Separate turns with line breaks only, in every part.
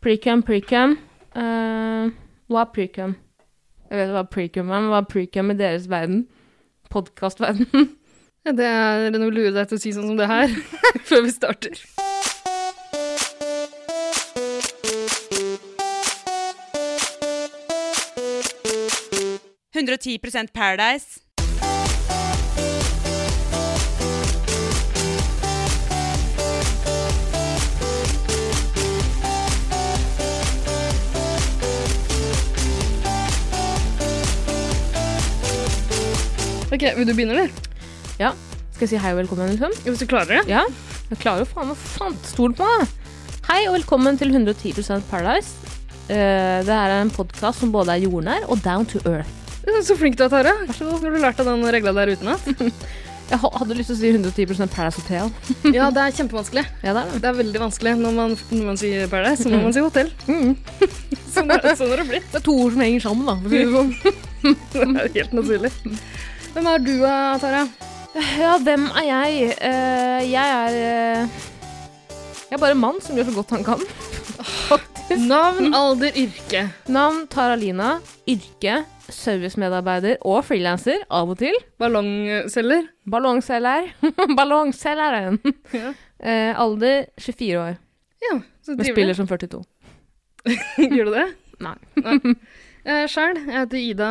Precum, precum. Eh, hva er precum? Jeg vet hva precum er, men hva er precum i deres verden? Podkastverden.
Det er noe lurer deg til å si sånn som det her, før vi starter.
Paradise.
Ok, Vil du begynne, eller?
Skal jeg si hei og velkommen, liksom?
Hvis du klarer det.
Ja, jeg klarer jo faen meg faen stol på meg. Hei og velkommen til 110 Paradise. Eh, det her er en podkast som både er jordnær og down to earth.
Så flink du er, Tara. Vær så god. Har du lært av den regla der utenat?
Jeg ha- hadde lyst til å si 110 Paradise Hotel.
Ja, det er kjempevanskelig.
Ja, det er det.
Det er veldig vanskelig når man, når man sier Paradise, så må man si hotell.
Mm.
Sånn er, sånn er det blitt.
Det er to ord som henger sammen, da. for å si det sånn.
Det er helt naturlig. Hvem er du, eh, Tara?
Ja, hvem er jeg? Eh, jeg er eh, Jeg er bare en mann som gjør så godt han kan.
Navn, alder, yrke.
Navn Taralina. Yrke servicemedarbeider og frilanser av og til.
Ballongselger.
Ballongselger. Ballongselgeren.
Ja.
Eh, alder 24 år,
Ja, så
men spiller som 42.
Gjør du det?
Nei.
Jeg sjøl, jeg heter Ida.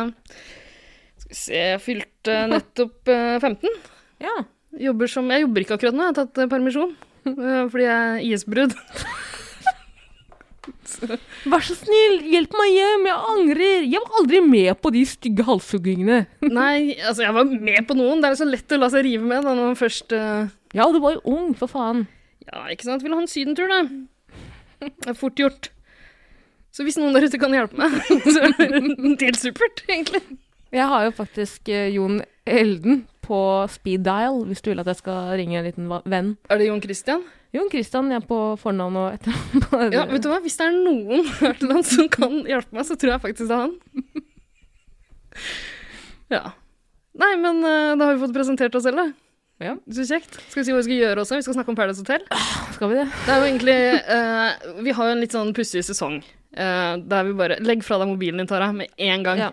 Skal vi se, jeg fylte nettopp eh, 15.
Ja.
Jobber som, jeg jobber ikke akkurat nå, jeg har tatt eh, permisjon. eh, Fordi jeg er IS-brudd.
Vær så snill, hjelp meg hjem, jeg angrer! Jeg var aldri med på de stygge halshuggingene.
Nei, altså jeg var med på noen. Det er så lett å la seg rive med da, når man først eh,
Ja, og du var jo ung, for faen.
Ja, ikke sant? Vil ha en sydentur, da. Det er fort gjort. Så hvis noen der ute kan hjelpe meg, så er det helt supert, egentlig.
Jeg har jo faktisk eh, Jon Elden på speed dial, hvis du vil at jeg skal ringe en liten va- venn.
Er det Jon Christian?
Jon Christian, jeg er på fornavn og etternavn.
Ja, vet du hva? Hvis det er noen her til lands som kan hjelpe meg, så tror jeg faktisk det er han. Ja. Nei, men eh, da har vi fått presentert oss selv, da.
Ja.
Så kjekt. Skal vi si hva vi skal gjøre også? Vi skal snakke om Paradise Hotel.
Skal vi det?
Det er jo egentlig eh, Vi har jo en litt sånn pussig sesong eh, der vi bare Legg fra deg mobilen din, Tara, med en gang.
Ja.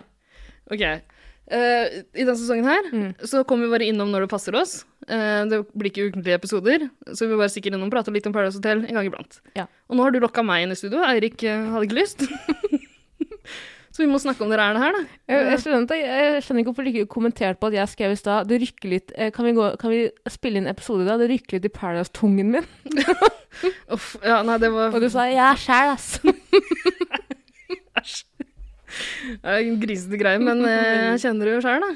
Ok. Eh, I denne sesongen her
Mm.
så kommer vi bare innom når det passer oss. Eh, det blir ikke ukentlige episoder, så vi bare stikker innom og prater litt om Paradise Hotel en gang iblant.
Ja.
Og nå har du lokka meg inn i studio. Eirik eh, hadde ikke lyst. så vi må snakke om dere er det her, da.
Jeg, jeg, skjønner, ikke- jeg skjønner ikke hvorfor du ikke kommenterte på at jeg skrev i stad Det rykker litt eh, kan vi, gå, kan vi spille inn episode i dag? Det rykker litt i Paradise-tungen min.
Uff, ja, nei, det var
Og du sa 'jeg er sjæl', ass.
Det er en grisete greie, men eh, jeg kjenner det jo sjøl, da.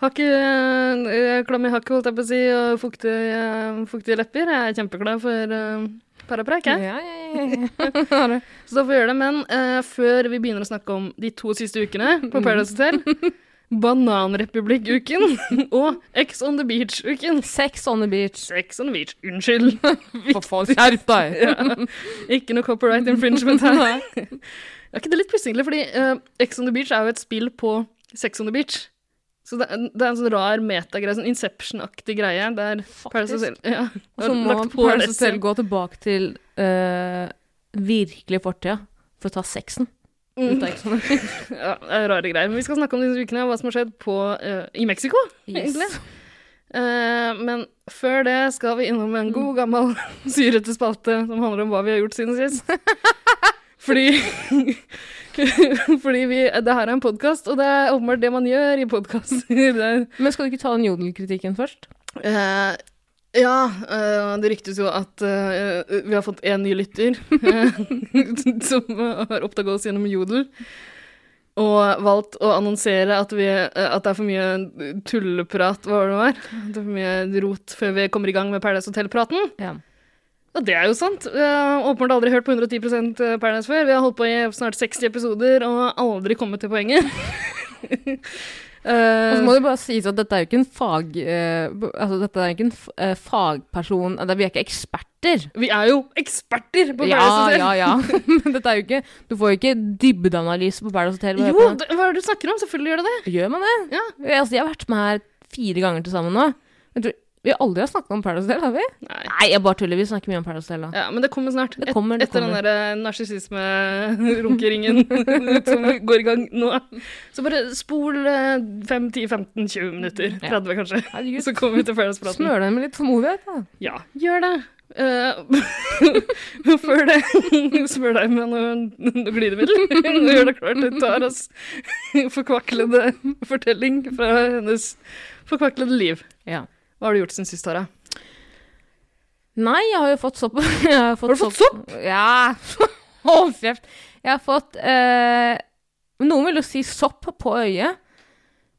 Har ikke eh, klam i hakket, holdt jeg på å si, og fuktige, eh, fuktige lepper. Jeg er kjempeglad for eh, parapreik, jeg.
Ja, ja, ja, ja.
Så da får vi gjøre det. Men eh, før vi begynner å snakke om de to siste ukene på Paradise Hotel Bananrepublikk-uken og Ex on the Beach-uken.
Sex on the beach.
Sex on the Beach, unnskyld.
For faen, skjerp deg!
Ja. Ikke noe copyright infringement her. Er ikke det litt pussig, egentlig? fordi eh, Ex on the Beach er jo et spill på Sex on the Beach. Så det, er- det er en sånn rar metagreie, sånn Inception-aktig greie. Der Paradise
Faktisk.
Hotel ja,
Og så
har
må
lagt på
Paradise
det selv.
Hotel gå tilbake til eh, virkelig fortida for å ta sexen.
Mm.
Ut av Ex on the Beach.
ja, det er rare greier. Men vi skal snakke om disse ukene, hva som har skjedd på, eh, i Mexico. Egentlig.
Yes.
Eh, men før det skal vi innom en god, gammel syrete spalte som handler om hva vi har gjort siden sist. Fordi, fordi vi, det her er en podkast, og det er åpenbart det man gjør i podkaster.
Men skal du ikke ta den jodelkritikken først?
Eh, ja, eh, det ryktes jo at eh, vi har fått én ny lytter eh, som har oppdaga oss gjennom Jodel. Og valgt å annonsere at, vi, eh, at det er for mye tulleprat, hva var det det var? At Det er for mye rot før vi kommer i gang med Paradise Hotel-praten.
Ja.
Og det er jo sant. Vi har åpenbart aldri hørt på 110 eh, Paradise før. Vi har holdt på i snart 60 episoder og aldri kommet til poenget.
Og
Eh,
så må det bare sies at dette er jo ikke en fag... eh, b- altså, dette er jo ikke en f eh, fagperson eh, Vi er ikke eksperter.
vi er jo eksperter på
Ja,
Paradise Hotel!
ja, ja. Men dette er jo ikke Du får jo ikke dybdeanalyse på Paradise Hotel. ved å
Jo,
høre på
det, hva er det du snakker om? Selvfølgelig gjør det det.
den. Gjør man det?
Ja.
Jeg, altså, jeg har vært med her fire ganger til sammen nå. Jeg tror Vi har aldri snakket om Paradise Del, har vi?
Nei.
Nei, jeg bare tuller. Vi snakker mye om Paradise Del, da.
Ja, men det kommer snart.
Det kommer, det
Et, etter
kommer.
den der eh, narsissisme-runkeringen som går i gang nå. Så bare spol eh, 5-10-15-20 minutter.
Ja.
30 kanskje.
Herregud.
Så kommer vi til Paradise-praten.
Smør deg med litt tålmodighet, da.
Ja, gjør det. Eh, før det smør deg med noe, noe glidemiddel. Gjør det klart. Det tar oss forkvaklede fortelling fra hennes forkvaklede liv.
Ja.
Hva har du gjort siden sist, Tara?
Nei, jeg har jo fått sopp. Jeg har,
Har du fått
Ja. Hold kjeft. Jeg har fått eh, Noen vil jo si sopp på øyet.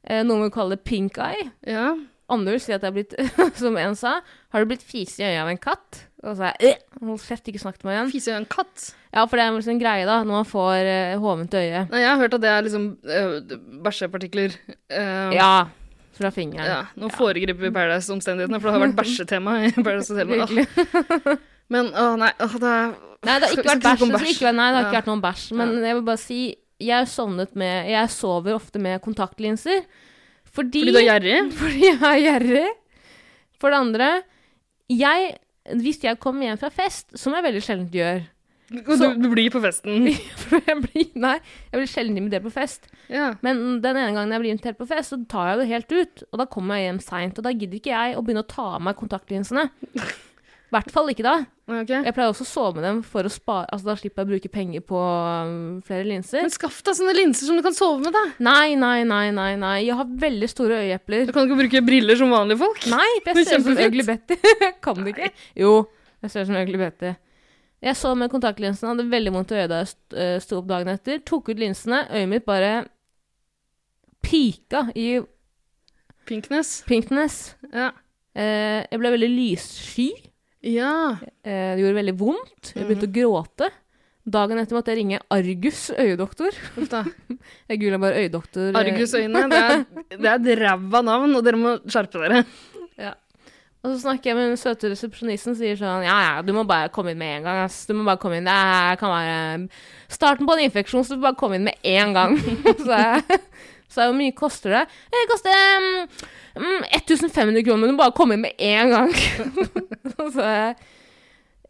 Eh, noen vil kalle det pink eye.
Ja.
Andre vil si at jeg har blitt, som en sa, har du blitt fise i øyet av en katt? Og så er jeg, «Øh, hold kjeft, ikke snakk til meg igjen.
Fise i en katt.
Ja, for det er vel sånn greie, da, når man får uh, hovent øye.
Nei, jeg har hørt at det er liksom eh, bæsjepartikler. eh,
Ja. Fra fingeren.
ja, Nå foregriper vi Paradise-omstendighetene, for det har vært bæsjetema i Paradise Hotel. Men,
Virkelig.
åh, men åh, nei, åh, det er
Nei, det har
Skal
ikke
vi
vært
snakke
bæsj.
om
det skal
bæsj?
ikke være- Nei, det har ikke
Ja.
vært noen bæsj. Men jeg vil bare si, jeg sovnet med Jeg sover ofte med kontaktlinser. Fordi,
Fordi du er gjerrig?
fordi jeg er gjerrig. For det andre, jeg Hvis jeg kommer hjem fra fest, som jeg veldig sjelden gjør
Og du, du blir på festen.
For jeg blir Nei, jeg blir sjelden invitert på fest.
Ja.
Men den ene gangen jeg blir invitert på fest, så tar jeg det helt ut. Og da kommer jeg hjem seint, og da gidder ikke jeg å begynne å ta av meg kontaktlinsene. I hvert fall ikke da.
ok.
Jeg pleier også å sove med dem for å spare Altså, da slipper jeg å bruke penger på um, flere linser.
Men skaff deg sånne linser som du kan sove med, da.
Nei, nei, nei, nei, nei. Jeg har veldig store øyeepler.
Du kan ikke bruke briller som vanlige folk.
Nei, for jeg
Det er
ser ut som Ugly
kjempefint.
Betty. Jeg kan det ikke. Jo, jeg ser ut som Ugly Betty. Jeg så med kontaktlinsene, hadde veldig vondt i øyet da jeg st- eh, sto opp dagen etter. Tok ut linsene, øyet mitt bare pika i
Pinkness.
pinkness.
Ja.
Eh, jeg ble veldig lyssky.
ja.
Eh, det gjorde veldig vondt. Jeg
Mhm.
begynte å gråte. Dagen etter måtte jeg ringe Argus øyedoktor.
Uff da.
Jeg googla bare øyedoktor. eh,
Argusøyne. Det er, det er et ræva navn, og dere må skjerpe dere.
Og så snakker jeg med den søte resepsjonisten og sier sånn Ja, ja, du må bare komme inn med en gang, ass. Du må bare komme inn. Det er- kan være um, starten på en infeksjon, så du bare komme inn med en gang. så jeg så jeg, hvor mye koster det? Det koster mm, mm, 1500 kroner, men du må bare komme inn med en gang. Og så jeg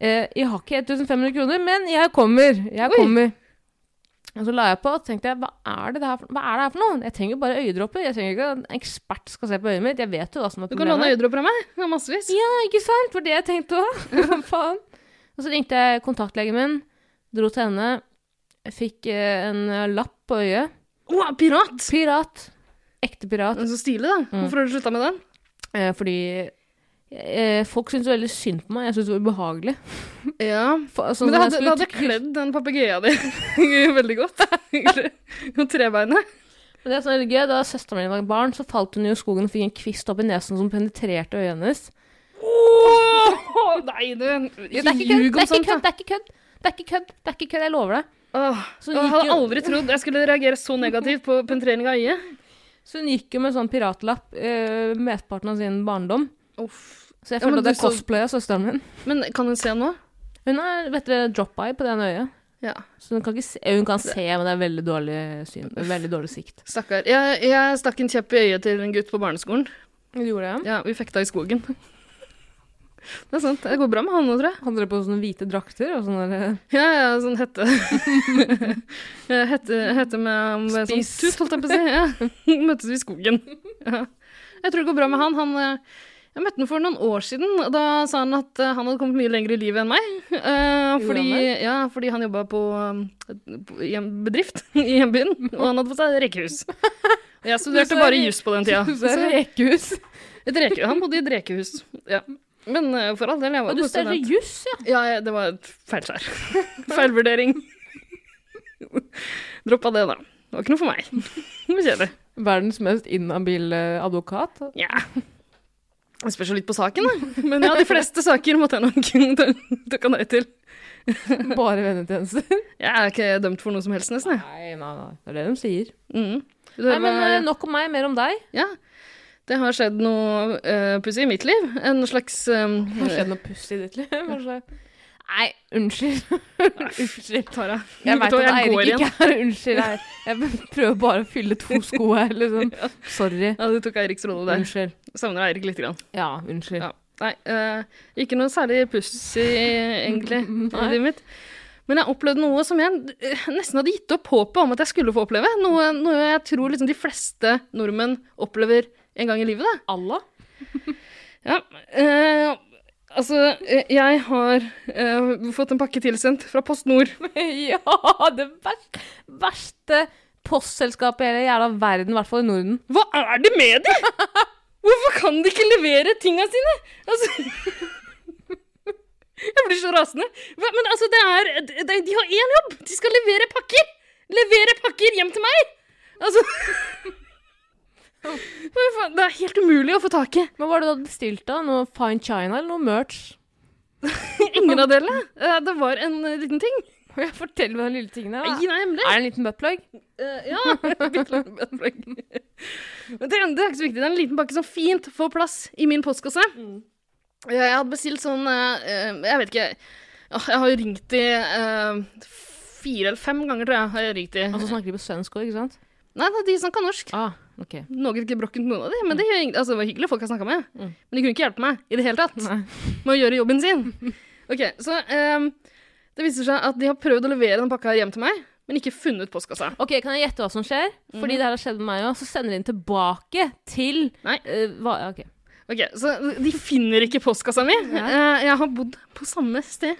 eh, Jeg har ikke 1500 kroner, men jeg kommer. Jeg
Oi.
kommer. Og så la jeg på og tenkte jeg, hva er det det her for, hva er det her for noe? Jeg trenger jo bare øyedråper. Jeg trenger ikke at en ekspert skal se på øyet mitt. Jeg vet jo hva som er
Du kan låne øyedråper av meg. Jeg har massevis.
Ja, ikke sant? For det jeg tenkte òg. Faen. Og så ringte jeg kontaktlegen min, dro til henne, jeg fikk eh, en eh, lapp på øyet.
Å, pirat!
Pirat. Mm. Ekte pirat.
Den er så stilig, da. Hvorfor har du slutta med den?
Eh, fordi eh, folk syntes veldig synd på meg. Jeg syntes det var ubehagelig.
Ja.
For, sånn
Men det
når jeg
hadde, det
skulle-
hadde kledd den papegoia di veldig godt. Og trebeinet.
Det er sånn veldig gøy, Da søsteren min var barn, så falt hun i skogen og fikk en kvist opp i nesen som penetrerte øyet hennes.
Åh, nei, du.
Det er ikke
Ikke
kødd!
ljug
Det
om
er ikke
sånt,
kødd!
da.
Det er ikke kødd! Det er ikke kødd! Det er ikke kødd, Jeg lover deg.
Åh,
Så
jeg
gikk
hadde
jo-
aldri trodd jeg skulle reagere så negativt på penetrering av øyet.
Så hun gikk jo med sånn piratlapp eh, mesteparten av sin barndom.
Uff.
Så jeg
Ja, men
følte at det
du
er
så-
cosplay av søsteren min.
Men kan hun se nå?
Hun er vet dere, drop-eye på det ene øyet.
Ja.
Så hun kan, ikke se, eh, hun kan se, men det er veldig dårlig syn. Veldig dårlig sikt.
Stakkar. Jeg, jeg stakk en kjepp i øyet til en gutt på barneskolen.
Du gjorde det?
Ja, Vi fekta i skogen. Det er sant. Det går bra med han nå, tror jeg.
Hadde dere på sånne hvite drakter? Og sånne der, eh,
Ja, ja, sånn hette. Ja, hette, hette med, med sånn
Spiss.
tut, holdt jeg på å si. Ja. Møttes vi i skogen. Ja. Jeg tror det går bra med han. han eh, jeg møtte han for noen år siden, og da sa han at eh, han hadde kommet mye lenger i livet enn meg. Eh, fordi,
han det?
ja, fordi han jobba på, eh, på, i en bedrift i hjembyen, og han hadde fått seg rekehus. Og jeg
Du
studerte
ser-
bare juss på den tida.
så er det rekehus.
Et reke, han bodde i et rekehus. Ja. Men eh, for all del, jeg var
Og du
på student.
steller juss, ja.
Ja, ja, det var et feilskjær. Feilvurdering. Droppa det, da. Det var ikke noe for meg. Det var kjedelig.
Verdens mest inhabile advokat.
Ja. Det spørs jo litt på saken, da. Men ja, de fleste saker måtte jeg nok takke nei til.
Bare vennetjenester.
Jeg er ikke dømt for noe som helst, nesten. jeg.
Nei, nei, nei. Det er det de sier.
Mm. Det,
Nei, men eh,
var-
Nok om meg, mer om deg.
ja. det har skjedd noe uh, pussig i mitt liv. En slags eh,
Har det skjedd noe puss i ditt liv? kanskje? Nei, unnskyld. unnskyld.
Tara.
Jeg
vet
veit
du hva,
at
går
Eirik
igjen.
ikke er unnskyld her. Jeg prøver bare å fylle to sko her, liksom. Sorry.
Ja, du tok Eiriks rolle der.
Unnskyld.
Savner Eirik litt. Grann.
Ja, unnskyld.
Ja. Nei, eh, ikke noe særlig pussig, egentlig, i
Nei.
livet mitt. Men jeg opplevde noe som jeg eh, nesten hadde gitt opp håpet om at jeg skulle få oppleve. Noe, noe jeg tror liksom de fleste nordmenn opplever en gang i livet. Da.
Allah?
Ja, eh, altså, eh, jeg har eh, fått en pakke tilsendt fra Post Nord.
ja, det verste, verste postselskapet i hele jævla verden, i hvert fall i Norden.
Hva er det med det?! Hvorfor kan de ikke levere tinga sine?! Altså Jeg blir så rasende. Hva- Men altså, det er det- De har én jobb! De skal levere pakker! Levere pakker hjem til meg! Altså Hva faen, Det er helt umulig å få tak i.
Men hva var det du hadde bestilt da? Noe Fine China eller noe merch?
Ingen av delene. Eh, Det var en eh, liten ting.
Jeg fortell meg den lille tingen der.
Nei,
da.
det er hemmelig.
Er det en liten buttplug?
Eh, ja. Bitte liten buttplug. Men det, det er ikke så viktig. Det er en liten pakke som fint får plass i min postkasse.
Mm.
Eh, Jeg hadde bestilt sånn eh, eh, Jeg vet ikke Åh, Jeg har jo ringt de eh, fire eller fem ganger, tror jeg. har jeg ringt de.
Og så snakker de på svensk òg, ikke sant?
Nei, det er de som kan norsk.
Ah, ok.
Noe gebrokkent noen av de, men det, gjør ingen- altså, det var hyggelige folk jeg snakka med.
Mm.
Men de kunne ikke hjelpe meg i det hele tatt
Nei.
med å gjøre jobben sin. Ok, Så eh, det viser seg at de har prøvd å levere den pakka her hjem til meg, men ikke funnet postkassa.
Ok, Kan jeg gjette hva som skjer?
Mhm.
Fordi det her har skjedd med meg òg. Så sender de den tilbake til
Nei.
eh, hva, ja, ok.
Ok, Så de finner ikke postkassa mi. Eh, Jeg har bodd på samme sted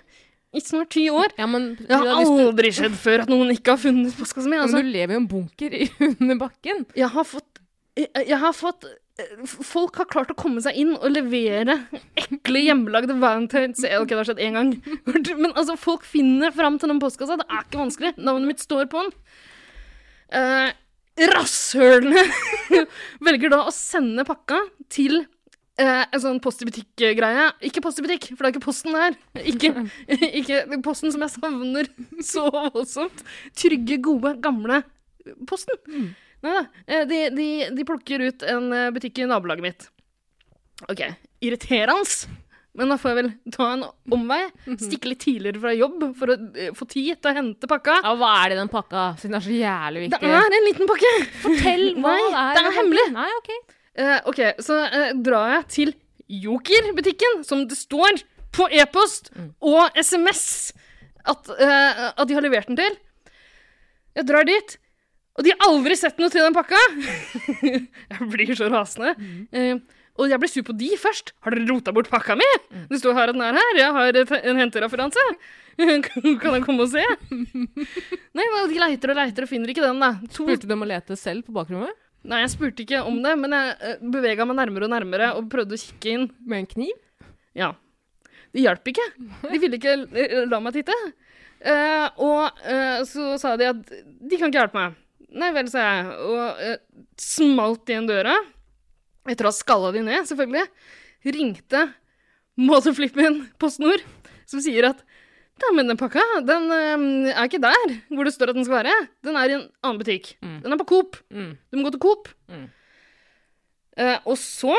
i snart ti år.
Ja, men du,
Det har
har lyst til,
aldri skjedd før at noen ikke har funnet postkassa mi. Altså,
men du lever jo i en bunker i- under bakken.
jeg har fått jeg, jeg har fått eh, Folk har klart å komme seg inn og levere ekle hjemmelagde valentines. Eh, Ok, det har skjedd én gang. Men altså, folk finner fram til den postkassa. Det er ikke vanskelig. Navnet mitt står på den. Eh, Rasshølene velger da å sende pakka til eh, en sånn post i butikk-greie. Ikke post i butikk, for det er ikke posten her. Ikke, ikke posten som jeg savner så voldsomt. Trygge, gode, gamle posten. Nei da. eh, De, de, de plukker ut en eh, butikk i nabolaget mitt. OK. Irriterende. Men da får jeg vel ta en omvei. Stikke litt tidligere fra jobb for å eh, få tid til å hente pakka.
Ja, Hva er det i den pakka? Siden det er så jævlig
Det
viktig.
er en liten pakke!
Fortell hva det er.
Nei, det er
i den pakken.
hemmelig.
Nei, ok.
Eh, ok, så eh, drar jeg til Joker-butikken, som det står på e-post og SMS at, eh, at de har levert den til. Jeg drar dit, og de har aldri sett noe til den pakka. jeg blir så rasende. Eh, og jeg blir sur på de først. Har dere rota bort pakka mi? Det står her at den er her. Jeg har et, en hentereferanse. kan jeg komme og se? Nei, men de leiter og leiter og finner ikke den, da. To
Spurte du om å lete selv på bakrommet?
Nei, jeg spurte ikke om det, men jeg bevega meg nærmere og nærmere og prøvde å kikke inn.
Med en kniv?
Ja. Det hjalp ikke. De ville ikke eh, la meg titte. Eh, og eh, så sa de at de kan ikke hjelpe meg. Nei vel, sa jeg, og eh, smalt igjen døra. Etter å ha skalla de ned, selvfølgelig. Ringte motherflippen Post Nord, som sier at Nei, men den pakka, den eh, er ikke der hvor det står at den skal være. Den er i en annen butikk.
Mm.
Den er på Coop.
Mm.
Du må gå til Coop.
Mm.
Eh, og så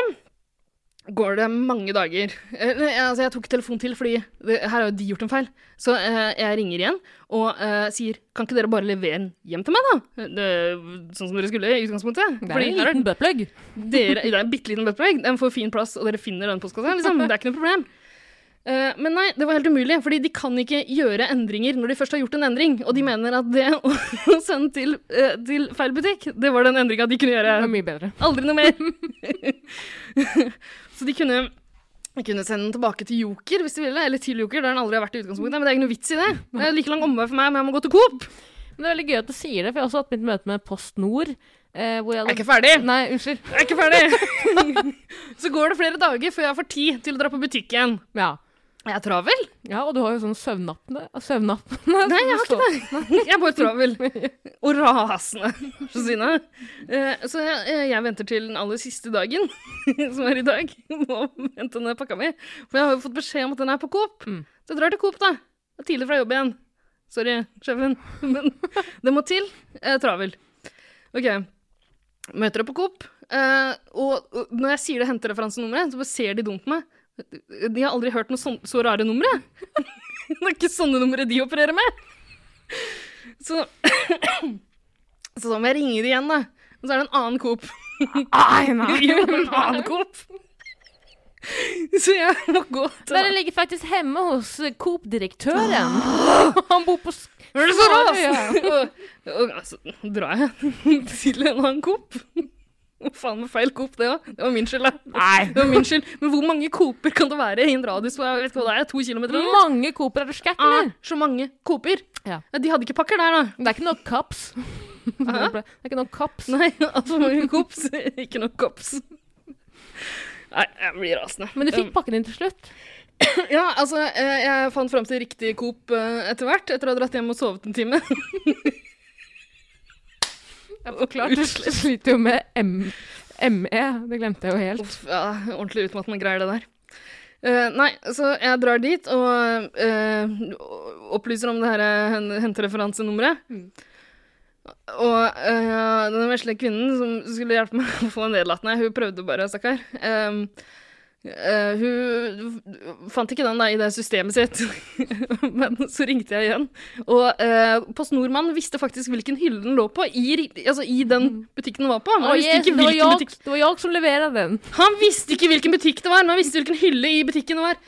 går det mange dager. Eh, nei, altså, jeg tok telefonen til, fordi det, her har jo de gjort en feil. Så eh, jeg ringer igjen og eh, sier kan ikke dere bare levere den hjem til meg, da? Det, sånn som dere skulle i utgangspunktet.
Det er
Fordi
en
her er
liten buttplug.
dere, det er en bitte liten buttplug. Den får fin plass, og dere finner den postkassa. Liksom. Det er ikke noe problem. Eh, men nei, det var helt umulig, fordi de kan ikke gjøre endringer når de først har gjort en endring. Og de mener at det å sende til, eh, til feil butikk, det var den endringa de kunne
Det er
gjøre.
mye bedre.
Aldri noe mer. Så de kunne, de kunne sende den tilbake til Joker hvis de ville, eller til Joker, der den aldri har vært i utgangspunktet. Men det er ikke noe vits i det. Det er like lang omvei for meg, men jeg må gå til Coop.
Men det er veldig gøy at du sier det, for jeg har også hatt mitt møte med Post Nord. Eh, hvor jeg
Jeg er
hadde...
ikke ferdig.
Nei, unnskyld.
Jeg er ikke ferdig. Så går det flere dager før jeg får tid til å dra på butikk igjen.
Ja.
Jeg er travel.
ja, og du har jo sånn søvnappene. søvnappene
Nei, jeg har ikke det. Jeg er bare travel. Og rasende. Så sinna. Eh, Så jeg, eh, jeg venter til den aller siste dagen, som er i dag, med å hente den pakka mi. For jeg har jo fått beskjed om at den er på Coop.
Mm.
Så jeg drar til Coop, da. Det er tidlig fra jobb igjen. Sorry, sjefen. Men det må til. Jeg er travel. OK. Møter opp på Coop, eh, og og når jeg sier det hentereferansenummeret, så bare ser de dumt på meg. De har aldri hørt noe sånn, så rare numre. det er ikke sånne numre de opererer med. Så, så da må jeg ringe de igjen, da. Og så er det en annen Coop.
Ai, nei.
Jo, en annen Coop. Så jeg må gå til
Dere ligger faktisk hjemme hos eh, Coop-direktøren. Han bor på sk-
Hva er det så
Snarøya.
raskt? og, og altså, drar jeg til en annen Coop. Hva faen med feil Coop, det òg? Det var min skyld, da.
Nei.
Det var min skyld. Men hvor mange Cooper kan det være i en radius på jeg vet ikke hva det er, to kilometer? eller noe?
Mange Cooper er det skært,
Ah,
eller?
så mange Cooper.
Ja.
Ja, de hadde ikke pakker der, da.
Det er ikke nok kaps. Det er ikke nok kaps.
Nei, altfor mange kops. Ikke noe kops. Nei, jeg blir rasende.
Men du fikk pakken din til slutt.
Um, Ja, altså, eh, jeg fant fram til riktig Coop eh, etter hvert, etter å ha dratt hjem og sovet en time.
Jeg forklarte Du sliter jo med M ME. Det glemte jeg jo helt.
Uff, ja, ordentlig utmattende greier, det der. Eh, nei, så jeg drar dit og eh, opplyser om det her eh, hen- hentereferansenummeret.
Mm.
Og eh, den vesle kvinnen som skulle hjelpe meg å få nedlatende, hun prøvde bare, stakkar. Um, eh, hun fant ikke den da i det systemet sitt, men så ringte jeg igjen. Og uh, Post Nordmann visste faktisk hvilken hylle den lå på i, ri- altså, i den butikken den var på.
Mm.
Han
Å,
visste
yes,
ikke
det, var
hvilken
jeg,
butikk
det var jeg som leverte den.
han visste ikke hvilken butikk det var, men han visste hvilken hylle i butikken det var.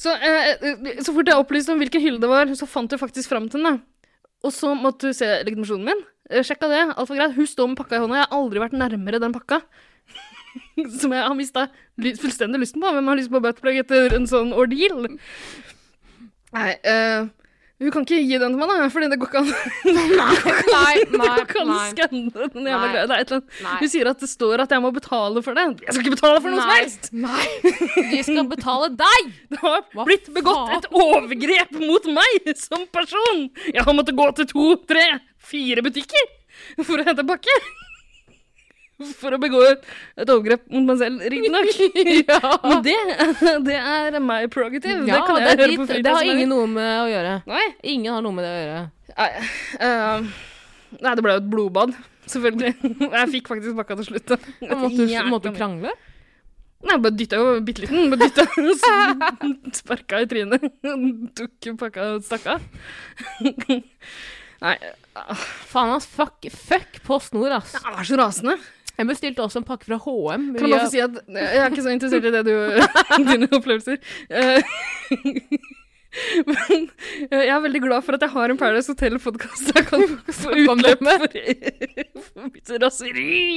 Så, eh, eh, så fort jeg opplyste om hvilken hylle det var, så fant jeg faktisk fram til den. da. Og så måtte hun se legitimasjonen min. Eh, Sjekka det, alt var greit. Hun står med pakka i hånda. Jeg har aldri vært nærmere den pakka. Som jeg har mista fullstendig lysten på. Hvem har lyst på buttplug etter en sånn ordeal? Nei, eh, hun kan ikke gi den til meg, da, fordi det går ikke an.
Nei, nei,
Det går ikke an å
nei.
skanne den jævla
Nei.
greia. Det er et eller annet.
Nei.
Hun sier at det står at jeg må betale for det. Jeg skal ikke betale for noe som
Nei.
helst!
Nei. De skal betale deg!
Det har
Hva
blitt begått
faen?
et overgrep mot meg som person! Jeg har måttet gå til to, tre, fire butikker for å hente pakke. For å begå et et overgrep mot meg selv, riktignok.
Ja.
Men det, det er my prerogative. det kan
det,
jeg
er
høre på
ditt-
fredag.
det har ingen noe med å gjøre.
Nei.
Ingen har noe med det å gjøre.
Nei, eh, nei, det ble jo et blodbad, selvfølgelig. Jeg fikk faktisk pakka til slutt. da.
Måtte du
Jækla
måtte
mye.
krangle?
Nei, jeg bare dytta jo bitte liten. Bare dytta og så sparka i trynet. Tok pakka og stakk av. Nei,
Faen, ass. Fuck, fuck Post Nord, ass.
jeg var så rasende.
Jeg bestilte også en pakke fra HM.
Kan jeg bare få si at eh, jeg er ikke så interessert i det du dine opplevelser. Eh, Men eh, jeg er veldig glad for at jeg har en Paradise Hotel-podkast jeg kan få
om det
utløp for, for mitt raseri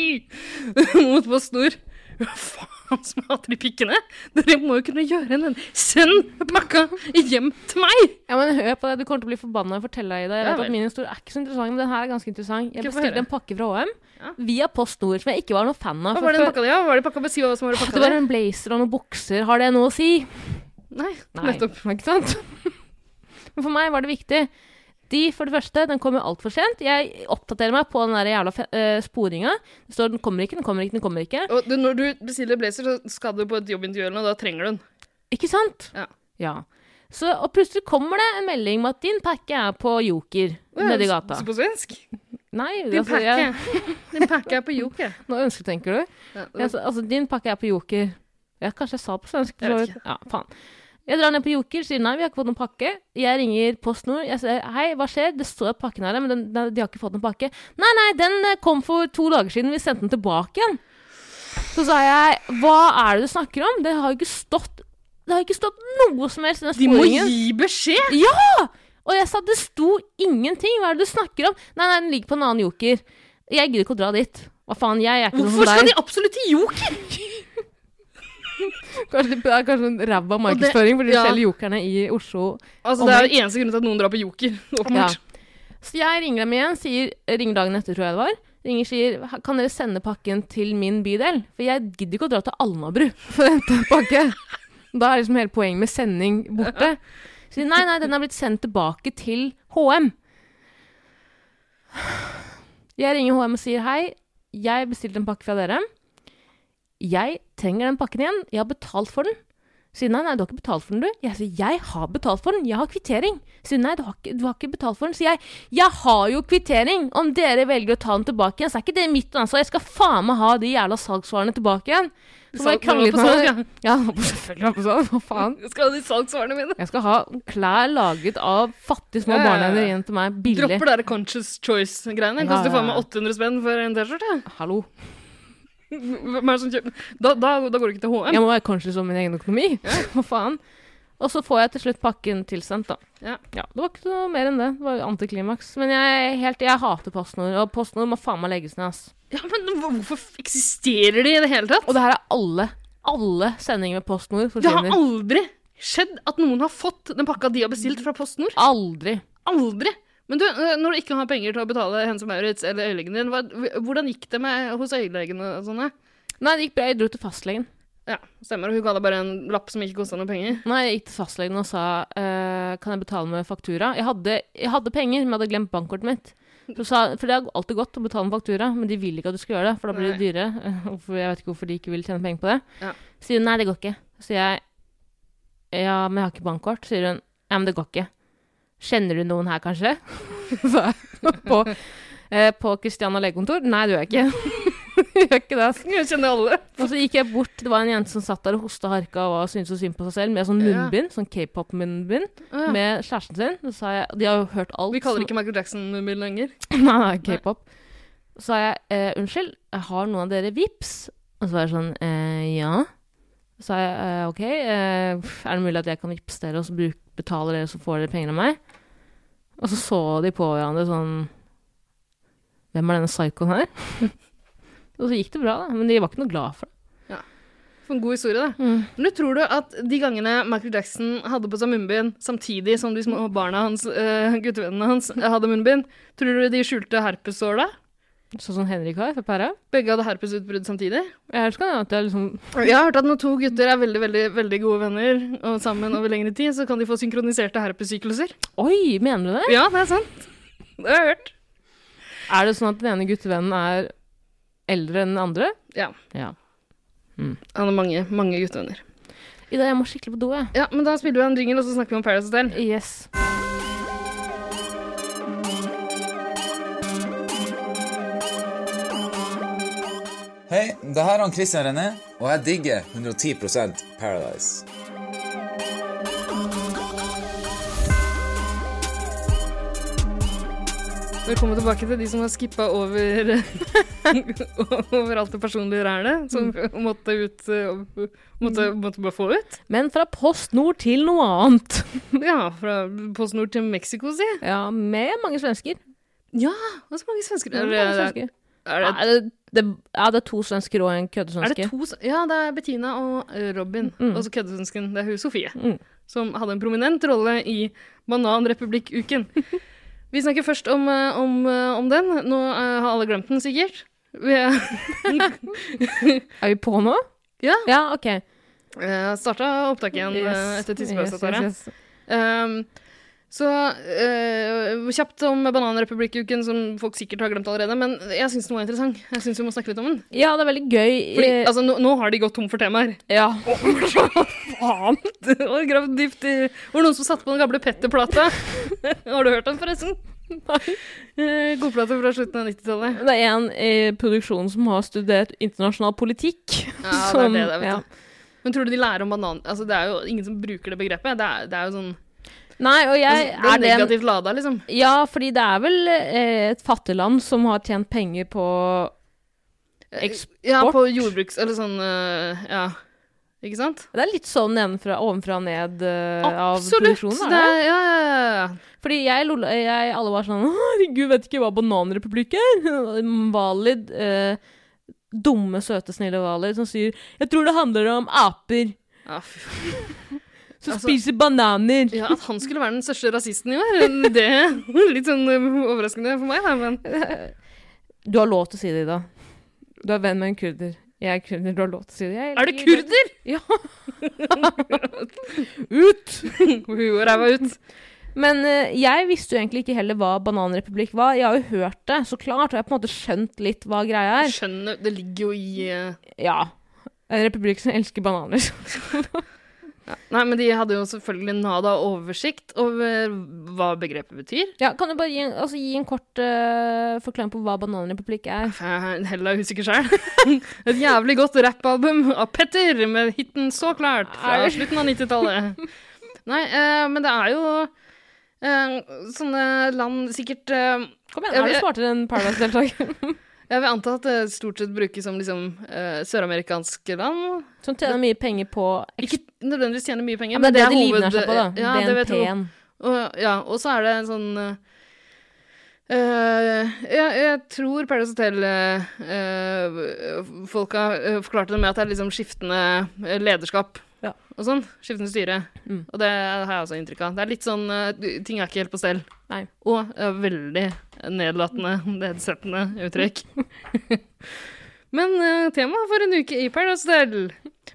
mot Post Nord. Hva faen som hater de pikkene? Dere må jo kunne gjøre en Send pakka hjem til meg!
Ja, men hør på det. Du kommer til å bli forbanna når jeg forteller deg det. Jeg
Ja
vet
vel.
at min historie er ikke så interessant, men den her er ganske interessant. Jeg
Ikke få høre.
bestilte en pakke fra HM
Ja.
via Post Nord, som jeg ikke var noen fan av.
Hva
fra
var det den
før.
pakka di? Ja? Hva var det pakka? Bare Si hva som var i pakka
Det var
di.
en blazer og noen bukser. Har det noe å si?
Nei,
Nei.
nettopp.
Ikke sant? Men for meg var det viktig. De, for det første, den kommer altfor sent. Jeg oppdaterer meg på den der jævla fe- eh, sporinga. Det står 'den kommer ikke', 'den kommer ikke', 'den kommer ikke'.
Og du, når du bestiller blazer, så skal du på et jobbintervju eller noe, da trenger du den.
Ikke sant?
Ja.
Så, og plutselig kommer det en melding om at din pakke er på Joker nedi gata.
Så på svensk?
Nei,
Din
altså, jeg,
pakke. Din pakke er på Joker.
nå ønsketenker du.
Ja,
Jeg, sa- altså, din pakke er på Joker. Ja, kanskje jeg sa på svensk.
Jeg
for så
vet
vidt. Ja, faen. Jeg drar ned på Joker, sier nei, vi har ikke fått noen pakke. Jeg ringer Post Nord. Jeg sier hei, hva skjer? Det står pakken her, men den, den, de har ikke fått noen pakke. Nei, nei, den eh, kom for to dager siden. Vi sendte den tilbake igjen. Så sa jeg hva er det du snakker om? Det har jo ikke stått det har jo ikke stått noe som helst i den
de må
sporingen.
gi beskjed!
Og jeg sa det sto ingenting. Hva er det du snakker om? Nei, nei, den ligger på en annen joker. Jeg gidder ikke å dra dit. Hva faen, jeg er ikke noe
Hvorfor skal
som
de
deg.
absolutt til Joker?
Kanskje, det er kanskje en ræva markedsføring, for de
ja.
selger jokerne i Oslo.
Altså, det er jo eneste grunnen til at noen drar på Joker.
Ja.
Åpenbart.
Så jeg ringer dem igjen, sier ringer dagen etter, tror jeg det var. Ringer sier kan dere sende pakken til min bydel? For jeg gidder ikke å dra til Alnabru for å hente en pakke. Da er liksom hele poenget med sending borte. Så sier de, nei, nei, den er blitt sendt tilbake til HM. Jeg ringer HM og sier hei, jeg bestilte en pakke fra dere. Jeg trenger den pakken igjen. Jeg har betalt for den. sier nei, nei, du har ikke betalt for den, du. Jeg sier jeg har betalt for den, jeg har kvittering. Sier nei, du har ikke, du har ikke betalt for den. Sier jeg jeg har jo kvittering! Om dere velger å ta den tilbake igjen, så er ikke det mitt ansvar. Jeg skal faen meg ha de jævla salgsvarene tilbake igjen. Så må
Salg-
jeg krangle
det
litt
var på
med
salg,
han. Ja, det var på- selvfølgelig var det på salg. Hva faen?
Skal ha de salgsvarene mine.
Jeg skal ha klær laget av fattige små
Ja, ja, ja.
barnehender igjen til meg. Billig.
Dropper dere Conscious Choice-greiene.
Ja,
Koster faen
ja,
meg
ja.
800 spenn for en T-skjorte.
Hallo.
Hvem er det som kjøper Da, da, da går det ikke til HM.
Jeg må være conscious om min egen økonomi. Hva faen? Og så får jeg til slutt pakken tilsendt, da.
Ja.
det var ikke noe mer enn det. Det var jo antiklimaks. Men jeg, er helt, jeg hater postnord, og postnord må faen meg legges ned, ass.
Ja, men hvor- hvorfor eksisterer de i det hele tatt?
Og det her er alle. Alle sendinger med postnord
Det har
forsvinner.
aldri skjedd at noen har fått den pakka de har bestilt fra PostNord.
Aldri.
Aldri! Men du, øh, når du ikke har penger til å betale Hennes og Maurits eller øyelegen din, hva, hvordan gikk det med hos øyelegen og sånne?
Nei, det gikk bra. Jeg dro til fastlegen.
Ja, stemmer. Og hun ga deg bare en lapp som ikke kosta noe penger.
Nei, jeg gikk til fastlegen og sa eh, Kan jeg betale med faktura. Jeg hadde, jeg hadde penger, men jeg hadde glemt bankkortet mitt. Så sa, for det er alltid godt å betale med faktura, men de vil ikke at du skal gjøre det. For da blir det dyrere. Eh, Hvorfor, jeg vet ikke hvorfor de ikke vil tjene penger på det.
Ja.
Sier hun nei, det går ikke. Så sier jeg ja, men jeg har ikke bankkort. Sier hun ja, men det går ikke. Kjenner du noen her, kanskje? Så jeg på, eh, på Christiana legekontor? Nei, det gjør jeg ikke. gjør ikke det, altså. ass.
Jeg kjenner alle.
Og så gikk jeg bort, det var en jente som satt der og hosta harka og var- syntes så synd på seg selv, med sånn
Ja.
munnbind, sånn k-pop-munnbind,
Ah, ja.
med kjæresten sin. Så sa jeg, de har jo hørt alt.
Vi kaller ikke Michael Jackson-mobil lenger.
som, Nei, nei, k-pop. Så sa jeg, eh, unnskyld, jeg har noen av dere vips? Og så var jeg sånn, eh, ja. Så sa jeg, eh, ok, eh, er det mulig at jeg kan vipse dere, og så bruk, betaler dere, så får dere penger av meg? Og så så de på hverandre sånn, hvem er denne psykoen her? og så gikk det bra da, men de var ikke noe glad for det.
For en god historie, da.
Mm.
Men du tror du at de gangene Michael Jackson hadde på seg munnbind samtidig som de små barna hans, eh, guttevennene hans, eh, hadde munnbind, tror du de skjulte herpesår da?
Sånn som Henrik har, fra Pæra.
Begge hadde herpesutbrudd samtidig?
Ellers kan det være at jeg liksom
Jeg har hørt at når to gutter er veldig, veldig, veldig gode venner og sammen over lengre tid, så kan de få synkroniserte herpessykluser.
Oi, mener du det?
Ja, det er sant. Det har jeg hørt.
Er det sånn at den ene guttevennen er eldre enn den andre?
Ja.
ja.
Han har mange, mange guttevenner.
Ida, jeg må skikkelig på do, jeg.
Ja, men da spiller vi en jingle, og så snakker vi om Paradise Hotel.
Yes.
Hei, det her er han Christian René, og jeg digger 110 Paradise.
Velkommen tilbake til de som har skippa over over alt det personlige rælet, som måtte ut eh, måtte, måtte bare få ut.
Men fra Post Nord til noe annet.
Ja, fra PostNord til Mexico, si.
Ja, med mange svensker.
Ja, og så mange svensker.
Med
Er,
mange
det-
svensker.
er,
Nei,
det,
det, det, ja, det er to svensker og en
er det
køddesvenske.
to s- Ja, det er Bettina og eh, Robin. Og så køddesvensken. Det er hun Sofie.
Mm.
Som hadde en prominent rolle i Bananrepublikk-uken. Vi snakker først om, eh, om, eh, om den. Nå eh, har alle glemt den, sikkert. Vi er
Er vi på nå?
Ja.
ja ok.
Jeg starta eh, opptaket igjen
Yes.
eh, etter tissepausen.
Yes,
Tara.
yes, yes.
Ehm, så eh, kjapt om Bananrepublikk-uken, som folk sikkert har glemt allerede. Men jeg syns den var interessant. Jeg synes vi må snakke litt om den.
Ja, det er veldig gøy.
Fordi,
eh,
altså, nå, nå har de gått tom for temaer.
ja.
Faen! Det var gravd dypt i Var det noen som satte på den gamle Petter-plata? har du hørt den, forresten?
Nei.
Eh, Godplate fra slutten av 90-tallet.
Det er en i produksjonen som har studert internasjonal politikk.
Ja, det er det det er, vet du. Men tror du de lærer om banan... Altså, det er jo ingen som bruker det begrepet. Det er, det er jo sånn
Nei, og jeg
Det er
er det en-
negativt lada, liksom.
Ja, fordi det er vel eh, et fattig land som har tjent penger på eh, eksport.
Ja, på jordbruks... Eller sånn øh, Ja. Ikke sant?
Det er litt sånn nedenfra, ovenfra og ned eh, av
Absolutt!
produksjonen.
det
Er det?
er, ja, ja, ja, ja.
Fordi jeg, lol- jeg alle var sånn «Å, Herregud, vet ikke hva bananrepublikk er? Valid. Eh, dumme, søte, snille Valid som sier 'Jeg tror det handler om aper
Ja, fy faen.
som
Altså-
spiser bananer'.
ja, At han skulle være den største rasisten i år, det er litt sånn øh, overraskende for meg, da, men
Du har lov til å si det, Ida. Du er venn med en kurder. Jeg er kurder, du har lov til å si det. Jeg
Er det kurder?!
Ja. Ut!
Hun og ræva ut.
Men eh, jeg visste jo egentlig ikke heller hva bananrepublikk var. Jeg har jo hørt det, så klart, og jeg har på en måte skjønt litt hva greia er.
Skjønner Det ligger jo i øh,
Ja. En republikk som elsker bananer.
Nei, men de hadde jo selvfølgelig nada oversikt over hva begrepet betyr.
Ja, kan du bare gi en, altså, gi en kort eh, forklaring på hva Bananrepublikk er?
Jeg Eh, er Heller usikker sjøl. Et jævlig godt rappalbum av Petter med hiten 'Så klart' fra
Au.
slutten av 90-tallet. Nei, eh, men det er jo eh, sånne land sikkert eh,
Kom igjen,
Ja,
har du
vi-
smartere enn Paradise-deltaker?
Jeg vil anta at det stort sett brukes som liksom eh, søramerikanske land.
Som tjener mye penger på
Ikke nødvendigvis tjener mye
ja,
penger,
men Det er det de
hoved-
livnærer seg på, da.
Ja, det vil jeg tro.
BNP-en.
Og, ja, og så er det en sånn eh, eh, ja, jeg tror Paradise eh, Hotel-folka eh, forklarte det med at det er liksom skiftende eh, lederskap
Ja.
og sånn. Skiftende styre.
Mm.
Og det har jeg også inntrykk av. Det er litt sånn eh, Ting er ikke helt på stell.
Nei.
Og eh, veldig nedlatende, nedsettende uttrykk. Men eh, tema for en uke i Paradise Hotel.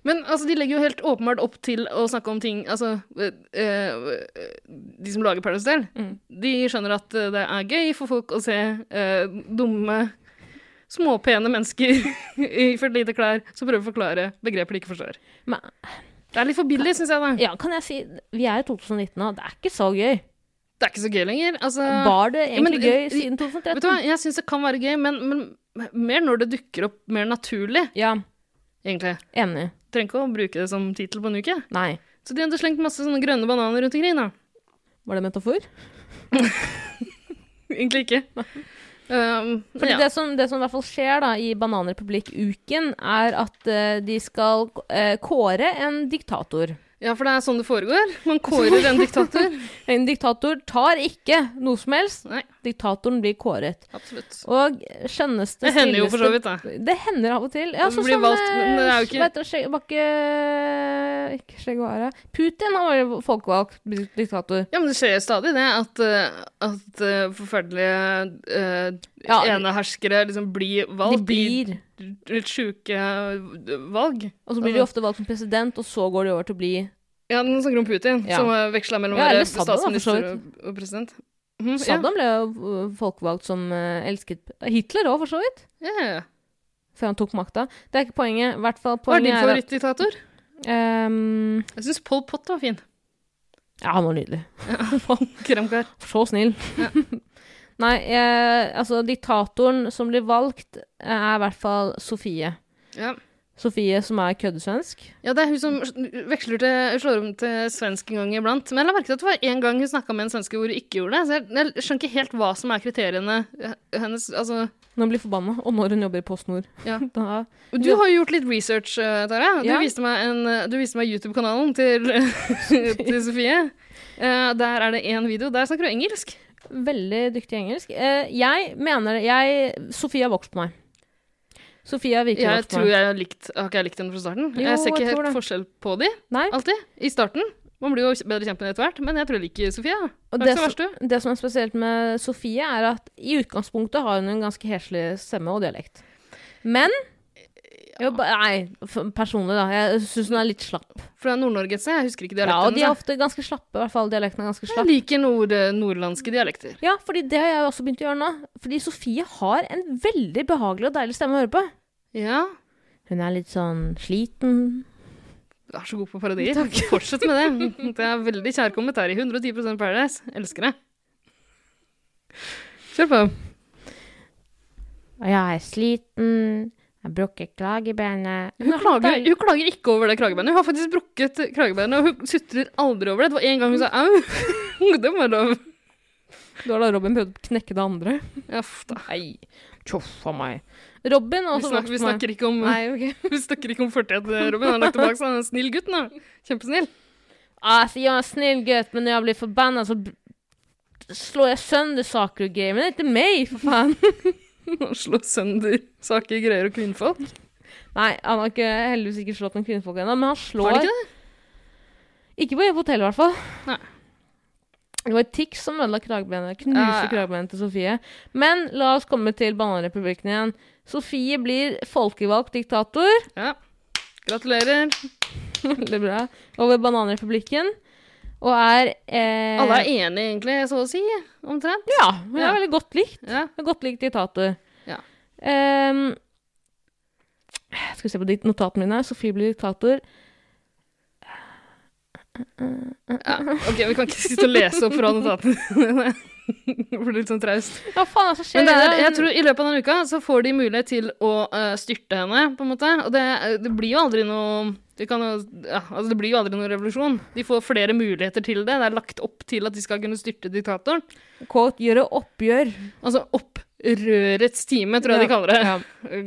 Men altså, de legger jo helt åpenbart opp til å snakke om ting Altså, eh, eh, de som lager Paradise Hotel,
Mm.
de skjønner at eh, det er gøy for folk å se eh, dumme, småpene mennesker iført lite klær som prøver å forklare begreper de ikke forstår.
Men
Det er litt for billig, syns jeg, da.
ja, kan jeg si Vi er i 2019 nå, det er ikke så gøy.
Det er ikke så gøy lenger. Altså
Var det
men-
egentlig gøy siden
Vet du hva,
2013?
jeg syns det kan være gøy, men, men mer når det dukker opp mer naturlig,
Ja,
egentlig.
enig.
Trenger ikke å bruke det som tittel på en uke.
Nei.
Så de hadde slengt masse sånne grønne bananer rundt omkring, da.
Var det metafor?
Egentlig ikke. Um,
Fordi
ja.
det, som, det som i hvert fall skjer da i Bananrepublikk-uken, er at eh, de skal eh, kåre en diktator.
ja, for det er sånn det foregår. Man kårer en diktator.
En diktator tar ikke noe som helst.
Nei,
Diktatoren blir kåret.
absolutt.
Og skjønneste,
Det hender jo for så
snilleste-
vidt, da.
Det hender av og til. Ja,
Det
sånn
blir
som
valgt, men det er jo ikke-
Vet du, Che- var ikke Ikke Che Guevara. Putin han var jo folkevalgt di- diktator.
Ja, men det skjer stadig det at, eh, at eh, forferdelige eh,
Ja,
eneherskere liksom blir
De
valgt.
blir
i Litt sjuke eh, valg.
Og så blir de ofte valgt som president, og så går de over til å bli
Ja, den snakker om Putin,
Ja.
som eh, veksla mellom å
Ja,
være
eller Saddam, da, for så
statsminister
vidt.
og, og president. Mhm,
Saddam ble jo øh, folkevalgt som øh, elsket Hitler òg, for så vidt.
Ja, ja, ja.
Før han tok makta. Det er ikke poenget. I hvert fall
Hva er din
poenget at-
favorittdiktator?
Ehm,
Jeg syns Pol Pot var fin.
Ja, han var nydelig.
Kramkar.
Så snill. Nei, eh, altså diktatoren som blir valgt, eh, er i hvert fall Sofie.
Ja.
Sofie som er køddesvensk.
ja, det er hun som veksler til, slår om til svensk en gang iblant. Men jeg la merke til at det var en gang hun snakka med en svenske hvor hun ikke gjorde det. Så jeg, jeg skjønner ikke helt hva som er kriteriene hennes Altså
Når hun blir forbanna, og når hun jobber i Post Nord.
Ja.
Da,
Du har jo gjort litt research, eh, Tara. Du,
Ja.
viste meg en, eh, du viste meg YouTube-kanalen til, til Sofie. Eh, der er det én video. Der snakker du engelsk.
veldig dyktig i engelsk. Eh, jeg mener det jeg, Sofie har vokst på meg. Sofie har virkelig
Jeg
vokst på
tror
meg.
jeg har likt Har ikke jeg likt henne fra starten?
Jo,
jeg ser
jeg
ikke
tror
helt
det.
forskjell på de
Nei,
alltid. I starten. Man blir jo bedre kjent med henne etter hvert, men jeg tror jeg liker Sofie. ja.
og
Det
det,
er ikke så verst, du.
som, det som er spesielt med Sofie, er at i utgangspunktet har hun en ganske heslig stemme og dialekt. Men jo, ba- Nei, f- personlig, da. Jeg syns hun er litt slapp.
Fra Nord-Norge et sted. Jeg husker ikke
Ja, og de
dialekten. liksom?
er
Ja,
ofte ganske slappe, i hvert fall. Dialekten er ganske slapp.
jeg liker nord nordlandske dialekter.
Ja, fordi det har jeg også begynt å gjøre nå. Fordi Sofie har en veldig behagelig og deilig stemme å høre på.
Ja.
Hun er litt sånn sliten.
Du er så god på parodier. Fortsett med det. Det er veldig kjærkomment her i 110 Paradise. Elsker det. Kjør på.
Og jeg er sliten. Jeg brukker klagebeinet.
Hun klager, hun klager ikke over det kragebeinet. Hun har faktisk brukket kragebeinet, og hun sutrer aldri over det. Det var en gang hun sa au. Det må være lov.
Det var da Robin prøvde å knekke det andre.
Ja, f- da.
Nei. Tjoff a meg. Robin har
Vi
også
snakker, vi
vokst på meg.
snakker ikke om,
Nei, ok.
vi snakker ikke om fortiden til Robin. Han er lagt tilbake, så han er en snill gutt nå. Kjempesnill.
Altså, jeg er en snill gutt, men når jeg blir forbanna, så b- slår jeg sønder saker og greier. Men det er ikke meg, for faen.
Han slår sønder saker, greier og kvinnfolk.
Nei, han har ikke, heldigvis ikke slått noen kvinnfolk ennå, men han slår
Var det ikke det?
Ikke på hotell, i hvert fall.
Nei.
Det var Tix som ødela kragebeinet. Knuste
Ja, ja.
kragebenet til Sofie. Men la oss komme til Bananrepublikken igjen. Sofie blir folkevalgt diktator.
Ja. Gratulerer.
Veldig bra. Over Bananrepublikken. Og er eh,
Alle er enige, egentlig, så å si. Omtrent.
Ja, hun er
Ja.
veldig godt likt.
Ja.
Hun er Godt likt diktator.
Ja.
Ehm, skal vi se på ditt- notatene mine. Sofie blir diktator.
Ja, ok, vi kan ikke sitte og lese opp fra notatene dine. Det blir litt sånn traust.
Hva faen er det som skjer?
Men det er,
videre?
jeg tror I løpet av den uka så får de mulighet til å eh, styrte henne, på en måte. Og det, eh, det blir jo aldri noe det, kan jo, ja, altså det blir jo aldri noen revolusjon. De får flere muligheter til det. Det er lagt opp til at de skal kunne styrte diktatoren.
Quote, gjøre oppgjør.
Altså opprørets time, tror jeg de kaller det.
Ja.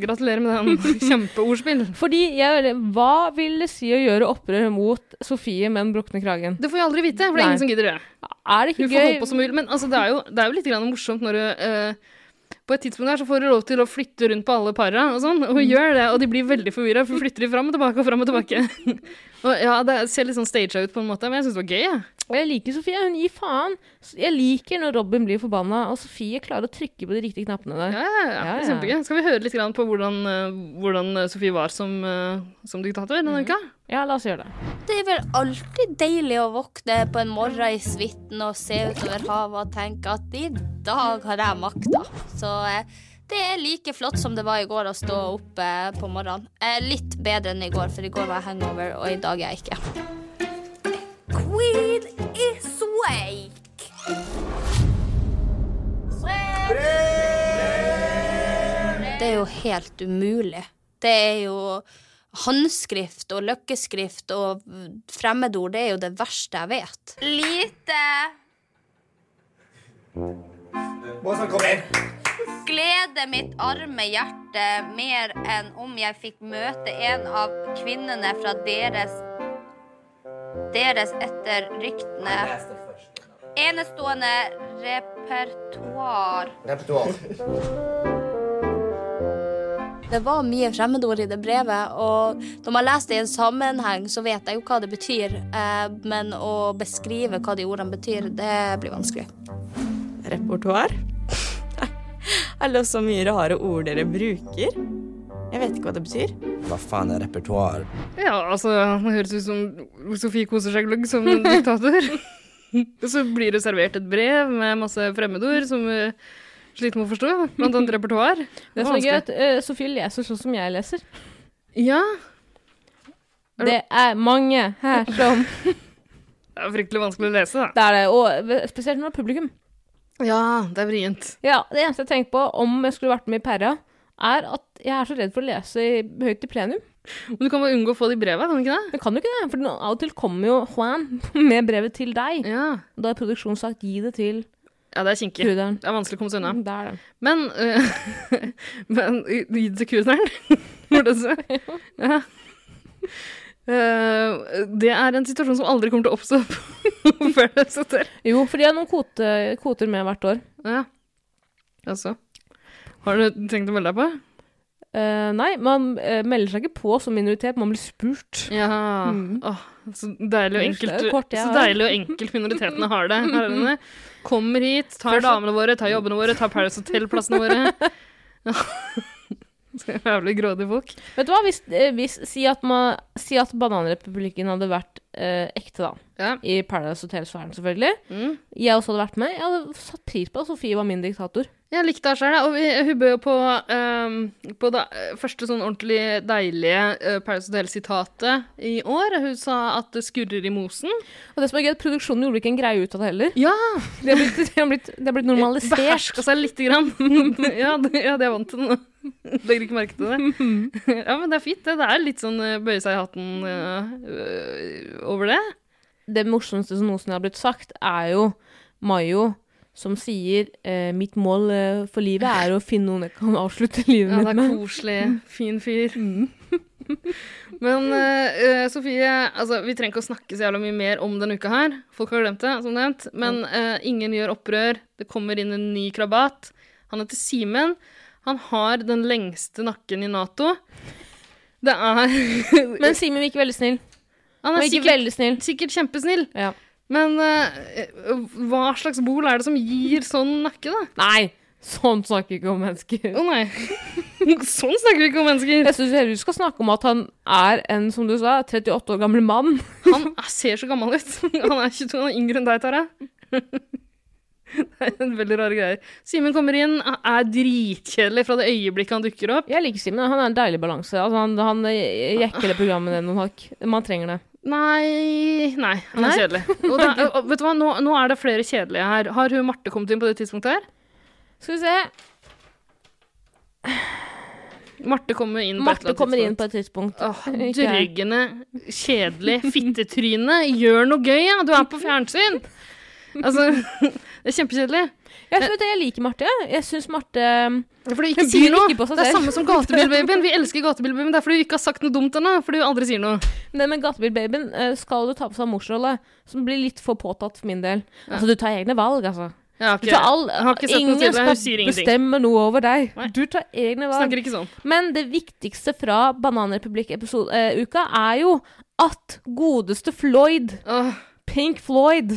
Gratulerer med den kjempeordspill.
Fordi, jeg, er veldig- hva vil det si å gjøre opprør mot Sofie med den brukne kragen?
Det får jeg aldri vite, for det er
Nei.
ingen som gidder det.
Er det
Du
ikke
får holde
gøy?
på som mulig, men altså, det, er jo, det er jo litt grann morsomt når du eh, På et tidspunkt her så får du lov til å flytte rundt på alle para og sånn,
Mm.
og hun gjør det, og de blir veldig forvirra, for flytter de fram og tilbake og fram og tilbake. og ja, det ser litt sånn staged ut på en måte, men jeg syns det var gøy, jeg.
Og jeg liker Sofie, hun gir faen. S- Jeg liker når Robin blir forbanna, og Sofie klarer å trykke på de riktige knappene der.
Ja, ja, ja,
Ja, ja.
Kjempegøy. Skal vi høre litt grann på hvordan, eh, hvordan eh, Sofie var som, eh, som diktator
Mm.
denne uka?
Ja, la oss gjøre det.
Det er vel alltid deilig å våkne på en morgen i suiten og se utover havet og tenke at i dag har jeg makta. Så eh, det er like flott som det var i går å stå opp eh, på morgenen. Eh, litt bedre enn i går, for i går var jeg hangover, og i dag er jeg ikke. Queen is wake. Det er jo helt umulig. Det er jo håndskrift og løkkeskrift og fremmedord. Det er jo det verste jeg vet. Lite Glede mitt arme hjerte mer enn om jeg fikk møte en av kvinnene fra deres deres etter ryktene enestående repertoar. Det var mye fremmedord i det brevet, og når man leser det i en sammenheng, så vet jeg jo hva det betyr. Eh, men å beskrive hva de ordene betyr, det blir vanskelig.
repertoar? Eller så mye rare ord dere bruker? Jeg vet ikke hva det betyr.
Hva faen er repertoar?
Ja, altså, det høres ut som Sofie koser seg gløgg som diktator. Og så blir det servert et brev med masse fremmedord som eh, sliter med å forstå, blant annet repertoar.
Det som er gøy, er at eh, Sofie leser sånn som jeg leser.
Ja, Er du-
Det er mange her som
det er fryktelig vanskelig å lese, da.
Det er det, og spesielt når det er publikum.
Ja, det er vrient.
Ja, det eneste jeg tenker på om jeg skulle vært med i Perra, er at jeg er så redd for å lese i, høyt i plenum.
Men du kan bare unngå å få de breva, kan du ikke det?
Men kan jo ikke det, for nå- av og til kommer jo Juan med brevet til deg.
Ja.
Da har produksjonen sagt 'gi det til
ja, det er kinkig.
bruderen'.
Det er vanskelig å komme seg unna.
Det er det.
Men, uh, men gi det til kuneren, var det du sa? Ja. Eh, det er en situasjon som aldri kommer til å oppstå før det setter.
Jo, for de har noen kvote, kvoter med hvert år.
Ja. Altså. Har du tenkt å melde deg på?
Eh, nei, man eh, melder seg ikke på som minoritet, man blir spurt.
Ja. Åh, så deilig
Ellers
og
er
enkelt,
det kort, jeg
så
har.
deilig og enkelt minoritetene har det. her er det. Kommer hit, tar damene våre, tar jobbene våre, tar Paradise Hotel-plassene våre. Så jævlig grådige folk.
Vet du hva, hvis, eh, hvis si, at man, si at Bananrepublikken hadde vært eh, ekte, da.
Ja.
I Paradise Hotel så er den selvfølgelig. Jeg også hadde vært med. Jeg hadde satt pris på at Sofie var min diktator.
Jeg likte henne sjøl, og vi- hun bød jo på, ehm, på det eh, første sånn ordentlig deilige uh, Paris Hotel-sitatet i år. Hun sa at det skurrer i mosen.
Og det som er gøy, at produksjonen gjorde ikke en greie ut av det heller.
Ja!
Det har blitt, det har blitt, det har blitt normalisert.
Beherska seg lite grann. ja, det, ja, det er vant til nå. Legger ikke merke til det. ja, men det er fint, det. Det er litt sånn eh, bøye seg i hatten eh, øh, over det.
Det morsomste som noensinne har blitt sagt, er jo Mayo som sier eh, 'mitt mål eh, for livet er å finne noen jeg kan avslutte livet
Ja, det
mitt
er
med'.
koselig. Fin fyr. Men eh, eh, Sofie, altså, vi trenger ikke å snakke så jævla mye mer om denne uka her. Folk har glemt det, som nevnt. Men eh, ingen gjør opprør. Det kommer inn en ny krabat. Han heter Simen. Han har den lengste nakken i Nato. Det er
Men Simen virker veldig snill.
Han
Han
er
virker
sikkert,
veldig snill.
sikkert kjempesnill.
Ja.
Men eh, hva slags bol er det som gir sånn nakke, da?
Nei, sånn snakker vi ikke om mennesker.
Å nei. sånn snakker vi ikke om mennesker.
Jeg syns du skal snakke om at han er en, som du sa, 38 år gammel mann.
Han er- ser så gammel ut. Han er 22, han er yngre enn deg, Tara. Det er en veldig rare greier. Simen kommer inn, er dritkjedelig fra det øyeblikket han dukker opp.
Jeg liker Simen. Han er en deilig balanse. Altså, han han eh, jekker det programmet ned noen hakk. Man trenger det.
Nei Nei, han er
Nei?
kjedelig. Og da, og vet du hva, nå, nå er det flere kjedelige her. Har hun Marte kommet inn på det tidspunktet her?
Skal vi se.
Marte kommer inn på et
Marte
eller annet
kommer inn
tidspunkt.
på et tidspunkt.
Åh,
Ikke jeg.
Dryggende, kjedelig fittetryne. Gjør noe gøy, ja! Du er på fjernsyn! Altså, det er kjempekjedelig.
Jeg, vet, du, jeg liker Marte. Jeg syns Marte um,
For du ikke
Hun byr
sier noe.
ikke på seg
det er
selv.
samme som Gatebilbabyen. Vi elsker Gatebilbabyen. Det er fordi du ikke har sagt noe dumt ennå. Fordi du aldri sier noe.
Men med Gatebilbabyen eh, skal du ta på seg morsrolle, som blir litt for påtatt for min del. Altså, du tar egne valg, altså.
Ja,
Du
ok.
tar all,
Jeg har ikke sett noe
ingen
til det. Hun sier
skal
ingenting.
bestemme noe over deg.
Nei.
Du tar egne valg.
Snakker ikke sånn.
Men det viktigste fra Bananrepublikk-uka er jo at godeste Floyd,
Åh,
Pink Floyd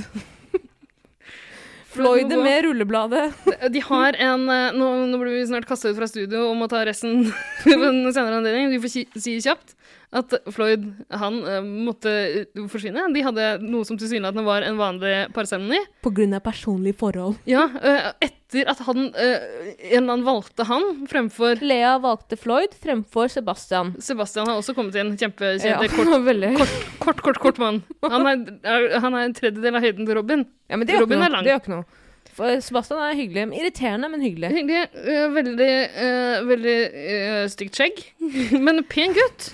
Floyd
Floyd
med rullebladet.
de har en eh, Nå, nå blir vi snart kasta ut fra studio og må ta resten ved en senere anledning. Vi får si, si kjapt at Floyd, han, eh, måtte eh, forsvinne. De hadde noe som tilsynelatende var en vanlig parseremoni.
På grunn av personlige forhold.
Ja, eh, etter at han eh, En eller annen valgte han fremfor
Lea valgte Floyd fremfor Sebastian.
Sebastian har også kommet inn.
Ja,
Kjempekjent.
det var veldig.
Kort, kort, kort mann. Han er, er, han er en tredjedel av høyden til Robin.
Ja, men det gjør ikke
Robin er
noe.
lang.
Det gjør ikke noe. For Sebastian er hyggelig. men Irriterende, men hyggelig.
Hyggelig. eh, veldig eh, veldig eh, stygt skjegg. Men pen gutt.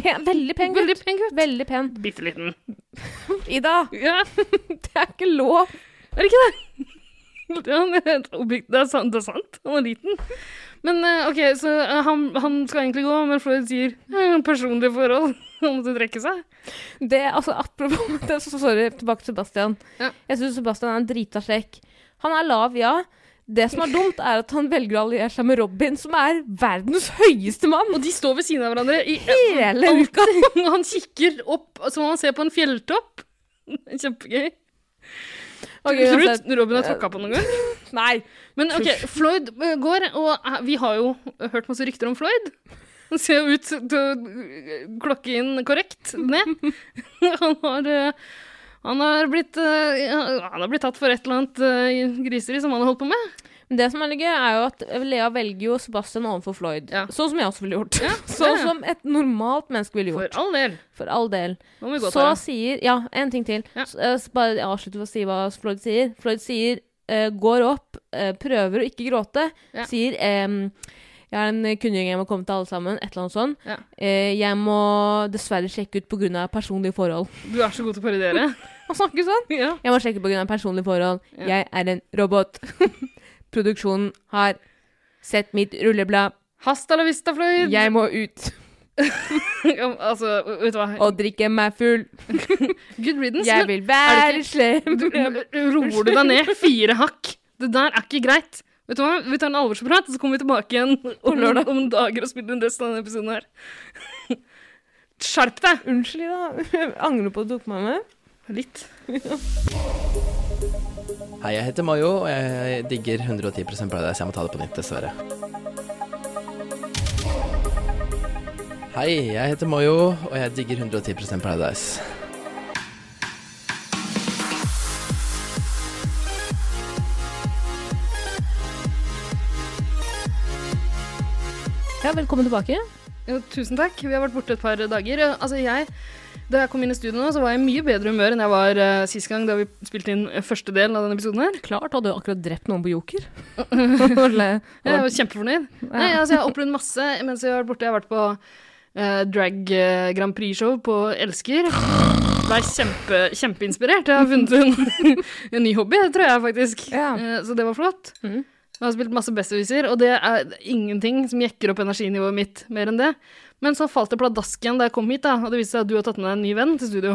Pen, veldig pen gutt.
Veldig pen gutt.
Veldig pen.
Bitte liten.
Ida,
Ja,
det er ikke lov.
er det ikke det? Det er, han- et objekt, det, er sant, det er sant. Han er liten. Men eh, OK, så eh, han, han skal egentlig gå, men Floyd sier eh, personlige forhold. Han måtte trekke seg.
Det, altså, apropos det, så, Sorry, tilbake til Sebastian.
Ja.
Jeg syns Sebastian er en drita sjekk. Han er lav, ja. Det som er dumt, er at han velger å alliere seg med Robin, som er verdens høyeste mann.
Og de står ved siden av hverandre i
Hele uka.
Og han kikker opp som om han ser på en fjelltopp. Kjempegøy.
Ok,
Tror du
uansett.
t- Robin har tråkka på noen gang?
Nei.
Men ok, Floyd eh, går, og eh, vi har jo hørt masse rykter om Floyd. Han ser jo ut til å eh, klokke inn korrekt ned. Han har eh, han har, blitt, eh, ja, han har blitt tatt for et eller annet eh, griseri som han har holdt på med.
Men det som er litt gøy, er jo at Lea velger jo Sebastian overfor Floyd.
Ja.
Sånn som jeg også ville gjort.
Ja,
Sånn
ja, ja.
som et normalt menneske ville
For
gjort.
all del.
For all del.
Nå må vi gå
Så
til det.
sier Ja, en ting til.
Ja.
S- eh, s- bare avslutte med å si hva Floyd sier. Floyd sier eh, går opp, eh, prøver å ikke gråte.
Ja.
Sier ehm, jeg har en kunngjøring jeg må komme til alle sammen. Et eller annet sånt.
Ja.
Eh, jeg må dessverre sjekke ut pga. personlige forhold.
Du er så god til å parodiere.
Han snakker sånn.
ja.
Jeg må sjekke pga. personlige forhold. Jeg er en robot. Produksjonen har sett mitt rulleblad.
Hasta la vista, Floyd.
Jeg må ut
Ja, altså, vet du hva.
og drikke meg full.
Good riddance.
Jeg
men-
vil
er
være
det
slem.
Du, roer du deg ned fire hakk? Det der er ikke greit. Vet du hva? Vi tar en alvorsprat, så kommer vi tilbake igjen om,
lørdag.
om dager og spiller den resten av denne episoden her. Skjerp deg!
Unnskyld, da. Jeg angrer på at du tok meg med.
Litt.
Hei, jeg heter Mayo, og jeg digger 110 Paradise. Jeg må ta det på nytt, dessverre. Hei, jeg heter Mayo, og jeg digger 110 Paradise.
Ja, velkommen tilbake.
Jo, tusen takk. Vi har vært borte et par dager. Eh, Altså, jeg, da jeg kom inn i studio nå, så var jeg i mye bedre humør enn jeg var uh, sist gang da vi spilte inn eh, første delen av denne episoden her.
Klart hadde jo akkurat drept noen på Joker. Eller-
Jeg var kjempefornøyd. Nei, altså, jeg har opplevd masse mens jeg har vært borte. Jeg har vært på eh, drag eh, Grand Prix-show på Elsker. Ble kjempe, kjempeinspirert. Jeg har funnet en, en ny hobby, tror jeg faktisk.
Ja.
Eh, så det var flott.
Mhm.
Jeg har spilt masse Besserwisser, og det er ingenting som jekker opp energinivået mitt mer enn det. Men så falt det pladask igjen da jeg kom hit, da, og det viste seg at du har tatt med deg en ny venn til studio.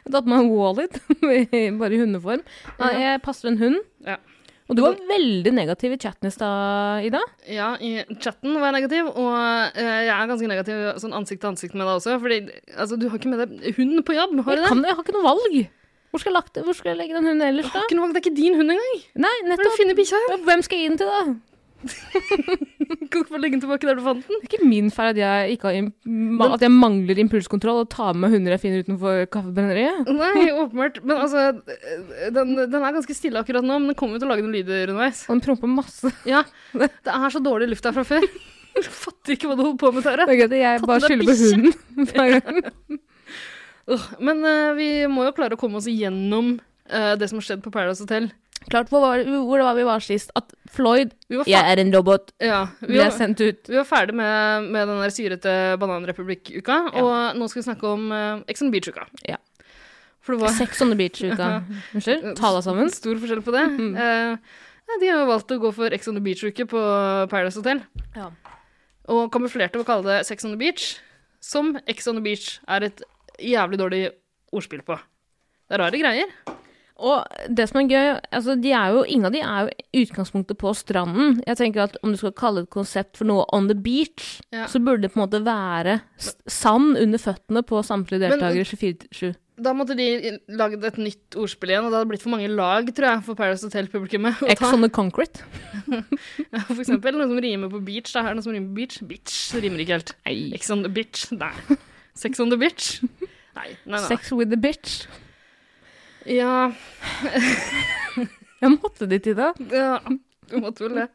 Jeg tatt meg en wallet, bare i hundeform. Nei, jeg passer en hund.
Ja.
Og du var veldig negativ i chatten i stad, Ida.
Ja, i chatten var jeg negativ, og eh, jeg er ganske negativ sånn ansikt til ansikt med deg også. Fordi altså, du har ikke med deg hund på jobb, har du
Jeg,
det?
kan, jeg har ikke noe valg. Hvor skal jeg, lagt, hvor skal jeg legge den hunden ellers, da?
Ikke noe valg, det er ikke din hund engang.
Nei,
Hvor er det du
nettopp.
finner bikkja?
Hvem skal jeg gi den til, da?
Kan du ikke bare legge den tilbake der du fant den?
Det er ikke min feil at jeg, ikke har im- at jeg mangler impulskontroll og tar med hunder jeg finner utenfor kaffebrenneriet.
Nei, åpenbart. Men altså, den, den er ganske stille akkurat nå, men den kommer jo til å lage noen lyder underveis.
Og den promper masse.
Ja, det er så dårlig luft her fra før. Du fatter ikke hva du holder på med, Tara.
Det er gøy at jeg bare
Katten er
skylder på
bikkje.
hunden. hver gang.
Åh, Men eh, vi må jo klare å komme oss igjennom eh, det som har skjedd på Paradise Hotel.
Klart, hvor var, hvor var vi var sist? At Floyd,
Vi var, fa
jeg er en robot,
ja, vi
ble
var,
sendt ut.
vi var ferdig med, med den der syrete bananrepublikk-uka, og nå skal vi snakke om eh, Ex on the Beach-uka.
Ja.
For det var
Sex on the beach i uka. Unnskyld? Ta deg sammen. Mhm.
stor forskjell på det. Eh, nei, de har jo valgt å gå for Ex on the Beach-uke på Paradise Hotel.
Ja.
Og kamuflerte ved å kalle det Sex on the Beach, som Ex on the Beach er et jævlig dårlig ordspill på. Det er rare greier.
Og det som er gøy, altså de er jo, ingen av de er jo i utgangspunktet på stranden. Jeg tenker at om du skal kalle et konsept for noe on the beach,
Ja.
så burde det på en måte være s- sand under føttene på samtlige
Men-
deltakere 24-7.
Da måtte de lagd et nytt ordspill igjen, og det hadde blitt for mange lag, tror jeg, for Paradise Hotel-publikummet. å
Ex
ta.
on the concrete.
For eksempel noe som rimer på beach. Da er det noe som rimer på beach. Bitch det rimer ikke helt. Ex on the bitch. Nei. Sex on the bitch. Nei, nei, nei.
Sex with the bitch.
Ja,
Jeg måtte dit i det.
Ja, du måtte vel det.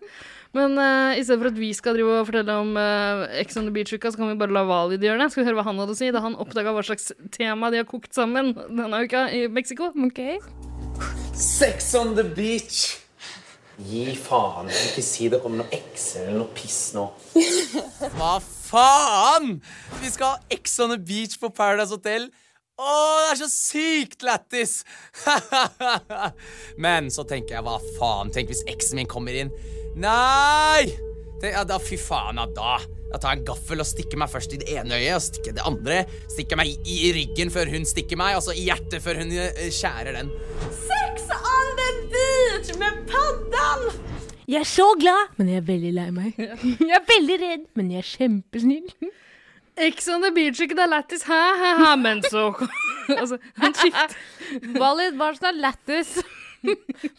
Men eh, i stedet for at vi skal drive og fortelle om uh, Ex on the Beach-uka, så kan vi bare la Valid gjøre det. Skal vi høre hva han hadde å si da han oppdaga hva slags tema de har kokt sammen denne uka i Mexico?
Ok.
Sex on the beach.
Gi faen. Ikke si det kommer noen ekser eller noe piss nå.
Hva Ah, faen? Vi skal ha Ex on the beach på Paradise Hotel. Å, det er så sykt lættis! Men så tenker jeg, hva faen? Tenk hvis eksen min kommer inn. Nei! Tenk, ja, da, fy faen, ja, da. Da tar jeg en gaffel og stikker meg først i det ene øyet og stikker i det andre. Stikker meg i, i ryggen før hun stikker meg, og så i hjertet før hun eh, skjærer den.
Sex on the beach med paddan!
Jeg er så glad, men jeg er veldig lei meg. Jeg er veldig redd, men jeg er kjempesnill.
Ex on the Beach-uke, det er lættis, hæ, hæ, hæ, men så Altså, han skifter.
Valid, hva som er lættis?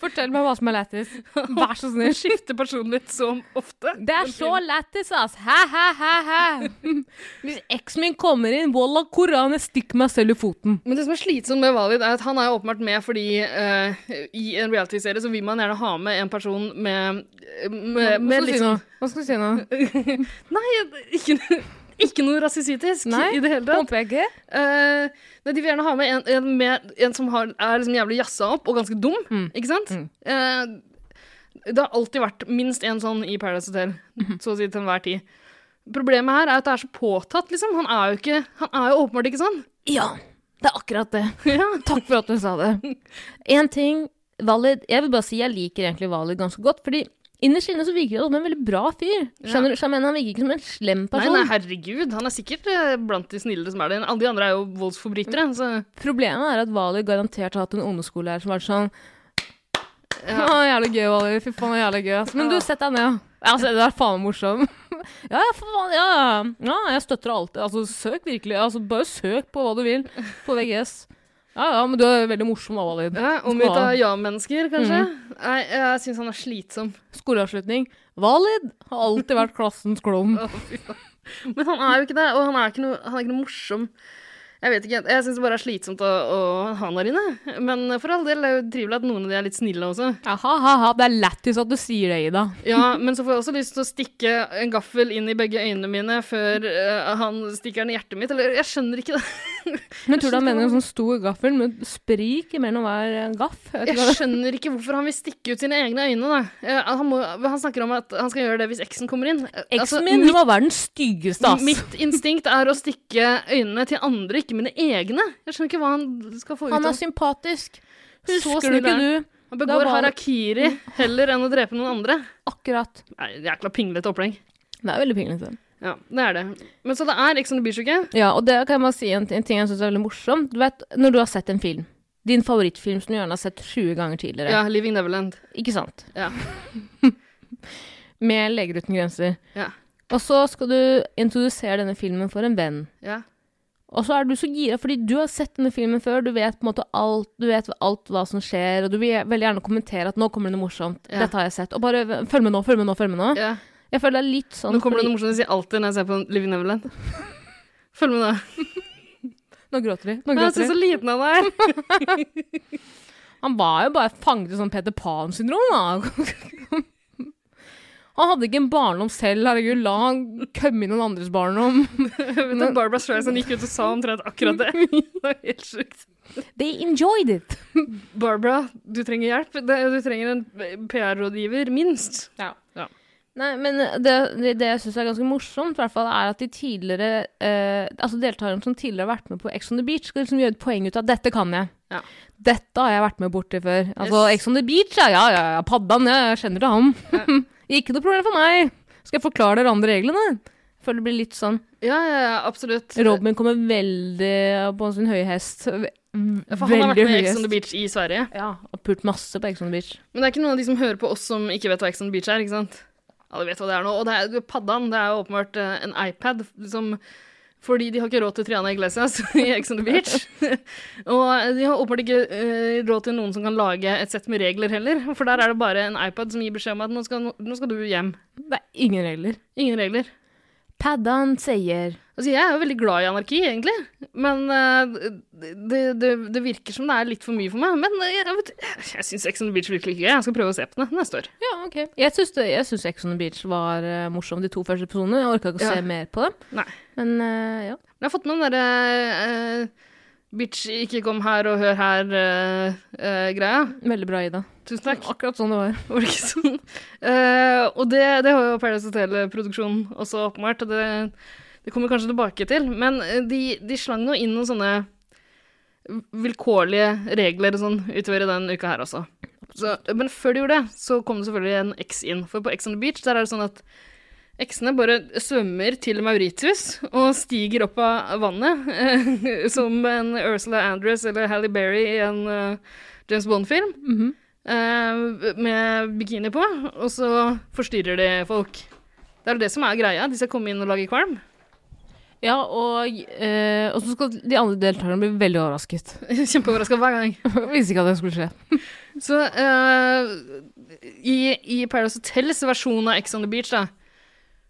Fortell meg hva som er lættis. Vær så
Han
snill.
skifter personlighet så ofte.
Det er så lættis, ass. Hæ, hæ, hæ, hæ. Hvis eksen min kommer inn, wallah koran, jeg stikker meg selv i foten.
Men det som er slitsomt med Valid, er at han er jo åpenbart med fordi eh, i en reality-serie så vil man gjerne ha med en person med, med,
Eh, Hva
med liksom
skal du si nå? Hva skal du si nå?
Nei, ikke, ikke noe rasistisk
Nei,
i det hele tatt.
Håper jeg ikke.
Eh, nei, de vil gjerne ha med en, en, med, en som har, er liksom jævlig jazza opp og ganske dum,
Mm.
ikke sant? Eh, det har alltid vært minst en sånn i Paradise Hotel,
Mhm.
så å si til enhver tid. Problemet her er at det er så påtatt, liksom. Han er jo, ikke, han er jo åpenbart ikke sånn.
Ja, det er akkurat det.
Ja.
Takk for at du sa det. En ting, Valid, jeg vil bare si jeg liker egentlig Valid ganske godt, fordi innerst inne så virker han som en veldig bra fyr. Skjønner du? Så jeg mener han virker ikke som en slem
Nei,
person.
nei, herregud, han er sikkert eh, blant de snillere som er der. Alle de andre er jo voldsforbrytere,
Mm.
så
Problemet er at Valid garantert har hatt en ungdomsskolelærer som har vært sånn ja. Jævlig gøy, Valid. Fy faen, det er jævlig gøy. ass. Men du, sett deg ned. Ja, Altså, det er faen meg morsom. Ja, ja, for faen, ja, ja. ja, jeg støtter alltid. Altså, søk virkelig. Altså, bare søk på hva du vil på VGS. Ja, ja, men du er veldig morsom da, Valid.
ja, Omgitt av ja-mennesker, kanskje.
Mm.
Nei, jeg syns han er slitsom.
Skoleavslutning. Valid har alltid vært klassens klovn.
Men han er jo ikke det, og han er ikke noe, han er ikke noe morsom. Jeg vet ikke, jeg syns det bare er slitsomt å, å ha han der inne. Men for all del, det er jo trivelig at noen av de er litt snille også.
Ja, ha, ha, ha. Det er lættis at du sier det, Ida.
Ja, men så får jeg også lyst til å stikke en gaffel inn i begge øynene mine før eh, han stikker den i hjertet mitt. Eller jeg skjønner ikke det.
Men tror du han mener en sånn stor gaffel med sprik mellom hver eh, gaff? Jeg vet ikke hva det-
Jeg skjønner ikke hvorfor han vil stikke ut sine egne øyne, da. Eh, Han, må, han snakker om at han skal gjøre det hvis eksen kommer inn. Eh, altså,
Eksen min hun var verdens styggeste, ass.
Mitt instinkt er å stikke øynene til andre, ikke mine egne. Jeg skjønner ikke hva han skal få ut
Han
av
er sympatisk.
Så
Husker du
snill er
ikke du?
Han
Da
begår
var-
harakiri heller enn å drepe noen andre.
Akkurat.
Nei, Jækla pinglete opplegg.
Det er veldig pinglete.
Ja, det er det. Men så det er Ex on the Beach-uke.
Ja, og det kan jeg bare si en, en ting jeg syns er veldig morsomt. Du vet, når du har sett en film, din favorittfilm som du gjerne har sett 20 ganger tidligere,
Ja, Living Neverland.
ikke sant?
Ja.
Med Leger uten grenser.
Ja.
Og så skal du introdusere denne filmen for en venn.
Ja.
Og så er du så gira, fordi du har sett denne filmen før, du vet på en måte alt, du vet alt hva som skjer, og du vil veldig gjerne kommentere at nå kommer det noe morsomt,
Ja.
dette har jeg sett, og bare følg med nå, følg med nå, følg med nå.
ja.
Jeg føler det er litt sånn
Nå kommer det
fordi-
noe morsomt å si alltid når jeg ser på Living Neverland. Følg med nå.
Nå gråter de. Nå
Jeg
gråter
ser så
de.
liten han er.
Han var jo bare fanget i sånn Peter Pan-syndrom, da. Han hadde ikke en barndom selv, herregud. La han komme i noen andres barndom.
Vet du, Barbara Streisand gikk ut og sa omtrent akkurat det. Det var helt sjukt.
They enjoyed it.
Barbara, du trenger hjelp. Det- Du trenger en PR-rådgiver, minst.
Nei, men det, det, det jeg syns er ganske morsomt, i hvert fall, er at de tidligere eh, Altså deltakerne som tidligere har vært med på Ex on the Beach, skal liksom gjøre et poeng ut av 'dette kan jeg'.
Ja.
Dette har jeg vært med borti før. Altså,
Yes.
Ex on the Beach, ja, ja, ja, ja paddan, ja, jeg kjenner til ham. ikke noe problem for meg. Skal jeg forklare dere andre reglene? Føler det blir litt sånn
Ja, ja, ja, absolutt.
Robin kommer veldig eh, på sin høye hest. Ve-
Ja, For han har vært
høy
med i Ex
hest.
on the Beach i Sverige.
Ja, og pult masse på Ex on the Beach.
Men det er ikke noen av de som hører på oss som ikke vet hva Ex on the Beach er, ikke sant? Alle vet hva det er nå. Og det er, du, paddan, det er jo åpenbart eh, en iPad som fordi de har ikke råd til Triana Iglesias i Ex on the Beach. og de har åpenbart ikke eh, råd til noen som kan lage et sett med regler heller. For der er det bare en iPad som gir beskjed om at nå skal, nå skal du hjem.
Det er ingen regler.
Ingen regler.
Paddan sier
Altså, jeg er jo veldig glad i anarki, egentlig. Men eh, det, det, det virker som det er litt for mye for meg. Men eh, jeg, vet- jeg syns Ex on the Beach virker like gøy. Jeg skal prøve å se på det neste år.
Ja, ok. Jeg syns, det, jeg syns Ex on the Beach var eh, morsom, de to første episodene. Jeg orka ikke å
Ja.
se mer på dem.
Nei.
Men eh, ja.
Men Jeg har fått med den derre eh, Bitch, ikke kom her og hør her-greia.
Veldig bra, Ida.
Tusen takk.
Akkurat sånn det var.
Var det ikke sånn? Eh, og det, det har jo Paradise Hotel-produksjonen også åpenbart, og det, det kommer vi kanskje tilbake til. Men eh, de, de slang nå inn noen sånne vilkårlige regler og sånn utover i den uka her også. Så, men før de gjorde det, så kom det selvfølgelig en X inn. For på X on the Beach der er det sånn at X-ene bare svømmer til Mauritius og stiger opp av vannet, eh, som en Ursula Andress eller Halle Berry i en eh, James Bond-film. Eh, med bikini på, og så forstyrrer de folk. Det er jo det som er greia. De skal komme inn og lage kvalm.
Ja, og, eh, og så skal de andre deltakerne bli veldig overrasket.
Kjempeoverraska hver gang.
Visste ikke at det skulle skje.
Så eh, i, i Paradise Hotels versjon av Ex on the Beach, da,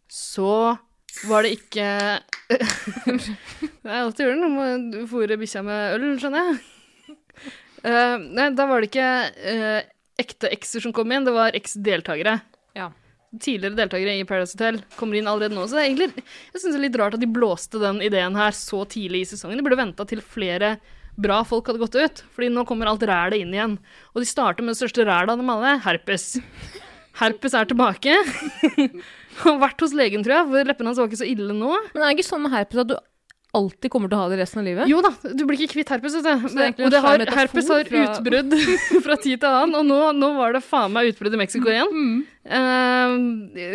så var det ikke Det er alltid julen, du må fôre bikkja med øl, skjønner jeg. Eh, nei, da var det ikke eh, ekte ekser som kom inn, det var eks-deltakere.
Ja.
Tidligere deltakere i Paradise Hotel kommer inn allerede nå. Så det er egentlig, jeg syns det er litt rart at de blåste den ideen her så tidlig i sesongen. De burde venta til flere bra folk hadde gått ut, fordi nå kommer alt rælet inn igjen. Og de starter med det største rælet av dem alle, herpes. Herpes er tilbake. Han har vært hos legen, tror jeg, for leppene hans var ikke så ille nå.
Men er det ikke sånn med herpes at du alltid kommer til å ha det resten av livet?
Jo da, du blir ikke kvitt herpes, vet du.
Så det er egentlig
og det
en svær
har,
metafor
herpes har
fra-
utbrudd fra tid til annen, og nå, nå var det faen meg utbrudd i Mexico
Mm.
igjen. Eh,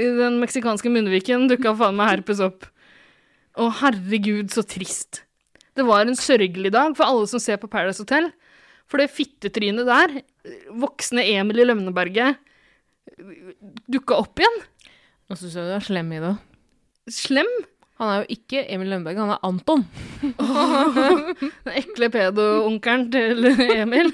i den meksikanske munnviken dukka faen meg herpes opp. Å, herregud, så trist. Det var en sørgelig dag for alle som ser på Paradise Hotel. For det fittetrynet der, eh, voksne Emil i Lømneberget, dukka opp igjen.
Nå syns jeg du er slem, Ida.
Slem.
Han er jo ikke Emil Lønneberg, han er Anton.
Den ekle pedo-onkelen til Emil.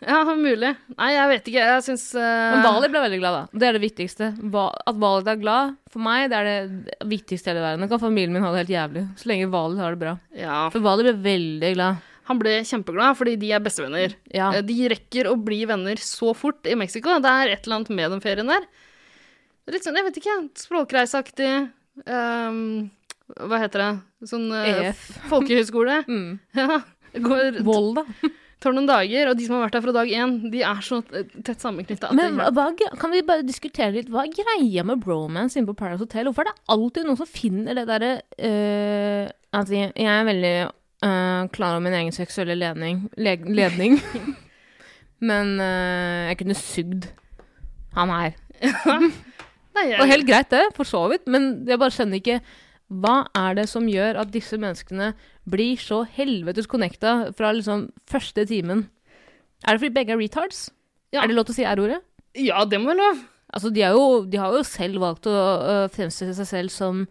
Ja, mulig. Nei, jeg vet ikke. Jeg syns eh,
Men Vali ble veldig glad, da. Det er det viktigste. Va- At Vali er glad, for meg, det er det viktigste i hele verden. Da kan familien min ha det helt jævlig, så lenge Vali har det bra.
Ja,
For Vali ble veldig glad.
han ble kjempeglad fordi de er bestevenner.
Ja.
Eh, De rekker å bli venner så fort i Mexico. Det er et eller annet med den ferien der. Det er Litt sånn, jeg vet ikke, språkreiseaktig ehm, Hva heter det? Sånn eh,
EF.
folkehøyskole.
Mm.
Ja. Går,
Volda.
tar noen dager, og de som har vært der fra dag én, de er så eh, tett sammenknytta.
Men hva, hva- kan vi bare diskutere litt Hva er greia med bromance inne på Paradise Hotel? Hvorfor er det alltid noen som finner det derre øh, Altså, jeg jeg er veldig øh, klar over min egen seksuelle ledning, le ledning. Men øh, jeg kunne sugd han her.
Nei, jeg,
Og helt greit det, for så vidt, men jeg bare skjønner ikke hva er det som gjør at disse menneskene blir så helvetes connecta fra liksom første timen? Er det fordi begge er retards?
Ja.
Er det lov til å si R-ordet?
Ja, det må være lov.
Altså, de, er jo, de har jo selv valgt å øh, fremstille seg selv som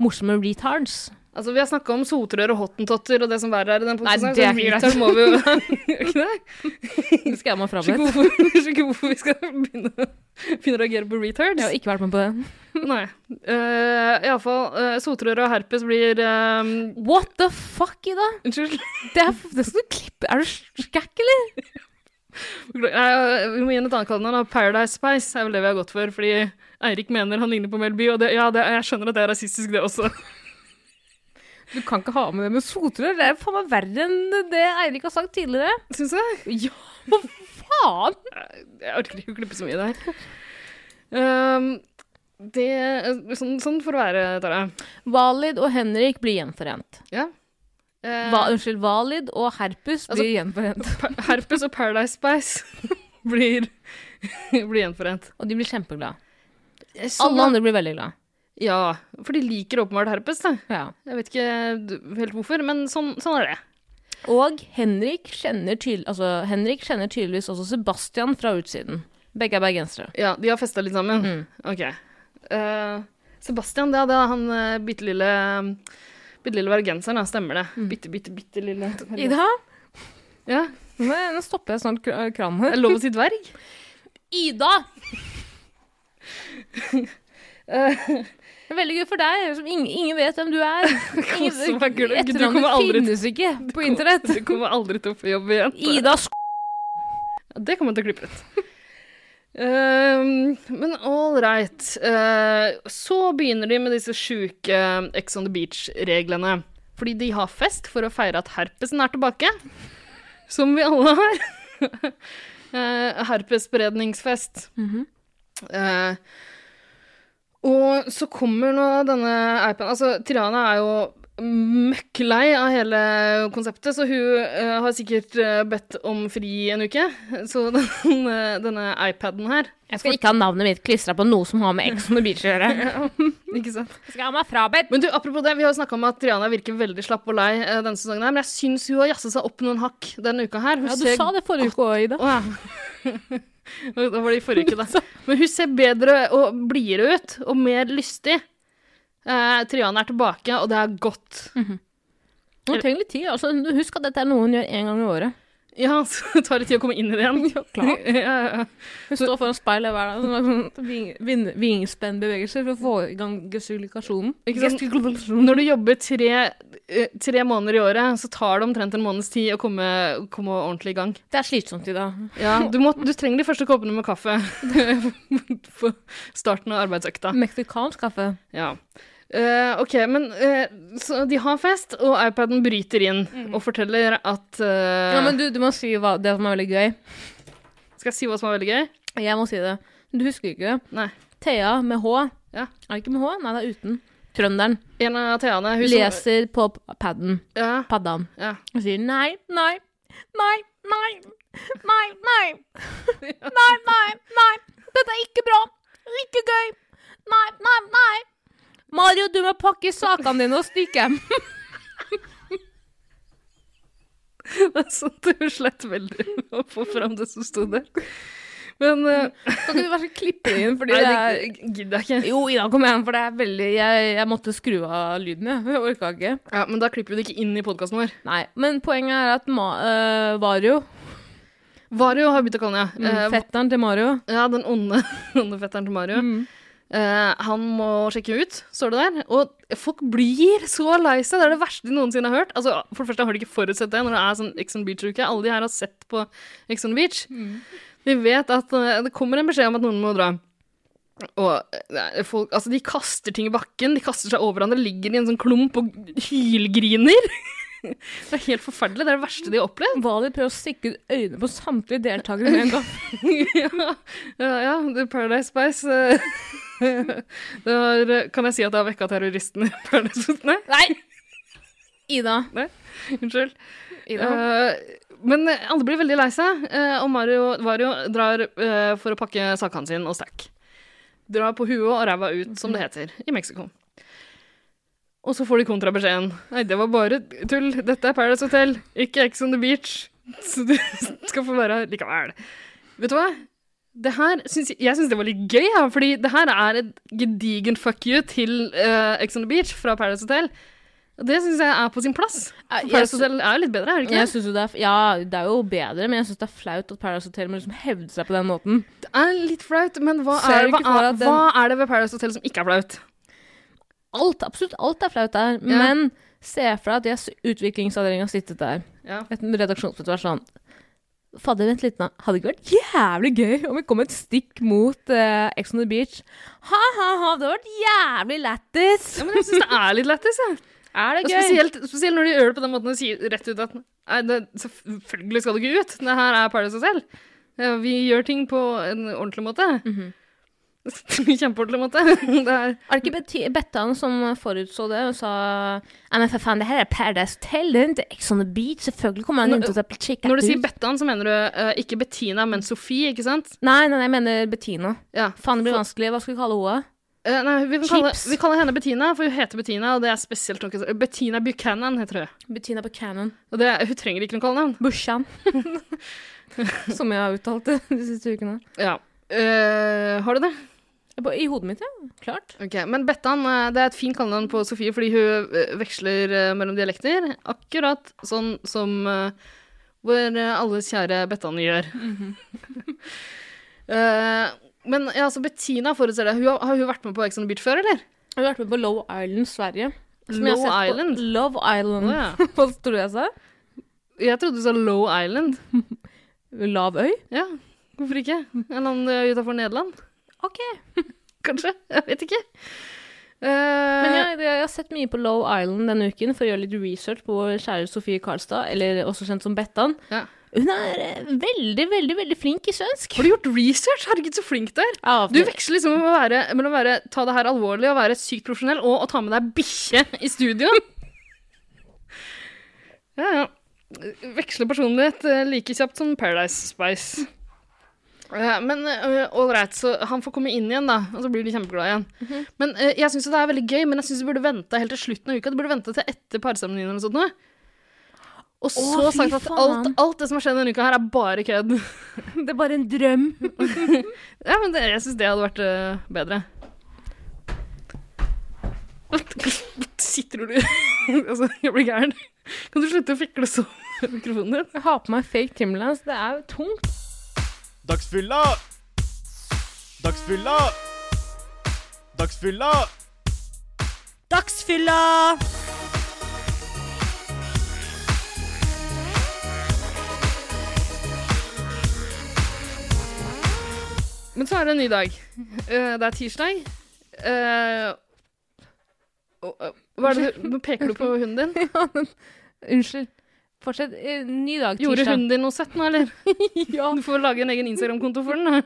morsomme retards.
Altså, Vi har snakka om sotrør og hottentotter og det som verre er i den
Nei,
podcasten,
det er
så
ikke greit.
retard må vi jo ikke det?
Det skal jeg meg
Jeg
frabedt.
skjønner ikke hvorfor- skjønner ikke hvorfor vi skal begynne, begynne å reagere på retards.
Jeg har ikke vært med på det.
Nei. Uh, Iallfall uh, sotrør og herpes blir eh,
What the fuck, Ida?
Unnskyld.
Det er, det skal du klippe. Er du skækk, eller?
Nei, vi må gi henne et annet kallenavn. da. Paradise Spice er vel det vi har gått for. Fordi Eirik mener han ligner på Melby, og det, ja, det, jeg skjønner at det er rasistisk, det også.
Du kan ikke ha med det med sotrør. Det er faen meg verre enn det Eirik har sagt tidligere.
Syns jeg.
Ja, hva faen?
Jeg orker ikke å klippe så mye der. Um, det, sånn, sånn får det være, Tara.
Valid og Henrik blir gjenforent.
Ja. Eh,
Va, unnskyld, Valid og Herpus
Altså-
blir gjenforent.
Pa- Herpes og Paradise Spice blir, blir gjenforent.
Og de blir kjempeglade.
Sånn,
Alle andre blir veldig glade.
Ja, for de liker åpenbart herpes. Da.
Ja.
Jeg vet ikke d- helt hvorfor, men sånn, sånn er det.
Og Henrik kjenner, tydel altså, Henrik kjenner tydeligvis også Sebastian fra utsiden. Begge er bergensere.
Ja, De har festa litt sammen.
Mm.
Ok. Eh, Sebastian, det er det, han eh, bitte lille Bitte lille bergenseren, da, stemmer det.
Mm.
Bitte, bitte, bitte lille
Ida,
Ja,
nå nå stopper jeg snart kra- kranen
Er
her.
det lov å si dverg?
Ida! Det er veldig gøy for deg, som ingen, ingen vet hvem du er.
Kose meg, Gulli. Du
etternavnet
kommer aldri til-
finnes ikke på internett.
Du kommer aldri til å få jobb igjen.
Ida Sk...
Ja, Det kommer jeg til å klippe ut. Ehm, men all right. Eh, så begynner de med disse sjuke Ex on the Beach-reglene. Fordi de har fest for å feire at herpesen er tilbake. Som vi alle har. Eh, herpesspredningsfest. Eh, og så kommer nå denne iPaden Altså, Tirana er jo møkk lei av hele konseptet, så hun eh, har sikkert eh, bedt om fri en uke. Så den, eh, denne iPaden her
Jeg skal ikke ha navnet mitt klistra på noe som har med Ex on the Beach å gjøre.
Ikke sant?
Jeg skal ha meg frabedt.
Men du, apropos det, vi har jo snakka om at Triana virker veldig slapp og lei eh, denne sesongen, her, men jeg syns hun har jazza seg opp noen hakk denne uka her. Hun
Ja, du
ser-
sa det forrige uke òg, Ida.
Å, ja. da var det i forrige uke, da. Men hun ser bedre og blidere ut, og mer lystig. Eh, Triana er tilbake, og det er godt.
Mm. Hun trenger litt tid. Altså, husk at dette er noe hun gjør én gang i året.
Ja, så det tar litt tid å komme inn i det igjen. Ja,
klart.
ja, ja.
Hun står foran speilet hver dag og sånn ving- ving- vingspennbevegelser for å få i gang gestikulasjonen.
Ikke sant?
Gestikulasjonen.
Når du jobber tre, eh, tre måneder i året, så tar det omtrent en måneds tid å komme, komme ordentlig i gang.
Det er slitsomt, Ida.
Ja, du, må, du trenger de første koppene med kaffe på starten av
Mm.
arbeidsøkta.
Meksikansk kaffe.
Ja. Eh, ok, men eh, så de har fest, og iPaden bryter inn og forteller at eh,
Mm. Ja, men du, du må si hva, det som er veldig gøy.
Skal jeg si hva som er veldig gøy?
Jeg må si det. Du husker ikke.
Nei.
Thea med H.
Ja.
Er det ikke med H? Nei, det er uten. Trønderen.
En av Theane hun som-
Leser på p- padden.
Ja,
Paddan.
ja.
Og sier nei, nei, nei, nei, nei, nei, nei, nei, nei, dette er ikke bra, ikke gøy, nei, nei, nei. Mario, du må pakke sakene dine og stikke.
Det er sant, hun slett veldig med å få fram det som sto der. Men eh,
Kan ikke du bare klippe det inn, Mm. fordi
Nei,
det er...
det gidder jeg ikke.
Jo, Ida, kom igjen, for det er veldig... Jeg, jeg måtte skru av lyden, jeg. jeg orket ikke.
Ja, Men da klipper vi det ikke inn i podkasten vår.
Nei, men poenget er at Ma øh, Vario,
Vario har begynt å kalle ham
mm, fetteren til Mario,
Ja, den onde, onde fetteren til
Mm.
Mario. Eh, han må sjekke ut, står det der. Og folk blir så lei seg. Det er det verste de noensinne har hørt. Altså, for det første har de ikke forutsett det når det er sånn Ex on Beach-uke. Alle de her har sett på Ex on Beach. De vet at eh, det kommer en beskjed om at noen må dra. Og eh, nei, folk, altså, de kaster ting i bakken, de kaster seg over hverandre, ligger i en sånn klump og hylgriner. det er helt forferdelig. Det er det verste de har opplevd.
Vario prøver å stikke ut øynene på samtlige deltakere med en gang.
ja, ja, ja, The Paradise Spice. eh, Det var, eh, kan jeg si at det har vekka terroristen i Paradise Spice? Nei,
Nei! Ida,
unnskyld.
Ida.
Eh, men eh, alle blir veldig lei seg, eh, og Mario Vario drar eh, for å pakke sakene sine og stack. Drar på huet og ræva ut, som det heter, i Mexico. Og så får de kontrabeskjeden. Nei, det var bare tull. Dette er Paradise Hotel, ikke Ex on the Beach. Så du skal få være her likevel. Vet du hva? Det her syns, jeg syns det var litt gøy, ja, fordi det her er et gedigent fuck you til eh, Ex on the Beach fra Paradise Hotel. Og Det syns jeg er på sin plass.
Eh,
For
jeg
Paradise
sy-
Hotel er jo litt bedre, er det
Men
ikke?
jeg synes jo det er, ja, det er jo bedre, men jeg syns det er flaut at Paradise Hotel må liksom hevde seg på den måten.
Det er litt flaut, men hva
Ser
er,
du
hva,
ikke for
er,
at den-
hva er det ved Paradise Hotel som ikke er flaut?
Alt, absolutt alt er flaut der, men se for deg at yes, utviklingsavdelinga sittet der.
Ja.
Et redaksjonsmøte var sånn Fadder, vent litt nå. Hadde ikke vært jævlig gøy om vi kom et stikk mot eh, Ex on the Beach? Ha, ha, ha, det hadde vært jævlig lættis!
Ja, men jeg syns det er litt lættis, jeg.
Er
Og Spesielt, spesielt når de gjør det på den måten og sier rett ut at nei, det, selvfølgelig skal du ikke ut. Det her er Paradise Hotel. Ja, Vi gjør ting på en ordentlig måte. Kjempeordentlig måte. Det er,
Er det ikke Beti- Bettan som forutså det? Hun sa Nei, men for faen, det her er Paradise Hotel, det er ikke Ex on the Beach. Selvfølgelig kommer han
Når-
inn til å bli sjekket
når du sier
ut.
Bettan, så mener du eh, ikke Bettina, men Sofie, ikke sant?
Nei, nei, nei, jeg mener Bettina.
Ja.
Faen, det blir vanskelig. Hva skal vi kalle henne?
Eh, nei, vi, kan kalle,
Chips.
vi kaller henne Bettina, for hun heter Bettina, og det er spesielt noe Bettina Buchanan heter hun.
Bettina Buchanan.
Og det, hun trenger ikke noe kallenavn.
Bushan. som jeg har uttalt det de siste ukene.
Ja. Eh, har du det?
I hodet mitt, ja. Klart.
Ok, Men Bettan eh, det er et fint kallenavn på Sofie fordi hun eh, veksler eh, mellom dialekter. Akkurat sånn som eh, vår eh, alles kjære Bettan gjør. Eh, men ja, altså Bettina forutser det. Hun, har- har hun vært med på Ex on the Beach før, eller?
Jeg har vært med på Low Island Sverige. som jeg har
Low
sett på-
Island?
Love Island.
Å,
Hva tror du jeg sa?
ja. Jeg trodde du sa Low Island.
Lav øy?
Ja, hvorfor ikke? En land utafor Nederland,
OK.
kanskje? Jeg vet ikke. Eh,
Men jeg, jeg har sett mye på Low Island denne uken for å gjøre litt research på vår kjære Sofie Karlstad, eller også kjent som Bettan.
Ja.
Hun er eh, veldig, veldig veldig flink i svensk.
Har du gjort research? Herregud, så flink du er.
Ja,
Du veksler liksom mellom å være, mellom å være ta det her alvorlig og være sykt profesjonell, og å ta med deg bikkje i studio. Ja, ja. Veksle personlighet eh, like kjapt som Paradise Spice. Eh, Men eh, all right, så han får komme inn igjen, da, og så blir de kjempeglade igjen.
Mhm.
Men eh, Jeg syns det er veldig gøy, men jeg syns du burde vente helt til slutten av uka. Du burde vente til etter parseremonien eller noe sånt. nå. Og så
fy
sagt at
faen.
alt, alt det som har skjedd denne uka, her er bare kødd.
det er bare en drøm.
Ja, men det, jeg syns det hadde vært øh, bedre. Sitter du Altså, jeg blir gæren. Kan du slutte å fikle så med mikrofonen din?
Jeg har på meg fake trimlands. Det er jo tungt.
Dagsfylla! Dagsfylla! Dagsfylla!
Dagsfylla!
Men så er det en ny dag. Eh, det er tirsdag. Eh, og, eh, hva er det du nå Peker du på hunden din?
Unnskyld. Fortsett. Eh, Ny dag, tirsdag.
Gjorde hunden din noe søtt nå, eller?
Ja.
Du får lage en egen Instagram-konto for den. da.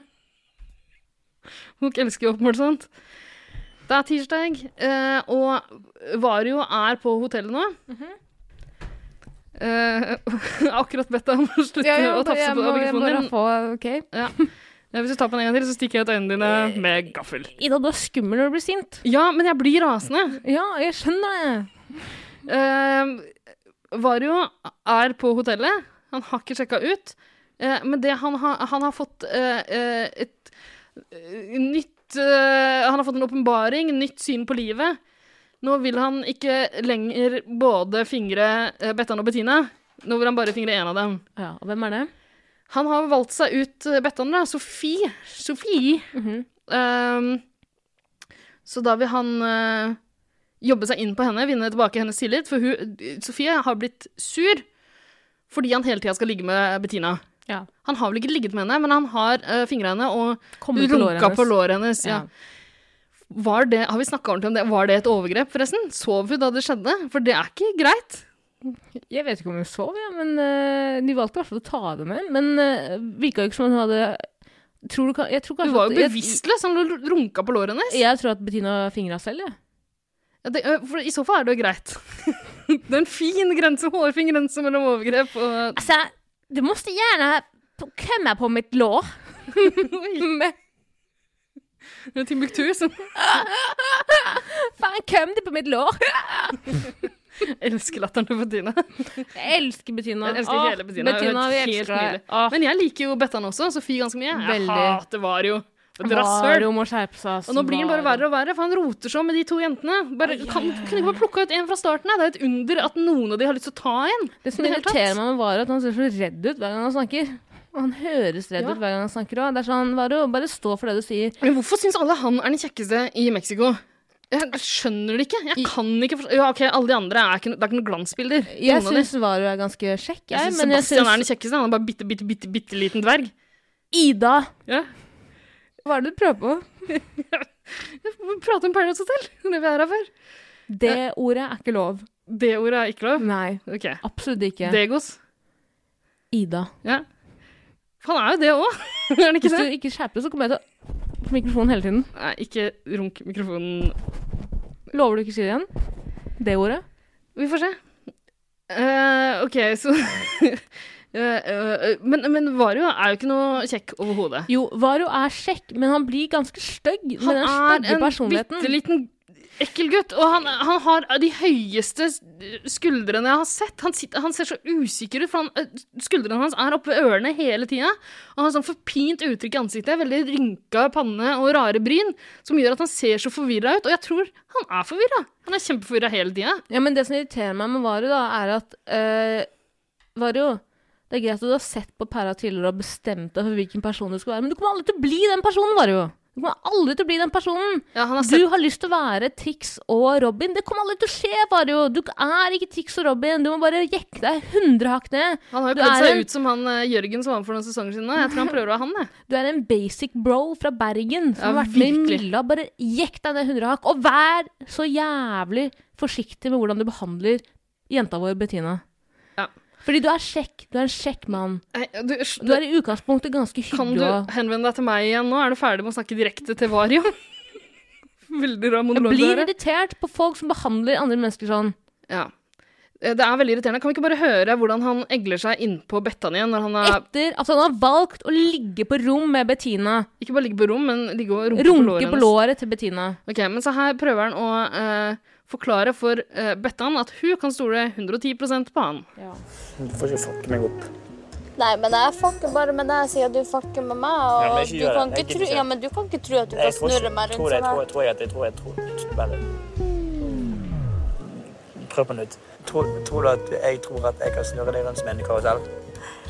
Hun elsker jo åpenbart sånt. Det er tirsdag, eh, og Vario er på hotellet nå. Eh, akkurat bedt deg om å slutte
Ja, ja,
å tafse
jeg
på
må- jeg må
mikrofonen
bare
din.
få, ok.
Ja, hvis du tar på den en gang til, så stikker jeg ut øynene
Eh,
dine med gaffel.
Ida, du er skummel når du blir sint.
Ja, men jeg blir rasende.
Ja, jeg skjønner det.
Eh, Vario er på hotellet. Han har ikke sjekka ut. Eh, men det han har, han har fått eh, eh, et eh, nytt eh, Han har fått en åpenbaring, nytt syn på livet. Nå vil han ikke lenger både fingre eh, Bettan og Bettina. Nå vil han bare fingre én av dem.
Ja, og hvem er det?
Han har valgt seg ut eh, Bettan, da. Sofie. Sofie.
Mhm.
Ehm, så da vil han eh, jobbe seg inn på henne, vinne tilbake hennes tillit. For hun, Sofie har blitt sur fordi han hele tida skal ligge med Bettina.
Ja.
Han har vel ikke ligget med henne, men han har uh, fingra henne og
Kommer på låret
runka på
hennes.
låret hennes. Ja.
Ja.
Var det, har vi snakka ordentlig om det? Var det et overgrep, forresten? Sov hun da det skjedde? For det er ikke greit.
Jeg vet ikke om hun sov, ja, men eh, de valgte i hvert fall å ta det med. Men uh, virka jo ikke som hun hadde tror du, ka- Jeg tror kanskje
Hun var jo
at-
bevisstløs. Han lå og runka på låret hennes.
Jeg, jeg tror at Bettina fingra selv, jeg.
Ja, det, ø, for I så fall er det jo greit. det er en fin grense, hårfin grense mellom overgrep og
Altså, du må gjerne komme på mitt lår. Men
og Timbuktu. Som
faen, kom du på mitt lår?
elsker latteren til Bettina.
Jeg elsker Bettina.
Jeg elsker
Åh,
hele Bettina. Hun
vi
er helt
elsker deg.
nydelig.
Åh,
Men jeg liker jo Bettan også, og Sofie ganske mye. Jeg
Veldig.
hater Vario. Et rasshøl.
Mario må skjerpe seg. ass,
Og nå blir han bare
Mario.
verre og verre, for han roter så med de to jentene. Bare, kan, kunne ikke bare plukka ut en fra starten av? Det er et under at noen av de har lyst til å ta en.
Det som
i det hele tatt.
irriterer meg med Varo, er at han ser så redd ut hver gang han snakker. Og han høres redd
Ja.
ut hver gang han snakker òg. Det er sånn, Varo, bare stå for det du sier.
Men hvorfor syns alle han er den kjekkeste i Mexico? Jeg skjønner det ikke. Jeg kan ikke forstå Ja, OK, alle de andre er ikke, det er ikke noen glansbilder.
Jeg
Ingen av de.
syns Varu er ganske kjekk, jeg.
Jeg synes
men jeg
Sebastian
synes-
er den kjekkeste. Han er bare bitte, bitte, bitte, bitte liten dverg.
Ida!
Ja.
Hva er det du prøver på?
Prate om Paradise Hotel. Det er det vi er her for.
Det ordet er ikke lov.
Det ordet er ikke lov?
Nei,
OK.
absolutt ikke.
Degos.
Ida.
Ja. Han er jo det òg. er han ikke
Hvis
det?
du ikke skjerper deg, så kommer jeg til å mikrofonen hele tiden.
Nei, ikke runk mikrofonen.
Lover du ikke å si det igjen? Det ordet?
Vi får se. Eh, OK, så Eh, eh, Men, men Vario er jo ikke noe kjekk overhodet.
Jo, Varo er kjekk, men han blir ganske stygg med
Han
den
er
stygge
en
personligheten.
bitte liten ekkel gutt, og han, han har de høyeste skuldrene jeg har sett. Han, sitter, han ser så usikker ut, for han, eh, skuldrene hans er oppe ved ørene hele tida. Og han har sånn forpint uttrykk i ansiktet, veldig rynka panne og rare bryn, som gjør at han ser så forvirra ut. Og jeg tror han er forvirra. Han er kjempeforvirra hele tida.
Ja, men det som irriterer meg med Varu, da, er at eh, Varu, det er greit at du har sett på Para tidligere og bestemt deg for hvilken person du skal være, men du kommer aldri til å bli den personen, Varu. Du kommer aldri til å bli den personen.
Ja, han har
Du
sett
har lyst til å være Tix og Robin. Det kommer aldri til å skje, Varu. Du er ikke Tix og Robin. Du må bare jekke deg 100 hakk ned.
Han har jo
Du
kledd
er
seg
en-
ut som han eh, Jørgen som var med for noen sesonger siden. nå. Jeg tror han prøver å være han, jeg.
Du er en basic bro fra Bergen som
Ja,
har vært med i
virkelig.
Milla. Bare jekk deg ned 100 hakk, og vær så jævlig forsiktig med hvordan du behandler jenta vår Bettina.
Ja.
Fordi du er kjekk. Du er en kjekk mann.
Nei, Du, sj-
Du er i utgangspunktet ganske
kan
hyggelig
du
og
henvende deg til meg igjen nå? Er du ferdig med å snakke direkte til Vario? Veldig rar
Jeg
monolog. det
blir
der.
irritert på folk som behandler andre mennesker sånn.
Ja. Eh, Det er veldig irriterende. Kan vi ikke bare høre hvordan han egler seg innpå Bettan igjen når han er
Etter at han har valgt å ligge på rom med Bettina.
Ikke bare ligger på rom, men ligger og runker på låret
Runke på
hennes.
låret til Bettina.
Ok, men så her prøver han å eh, forklare for eh, Bettan at hun kan stole 110 på han.
Du får ikke fucke meg opp.
Nei, men jeg fucker bare med deg siden du fucker med meg. Og
Ja, men ikke
du,
gjør
kan
det. Jeg
ikke
gidder
tro,
ikke.
ja, men du kan ikke tro at du
Jeg
kan
tror ikke-
snurre meg
tror
rundt
det,
sånn
jeg tror-
her.
jeg tror jeg- jeg tror jeg tror- bare- Prøv på nytt. Tror, tror du at jeg tror at jeg kan snurre deg rundt som en karusell?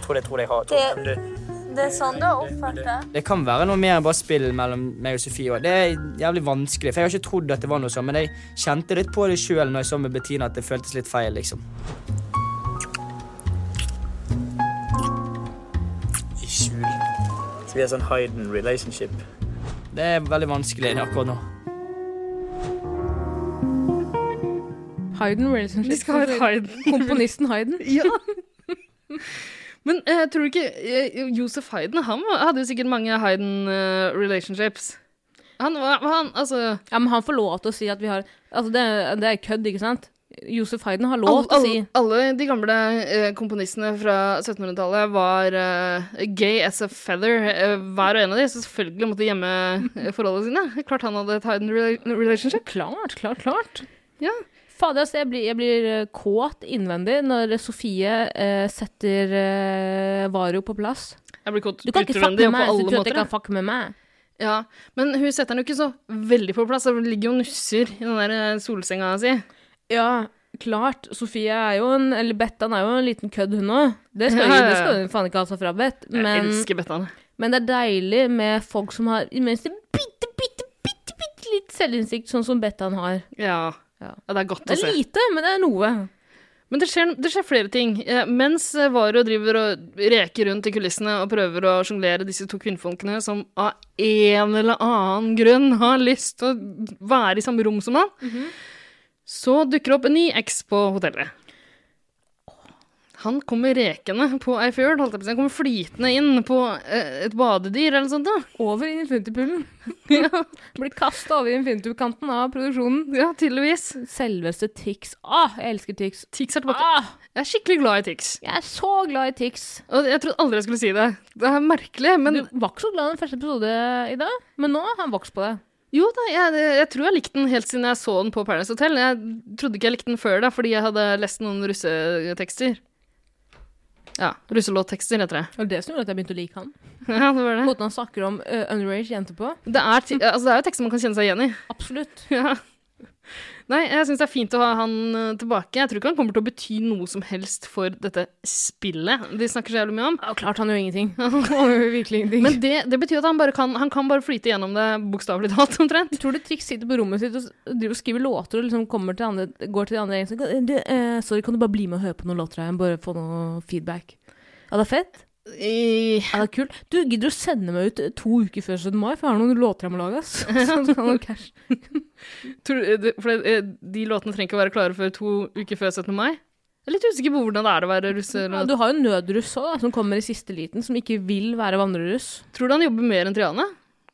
Tror det, tror det jeg har. Tror,
Det-
men du,
Det er sånn du har oppført deg.
Det kan være noe mer enn bare spill mellom meg og Sofie. også. Det er jævlig vanskelig, for jeg har ikke trodd at det var noe sånn, men jeg kjente litt på det sjøl når jeg så med Bettina at det føltes litt feil, liksom.
I skjul. Så vi er sånn hidden relationship.
Det er veldig vanskelig akkurat nå.
Hayden relationship.
Vi skal ha et Haydn.
Komponisten Hayden.
Ja. Men eh, tror du ikke eh, Josef Hayden han var, hadde jo sikkert mange Hayden-relationships. han var han, altså
Ja, men han får lov til å si at vi har Altså, det, det er kødd, ikke sant? Josef Hayden har lov
alle,
til å si
alle, alle de gamle eh, komponistene fra 1700-tallet var eh, gay as a feather, eh, hver og en av de, så selvfølgelig måtte de gjemme eh, forholdene sine. Klart han hadde et Hayden rela- relationship.
Klart, klart, klart.
Ja.
Fader, altså, jeg blir, jeg blir eh, kåt innvendig når Sofie eh, setter eh, Vario på plass.
Jeg blir kåt
Du kan ikke
utvendig
fucke med
og på
meg hvis du
alle
tror at
måter.
jeg kan fucke med meg.
jeg. Ja, men hun setter han jo ikke så veldig på plass. Hun ligger jo og nusser i den der eh, solsenga si.
Ja, klart. Sofie er jo en Eller Bettan er jo en liten kødd, hun òg. Det skal
Ja, ja,
hun
ja.
det skal hun faen ikke ha seg frabedt.
Jeg
Men,
elsker Bettan.
men det er deilig med folk som har imens det bitte, bitte, bitte, bitte litt selvinnsikt, sånn som Bettan har.
Ja.
Ja.
ja. Det er godt
Det
å se.
er lite, men det er noe.
Men det skjer, det skjer flere ting. Eh, Mens eh, Varo driver og reker rundt i kulissene og prøver å sjonglere disse to kvinnfolkene som av en eller annen grunn har lyst til å være i samme rom som han,
Mhm.
så dukker det opp en ny eks på hotellet. Han kommer rekende på ei fjøl, holdt jeg på å si. Han kommer flytende inn på eh, et badedyr eller noe sånt. Da.
Over Infinity-pullen.
Ja,
Blir kasta over Infinity-kanten av produksjonen.
ja tydeligvis.
Selveste Tix. Ah, jeg elsker Tix.
Tix er tilbake.
Ah,
Jeg er skikkelig glad i Tix.
jeg er så glad i Tix.
Og jeg trodde aldri jeg skulle si det. Det er merkelig, men
Du var ikke så glad i den første episode, Ida, men nå har han vokst på det.
Jo da, jeg, jeg tror jeg likte den helt siden jeg så den på Paradise Hotel. Jeg trodde ikke jeg likte den før da, fordi jeg hadde lest noen russetekster. Ja, russelåttekster heter det.
Det var det som gjorde at jeg begynte å like han.
Ja, det var det.
Måten han snakker om eh, underage jenter på.
Det er, ti- altså, det er jo tekster man kan kjenne seg igjen i.
Absolutt.
Ja. Nei, jeg syns det er fint å ha han eh, tilbake. Jeg tror ikke han kommer til å bety noe som helst for dette spillet de snakker så jævlig mye om.
Ja, klart han gjør ingenting.
virkelig ingenting. Men det, det betyr at han bare kan Han kan bare flyte gjennom det bokstavelig talt, omtrent.
Jeg tror du Trix sitter på rommet sitt og s- driver og skriver låter og liksom kommer til andre, går til de andre og sier «Du, eh, Sorry, kan du bare bli med og høre på noen låter her? Bare få noe feedback. Ja, det er fett. Ja, det er kult. Du gidder du å sende meg ut eh, to uker før 17. mai, for jeg har noen låter jeg må lage, ass. Så du kan ha cash.
Tror, eh, det- for det, eh, de låtene trenger ikke å være klare før to uker før 17. mai. Jeg er litt usikker på hvordan det er å være russer.
Ja, du har jo nødruss òg, som kommer i siste liten, som ikke vil være vandreruss.
Tror du han jobber mer enn Triana?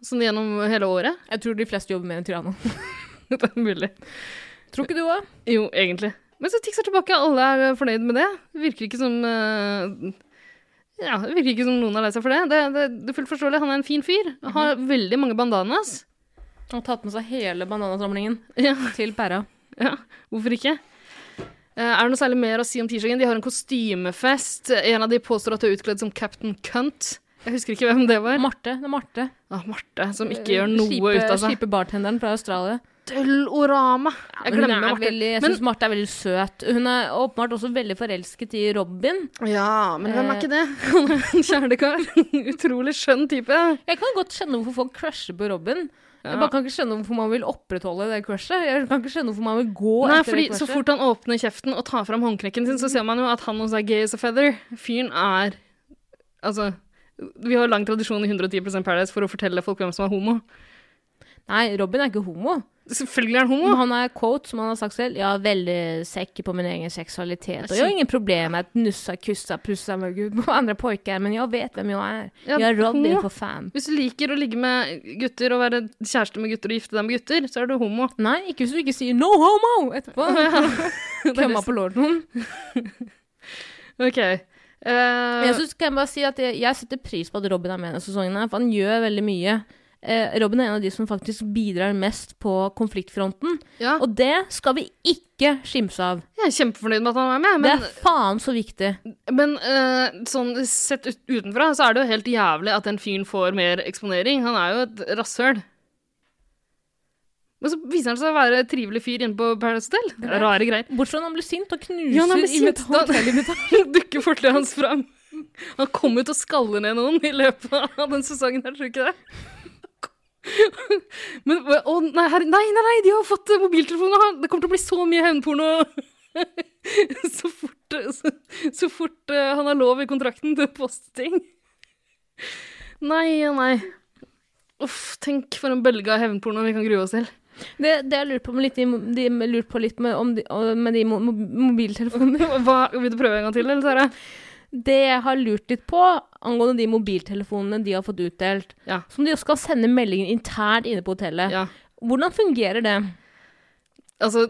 Sånn gjennom hele året?
Jeg tror de fleste jobber mer enn Triana.
det er mulig.
Tror ikke du òg?
Jo, egentlig. Men så Tix er tilbake, alle er eh, fornøyd med det. Det virker ikke som eh, Ja, det virker ikke som noen er lei seg for det. Det, det. det er fullt forståelig. Han er en fin fyr. Har veldig mange bandanas.
Han har tatt med seg hele bananasamlingen til pæra.
Ja, hvorfor ikke? Eh, Er det noe særlig mer å si om tirsdagen? De har en kostymefest. En av de påstår at du er utkledd som Captain Cunt. Jeg husker ikke hvem det var.
Marte. Det er Marte.
Ah, Marte, som ikke gjør noe
Skipe-
ut av seg.
Skipe bartenderen fra Australia.
Døllorama. Jeg
Hun
glemmer
er
Marte.
veldig, jeg
Men-
syns Marte er veldig søt. Hun er åpenbart også veldig forelsket i Robin.
Ja, men hvem er
Eh.
ikke det? Han er en kjernekar. Utrolig skjønn type.
Jeg kan godt skjønne hvorfor folk crusher på Robin.
Ja.
Jeg bare kan ikke skjønne hvorfor man vil opprettholde det crushet. Jeg kan ikke skjønne hvorfor man vil gå
Nei,
etter
fordi
det
Så
crushet.
fort han åpner kjeften og tar fram håndknekken sin, så ser man jo at han også er gay as a feather. Fyren er Altså, vi har lang tradisjon i 110 Paradise for å fortelle folk hvem som er homo.
Nei, Robin er ikke homo.
Selvfølgelig er han homo.
Men han er quote, som han har sagt selv. Jeg er veldig sikker på min egen seksualitet. Og jeg har ingen problem med at nussa, kussa, pussa med gud på andre pojker, men jeg vet hvem jeg er.
Ja,
Jeg er Robin,
homo.
for faen.
Hvis du liker å ligge med gutter og være kjæreste med gutter og gifte deg med gutter, så er du homo.
Nei, ikke hvis du ikke sier 'no homo' etterpå. Klemma på låret til noen.
OK. Eh,
Men Jeg synes, kan jeg bare si at jeg, jeg setter pris på at Robin er med i denne sesongen, her, for han gjør veldig mye. Eh, Robin er en av de som faktisk bidrar mest på konfliktfronten.
Ja.
Og det skal vi ikke skimse av.
Jeg er kjempefornøyd med at han er med, men
det er faen så viktig.
Men eh, sånn sett ut, utenfra så er det jo helt jævlig at den fyren får mer eksponering. Han er jo et rasshøl. Men så viser han seg å være et trivelig fyr inne på Paradise Hotel. Det er rare greier.
Bortsett fra når han blir sint og knuser
Ja, han blir
i
sint. Da dukker fortet hans fram. Han kom ut og skaller ned noen i løpet av den sesongen her, tror du ikke det? Men å nei, her, nei, nei, nei, de har fått eh, mobiltelefoner! han- Det kommer til å bli så mye hevnporno! Så fort, eh, så, så fort eh, han har lov i kontrakten til å poste ting. Nei og nei. Uff, tenk for en bølge av hevnporno vi kan grue oss til.
Det, det jeg lurte på med litt, i- de, lurt på litt med, om de, om- med de mo- mo- mobiltelefonene
Hva, Vil du prøve en gang til, eller, Sara?
Det jeg har lurt litt på angående de mobiltelefonene de har fått utdelt,
Ja.
som de skal sende meldinger internt inne på hotellet,
Ja.
hvordan fungerer det?
Altså,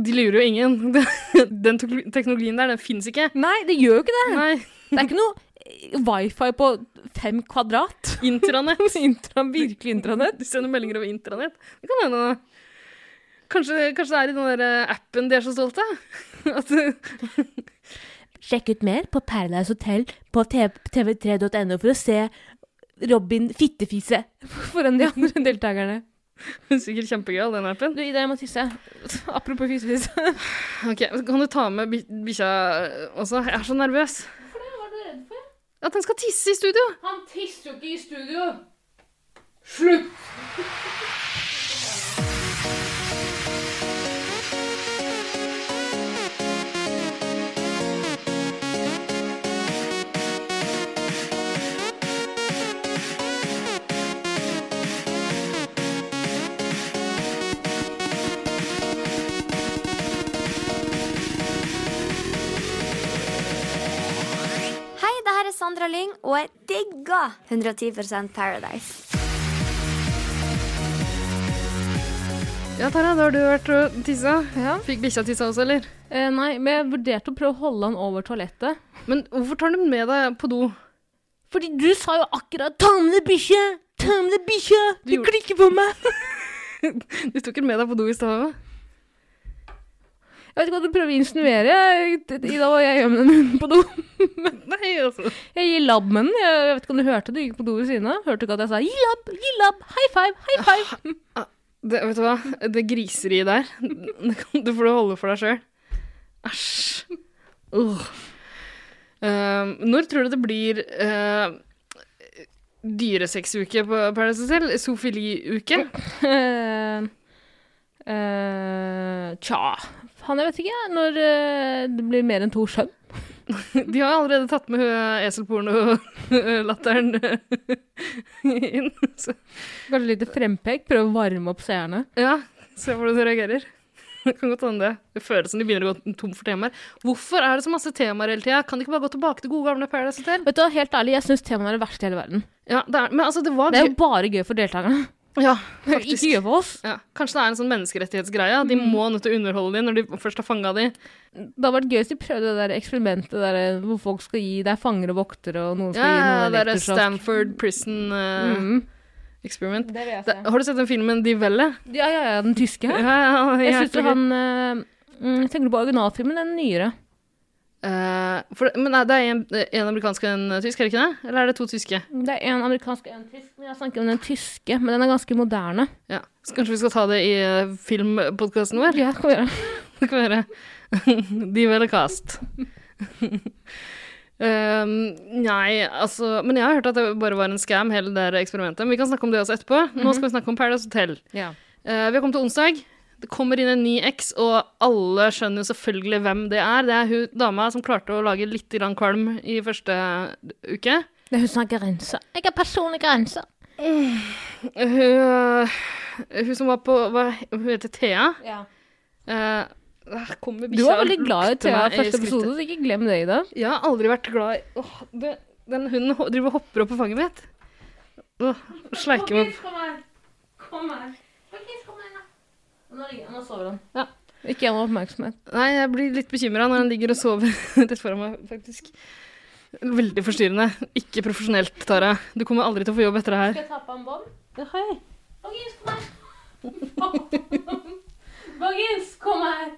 de lurer jo ingen. Den tok- teknologien der, den fins ikke.
Nei, det gjør jo ikke det.
Nei.
Det er ikke noe eh, wifi på fem kvadrat.
Intranett.
Intra, virkelig intranett.
Du sender meldinger over intranett. Det kan hende. Kanskje, kanskje det er i den der eh, appen de er så stolte av? At eh,
Sjekk ut mer på Paradise Hotel på tv3.no for å se Robin fittefise foran de andre deltakerne.
Hun er sikkert kjempegøyal, den appen.
Du, Ida, jeg må tisse. Apropos fittefise.
Ok, Kan du ta med bi- bikkja eh, også? Jeg er så nervøs. At den skal tisse i studio!
Han tisser jo ikke i studio! Slutt!
Hei, det her er Sandra Lyng, og jeg digger 110 Paradise.
Ja, Tara, da har du vært og tissa. Fikk bikkja tissa også, eller?
Eh, nei, men jeg vurderte å prøve å holde han over toalettet.
Men hvorfor tar du den med deg på do?
Fordi du sa jo akkurat 'ta med deg bikkja', 'ta med deg bikkja', du klikker på meg.
Du tok den med deg på do i stad òg?
Jeg vet ikke hva du prøver å insinuere. Ida og jeg gjør med den munnen på do.
Nei, altså.
Jeg gir labb med den. Jeg jeg vet ikke om du hørte det. Du gikk på do ved siden av. Hørte du ikke at jeg sa gi labb, gi labb, high five, high five.
Det, vet du hva? Det griseriet der, det, kan, det får du holde for deg sjøl. Æsj. Ugh. Ehm, når tror du det blir uh, dyresexuke på Paradise Hotel? Sofili-uke?
Eh, tja Faen, jeg vet ikke. jeg, Når eh, det blir mer enn to skjønn.
De har allerede tatt med eh, eselporno-latteren eh, inn. Så.
Kanskje litt frempek? Prøve å varme opp seerne?
Ja, se hvordan du reagerer. Det kan godt hende det. Det føles som de begynner å gå tom for temaer. Hvorfor er det så masse temaer hele tida? Kan de ikke bare gå tilbake til gode gamle Paradise Hotel?
Vet du hva, Helt ærlig, jeg syns temaene er det verste i hele verden.
Ja, det er, men altså, det var
Det er jo bare gøy for deltakerne.
Ja,
faktisk. Ikke gøy for oss.
Ja, Mm. kanskje det er en sånn menneskerettighetsgreie. at De må nødt til å underholde dem når de først har fanga dem.
Det hadde vært gøy hvis de prøvde det der eksperimentet der eh, hvor folk skal gi Det er fanger og voktere, og noen skal gi
Ja,
noen
det er
elektrosjokk.
Stanford Prison eh,
Mhm.
Experiment.
Det vet
Da-
jeg.
har du sett den filmen De Velle?
Ja, ja, ja, den tyske.
Ja, ja,
jeg
jækla
syns jo
gøy.
han eh, mm, Tenker du på originalfilmen, den nyere?
Eh, for, men nei, det er en, en amerikansk og en tysk, er det ikke det? Eller er det to tyske?
Det er en amerikansk og en tysk, men jeg snakker om den tyske. Men den er ganske moderne.
Ja. Så kanskje vi skal ta det i eh, filmpodkasten vår?
Ja, det kan vi gjøre.
Det kan vi gjøre. De Velle Cast. Um, nei, altså Men jeg har hørt at det bare var en scam, hele det der eksperimentet. Men vi kan snakke om det også etterpå. Nå
Mhm.
skal vi snakke om Paradise Hotel.
Ja.
Eh, vi har kommet til onsdag. Det kommer inn en ny X, og alle skjønner jo selvfølgelig hvem det er. Det er hun dama som klarte å lage litt grann kvalm i første uke.
Det er hun som har grenser. Jeg har personlige grenser.
Hun, hun som var på hva, Hun heter Thea.
Ja.
Eh, der kommer
Du var
bikkja og
veldig glad i
lukter
Thea
meg
første
skrittet.
episode, så ikke glem det, Ida.
Jeg har aldri vært glad i Åh, det, Den hunden ho- driver og hopper opp på fanget mitt. Åh, Sleiker meg opp.
Kom her. Kom her. kom her. Nå ligger han og sover. han. Ikke gjennom oppmerksomhet.
Nei, jeg blir litt bekymra når han ligger og sover rett foran meg, faktisk. Veldig forstyrrende. Ikke profesjonelt, Tara. Du kommer aldri til å få jobb etter det her.
jeg ta på en bånd?
Hei.
Boggins, kom her! Boggins, kom her!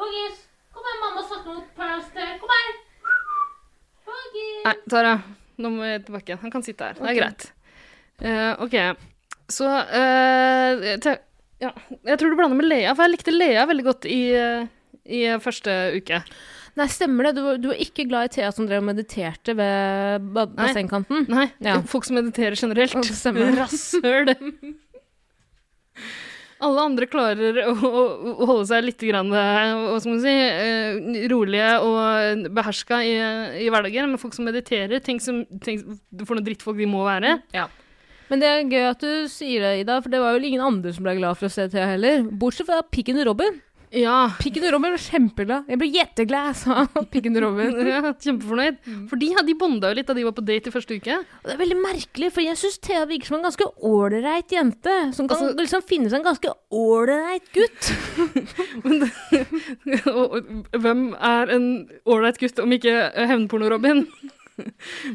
Boggins, kom her, mamma snakker mot Paradise Kom her! Boggins!
Nei, Tara. Nå må jeg tilbake igjen. Han kan sitte her. Det er
Ok.
greit. Eh, OK. Så eh, te, ja. Jeg tror du blander med Lea, for jeg likte Lea veldig godt i, eh, i første uke.
Nei, stemmer det. Du, var- du var ikke glad i Thea som drev og mediterte ved ba- bassengkanten?
Nei.
Ja.
Folk som mediterer generelt.
Å, det stemmer.
Rasshøl. Alle andre klarer å, å, å holde seg litt grann, eh, hva skal man si, eh, rolige og beherska i, i hverdagen. Men folk som mediterer, tenk, som, tenk for noen drittfolk de må være.
Men det er gøy at du sier det, Ida, for det var vel ingen andre som ble glad for å se Thea heller. Bortsett fra Pikken og Robin.
Ja.
Pikken og Robin ble kjempeglad. Jeg ble jetteglad, sa Pikken og Robin.
Ja, kjempefornøyd.
Mm.
For de, de bonda jo litt da de var på date i første uke.
Og det er veldig merkelig, for jeg syns Thea virker som en ganske ålreit jente. Som kan
Altså-
liksom finne seg en ganske ålreit gutt.
og, og hvem er en ålreit gutt om ikke eh, Hevnporno-Robin?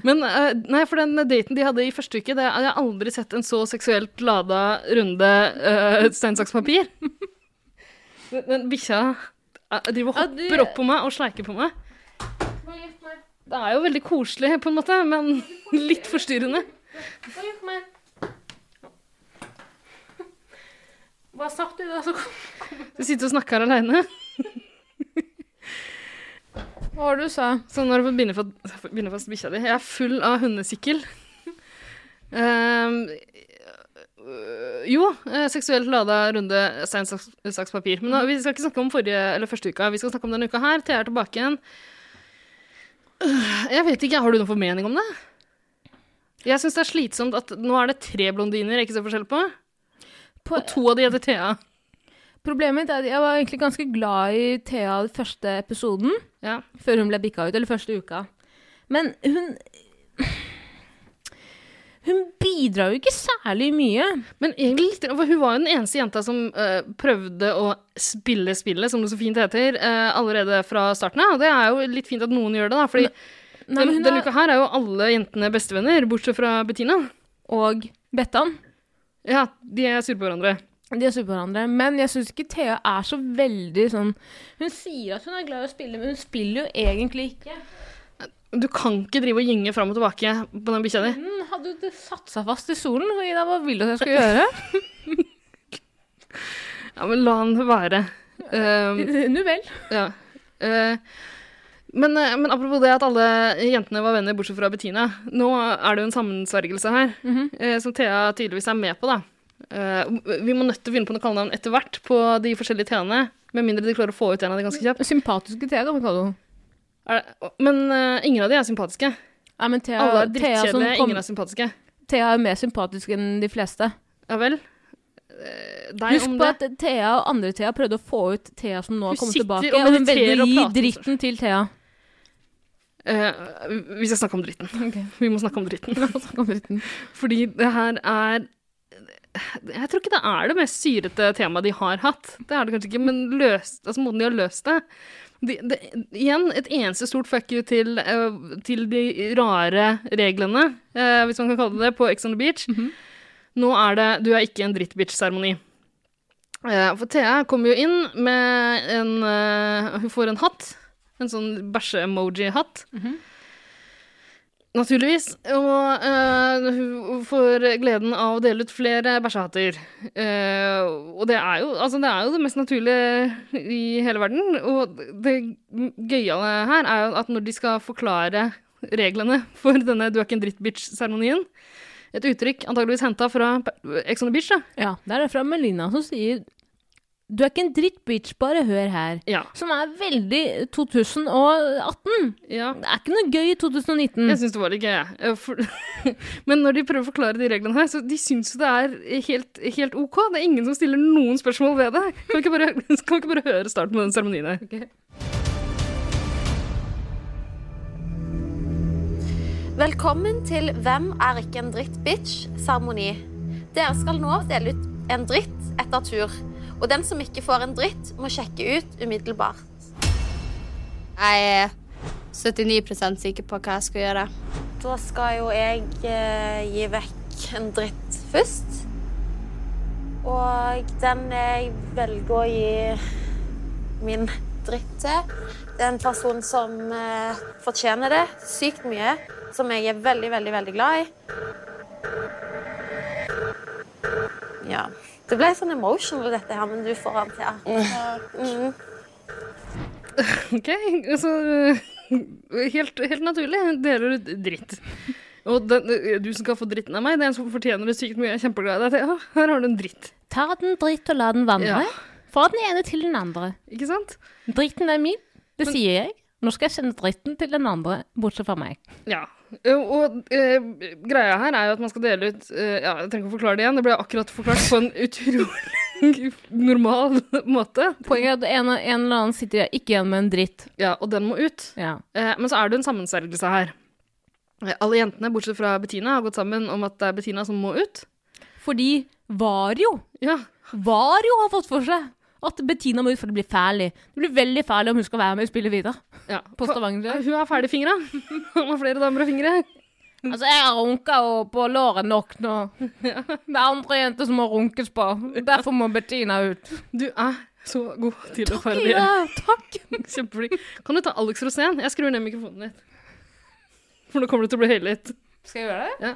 Men eh, nei, for den daten de hadde i første uke, det, jeg har aldri sett en så seksuelt lada runde uh, stein, saks, papir. Den, den bikkja eh, driver og
Ja, du-
hopper opp på meg og sleiker på meg. Det er jo veldig koselig, på en måte, men litt forstyrrende.
Hva sa du da?
Du sitter og snakker her aleine.
Hva var det du sa?
Sånn når du får binde fast, binde fast bikkja di. Jeg er full av hundesikkel. Ehm, øh, jo, eh, seksuelt lada runde stein, saks, saks, papir. Men nå, vi skal ikke snakke om forrige, eller første uka. Vi skal snakke om denne uka her. Thea er tilbake igjen. Øh, Jeg vet ikke, Har du noen formening om det? Jeg syns det er slitsomt at nå er det tre blondiner jeg ikke ser forskjell på.
På-
og to av de heter Thea.
Problemet mitt er at jeg var egentlig ganske glad i Thea den første episoden.
Ja.
Før hun ble bikka ut, eller første uka. Men hun Hun bidrar jo ikke særlig mye.
Men egentlig litt, for hun var jo den eneste jenta som eh, prøvde å spille spillet, som det så fint heter, eh, allerede fra starten av. Og det er jo litt fint at noen gjør det, da. Fordi
Nei, men
den,
hun
denne
er-
uka her er jo alle jentene bestevenner, bortsett fra Bettina.
Og Bettan.
Ja, de er sure på hverandre.
De er sure på hverandre. Men jeg syns ikke Thea er så veldig sånn Hun sier at hun er glad i å spille, men hun spiller jo egentlig ikke.
Du kan ikke drive og gynge fram og tilbake på den bikkja di.
Hun hadde jo satt seg fast i solen. og Ida, hva vil du at jeg skal gjøre?
Ja, men la han være. Eh,
Nu vel.
ja. Eh, men, eh, men apropos det at alle jentene var venner bortsett fra Bettina. Nå er det jo en sammensvergelse her,
Mhm.
eh, som Thea tydeligvis er med på, da. Eh, vi må nødt til å finne på noe kallenavn etter hvert på de forskjellige T-ene. Med mindre de klarer å få ut en av de ganske kjapt.
Sympatiske Thea, kan man kalle henne.
Er det, men eh, ingen av de er sympatiske.
Nei, men Thea,
Alle er
Thea som
drittkjedelige,
kom-
ingen er sympatiske.
Thea er mer sympatisk enn de fleste.
Ja vel. Eh,
Husk
om
på at Thea og andre Thea prøvde å få ut Thea som nå har
Hun
kommet
sitter
tilbake,
og
og hun velger å
mediterer og
gi
prater.
dritten til Thea.
Eh, vi skal snakke om dritten. Vi må snakke om dritten. Fordi det her er Jeg tror ikke det er det mest syrete temaet de har hatt. Det er det kanskje ikke, men løst, altså måten de har løst det de, det, Igjen et eneste stort fuck you til, eh, til de rare reglene, eh, hvis man kan kalle det det, på Ex on the Beach. Nå er det 'du er ikke en drittbitch'-seremoni. Eh, For Thea kommer jo inn med en eh, Hun får en hatt. En sånn bæsje-emoji-hatt. Naturligvis. Og eh, hun får gleden av å dele ut flere bæsjehatter. Eh, og det er, jo, altså, det er jo det mest naturlige i hele verden. Og det gøyale her er jo at når de skal forklare reglene for denne 'du er ikke en drittbitch'-seremonien Et uttrykk antageligvis henta fra Ex on the Beach, da.
Ja, der er det fra Melina som sier Du er ikke en drittbitch, bare hør her. Som er veldig 2018. Det er ikke noe gøy i 2019.
Jeg syns det var litt gøy, jeg. Eh, For, men når de prøver å forklare de reglene her, så de syns jo det er helt, helt OK. Det er ingen som stiller noen spørsmål ved det. Kan vi ikke bare, kan vi ikke bare høre starten på den seremonien her?
Velkommen til Hvem er ikke en drittbitch-seremoni. Dere skal nå dele ut en dritt etter tur. Og den som ikke får en dritt, må sjekke ut umiddelbart.
Jeg er 79 sikker på hva jeg skal gjøre.
Da skal jo jeg eh, gi vekk en dritt først. Og den jeg velger å gi min dritt til, det er en person som eh, fortjener det sykt mye. Som jeg er veldig, veldig, veldig glad i. Ja. Det ble sånn emotional, dette her, men du får den til. Så, mm.
OK, altså eh, helt, helt naturlig. Deler ut dritt. Og den, eh, du som skal få dritten av meg, det er en som fortjener det sykt mye. Jeg er kjempeglad i deg. Thea. Her har du en dritt.
Ta den dritt og la den vandre.
Ja.
Fra den ene til den andre.
Ikke sant?
Dritten er min. Det sier jeg. Nå skal jeg sende dritten til den andre, bortsett fra meg.
Ja. Eh, Og eh, greia her er jo at man skal dele ut eh, ja, Jeg trenger ikke å forklare det igjen, det ble akkurat forklart på en utrolig normal måte.
Poenget er at en, en eller annen sitter ikke igjen med en dritt.
Ja, og den må ut. Eh, men så er det jo en sammensvergelse her. Eh, Alle jentene, bortsett fra Bettina, har gått sammen om at det er Bettina som må ut.
Fordi Vario
ja.
Vario har fått for seg at Bettina må ut for det blir fæl. Det blir veldig fæl om hun skal være med og spille videre.
Ja.
På Stavanger.
Hun har ferdig fingra. Hun har flere damer og fingre.
Altså, jeg har runka jo på låret nok nå. Det er andre jenter som må runkes på. Derfor må Bettina ut.
Du er så god til å
Takk,
parodiere.
Ida. Takk.
Kjempeflink. Kan du ta Alex Rosén? Jeg skrur ned mikrofonen litt. For nå kommer du til å bli høylytt.
Skal jeg gjøre
det? Ja.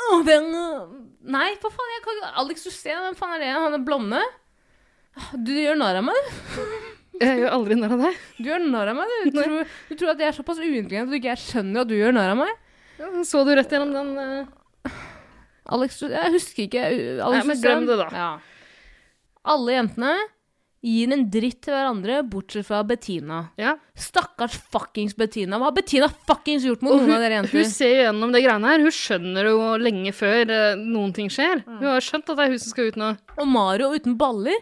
Å, den øh, Nei, hva faen? Jeg kan ikke Alex Rosén, hvem faen er det? Han er blonde? Du gjør narr av meg, du.
Jeg gjør aldri narr av deg.
Du gjør narr av meg, du. Du tror, du tror at jeg er såpass uintelligent at du ikke jeg skjønner at du gjør narr av meg?
så du rett gjennom den eh,
Alex, Jeg husker ikke uh, Alex
Nei, men
Rosén.
glem det, da.
Ja. Alle jentene gir en dritt til hverandre, bortsett fra Bettina. Stakkars fuckings Bettina. Hva har Bettina fuckings gjort mot
Og
noen
hun,
av dere jenter?
hun ser jo gjennom det greiene her. Hun skjønner jo lenge før eh, noen ting skjer.
Mm.
Hun har skjønt at det er hun som skal ut nå.
Og Mario uten baller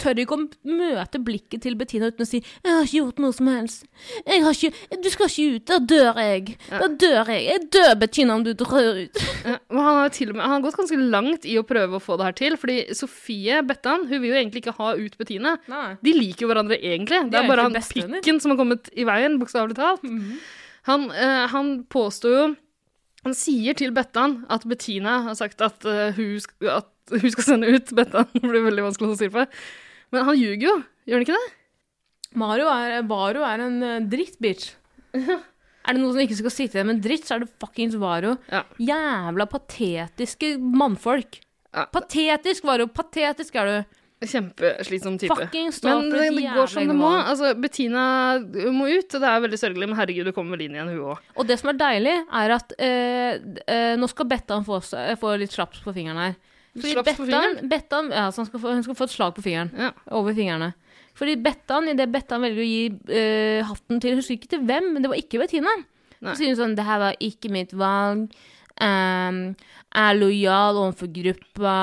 tør ikke å møte blikket til Bettina uten å si 'Jeg har ikke gjort noe som helst'. Jeg har ikke, 'Du skal ikke ut. Da dør jeg. Da dør jeg. Jeg dør, Bettina, om du drar ut'.
Ja, Men han har, jo til Eh, og med, han har gått ganske langt i å prøve å få det her til. Fordi Sofie Bettan hun vil jo egentlig ikke ha ut Bettine.
Nei.
De liker jo hverandre egentlig.
De
Det
er
er
egentlig Mm-hmm.
bare han
bestevenner.
pikken som har kommet i veien, bokstavelig talt. Han, eh, han påstår jo Han sier til Bettan at Bettina har sagt at, eh, hun, sk- at hun skal sende ut Bettan. Det blir veldig vanskelig å holde styr på. Men han ljuger jo, gjør han ikke det?
Mario er, Varo er en eh, drittbitch. Er det noen som ikke skal sitte igjen med en dritt, så er det fuckings Varo. Jævla patetiske mannfolk. Patetisk, Varo. Patetisk er du.
Kjempeslitsom type.
Fucking stå
men
opp for
det,
et
det går som
jævla
det må.
innhold.
Altså, Bettina må ut, og det er veldig sørgelig, men herregud, det kommer vel inn igjen, hun òg.
Og det som er deilig, er at eh, d- eh, nå skal Bettan få, s- eh, få litt slaps på fingeren her.
Litt
Fordi
slaps på
Bettan, Bettan ja, så hun, skal få, hun skal få et slag på fingeren. Over fingrene. Fordi Bettan, idet Bettan velger å gi eh, hatten til Husker ikke til hvem, men det var ikke Bettina.
Nei.
Så sier hun sånn Det her var ikke mitt valg. Ehm, jeg er lojal overfor gruppa.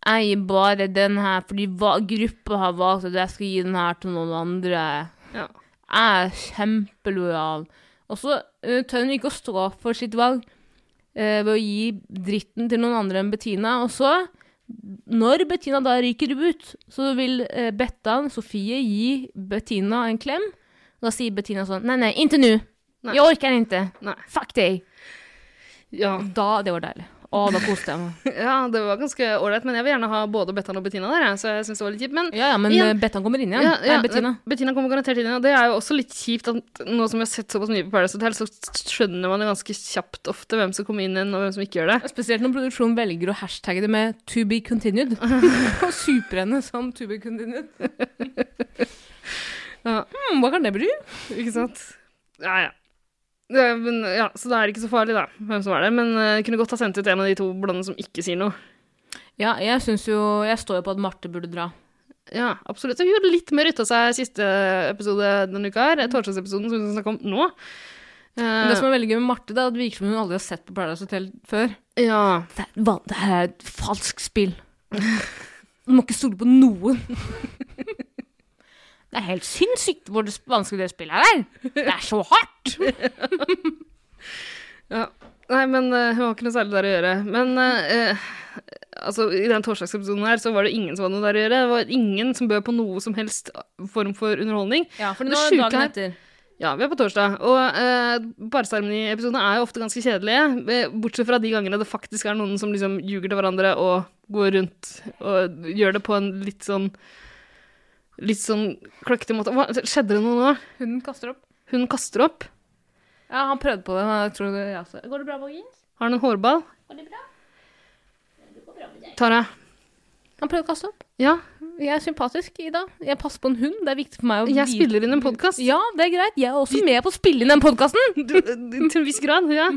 Jeg gir bare den her fordi hva, gruppa har valgt at jeg skal gi den her til noen andre.
Ja.
Jeg er kjempelojal. Og så eh, tør hun ikke å stå opp for sitt valg eh, ved å gi dritten til noen andre enn Bettina. Og så, når Bettina da ryker ut, så vil eh, Bettan, Sofie, gi Bettina en klem. Da sier Bettina sånn Nei, nei, inntil nå.
Nei.
Jeg orker ikke.
Nei.
Fuck deg.
Ja.
Da, det var deilig. Å, da koste jeg meg.
ja, det var ganske ålreit, men jeg vil gjerne ha både Bettan og Bettina der, jeg, så jeg syns det var litt kjipt. Men,
Ja, ja, men
igjen-
eh, Bettan kommer inn igjen.
Ja, ja,
nei, Bettina.
Bettina kommer garantert inn, og det er jo også litt kjipt at nå som vi har sett såpass mye på Paradise Hotel, så skjønner man det ganske kjapt ofte hvem som kommer inn igjen, og hvem som ikke gjør det.
Spesielt når produksjonen velger å hashtagge det med 'to be continued'. Og super henne som 'to be continued'. Hmm, hva kan det bety?
Ikke sant? Ja, ja. Det, er- men, ja, så det er ikke så farlig, da, hvem som er der. Men eh, jeg kunne godt ha sendt ut en av de to blonde som ikke sier noe.
Ja, jeg syns jo Jeg står jo på at Marte burde dra.
Ja, absolutt. Så Hun gjorde litt mer ut av seg siste episode denne uka her. Torsdagsepisoden som vi skal snakke om nå.
Mm.
Eh,
Men det som er veldig gøy med Marte, det er at det virker som hun aldri har sett på Paradise Hotel før.
Ja.
Det er, hva- det er et falskt spill. Du må ikke stole på noen. Det er helt sinnssykt hvor det- vanskelig det spillet er. Det er så hardt!
Ja. Nei, men eh, hun har ikke noe særlig der å gjøre. Men eh, eh, altså, i den torsdagsepisoden her så var det ingen som hadde noe der å gjøre. Det var ingen som bød på noe som helst form for underholdning.
Ja, for
Men
nå er
det
det
sjuke
dagen
her-
etter.
Ja, vi er på torsdag. Og uh, barseremoniepisodene er jo ofte ganske kjedelige. eh, Bortsett fra de gangene det faktisk er noen som liksom ljuger til hverandre og går rundt og gjør det på en litt sånn Litt sånn kløktig måte. Hva, skjedde det noe nå?
Hun kaster opp.
Hun kaster opp.
Ja, han prøvde på det. men Jeg tror det jeg også. Går det bra, Borgis?
Har han en hårball?
Går det bra?
Tara?
Han prøvde å kaste opp.
Ja.
Jeg er sympatisk, Ida. Jeg passer på en hund. Det er viktig for meg å
Jeg
vite-
spiller inn en podkast.
Ja, det er greit. Jeg er også med på å spille inn den podkasten.
Til en viss grad, ja.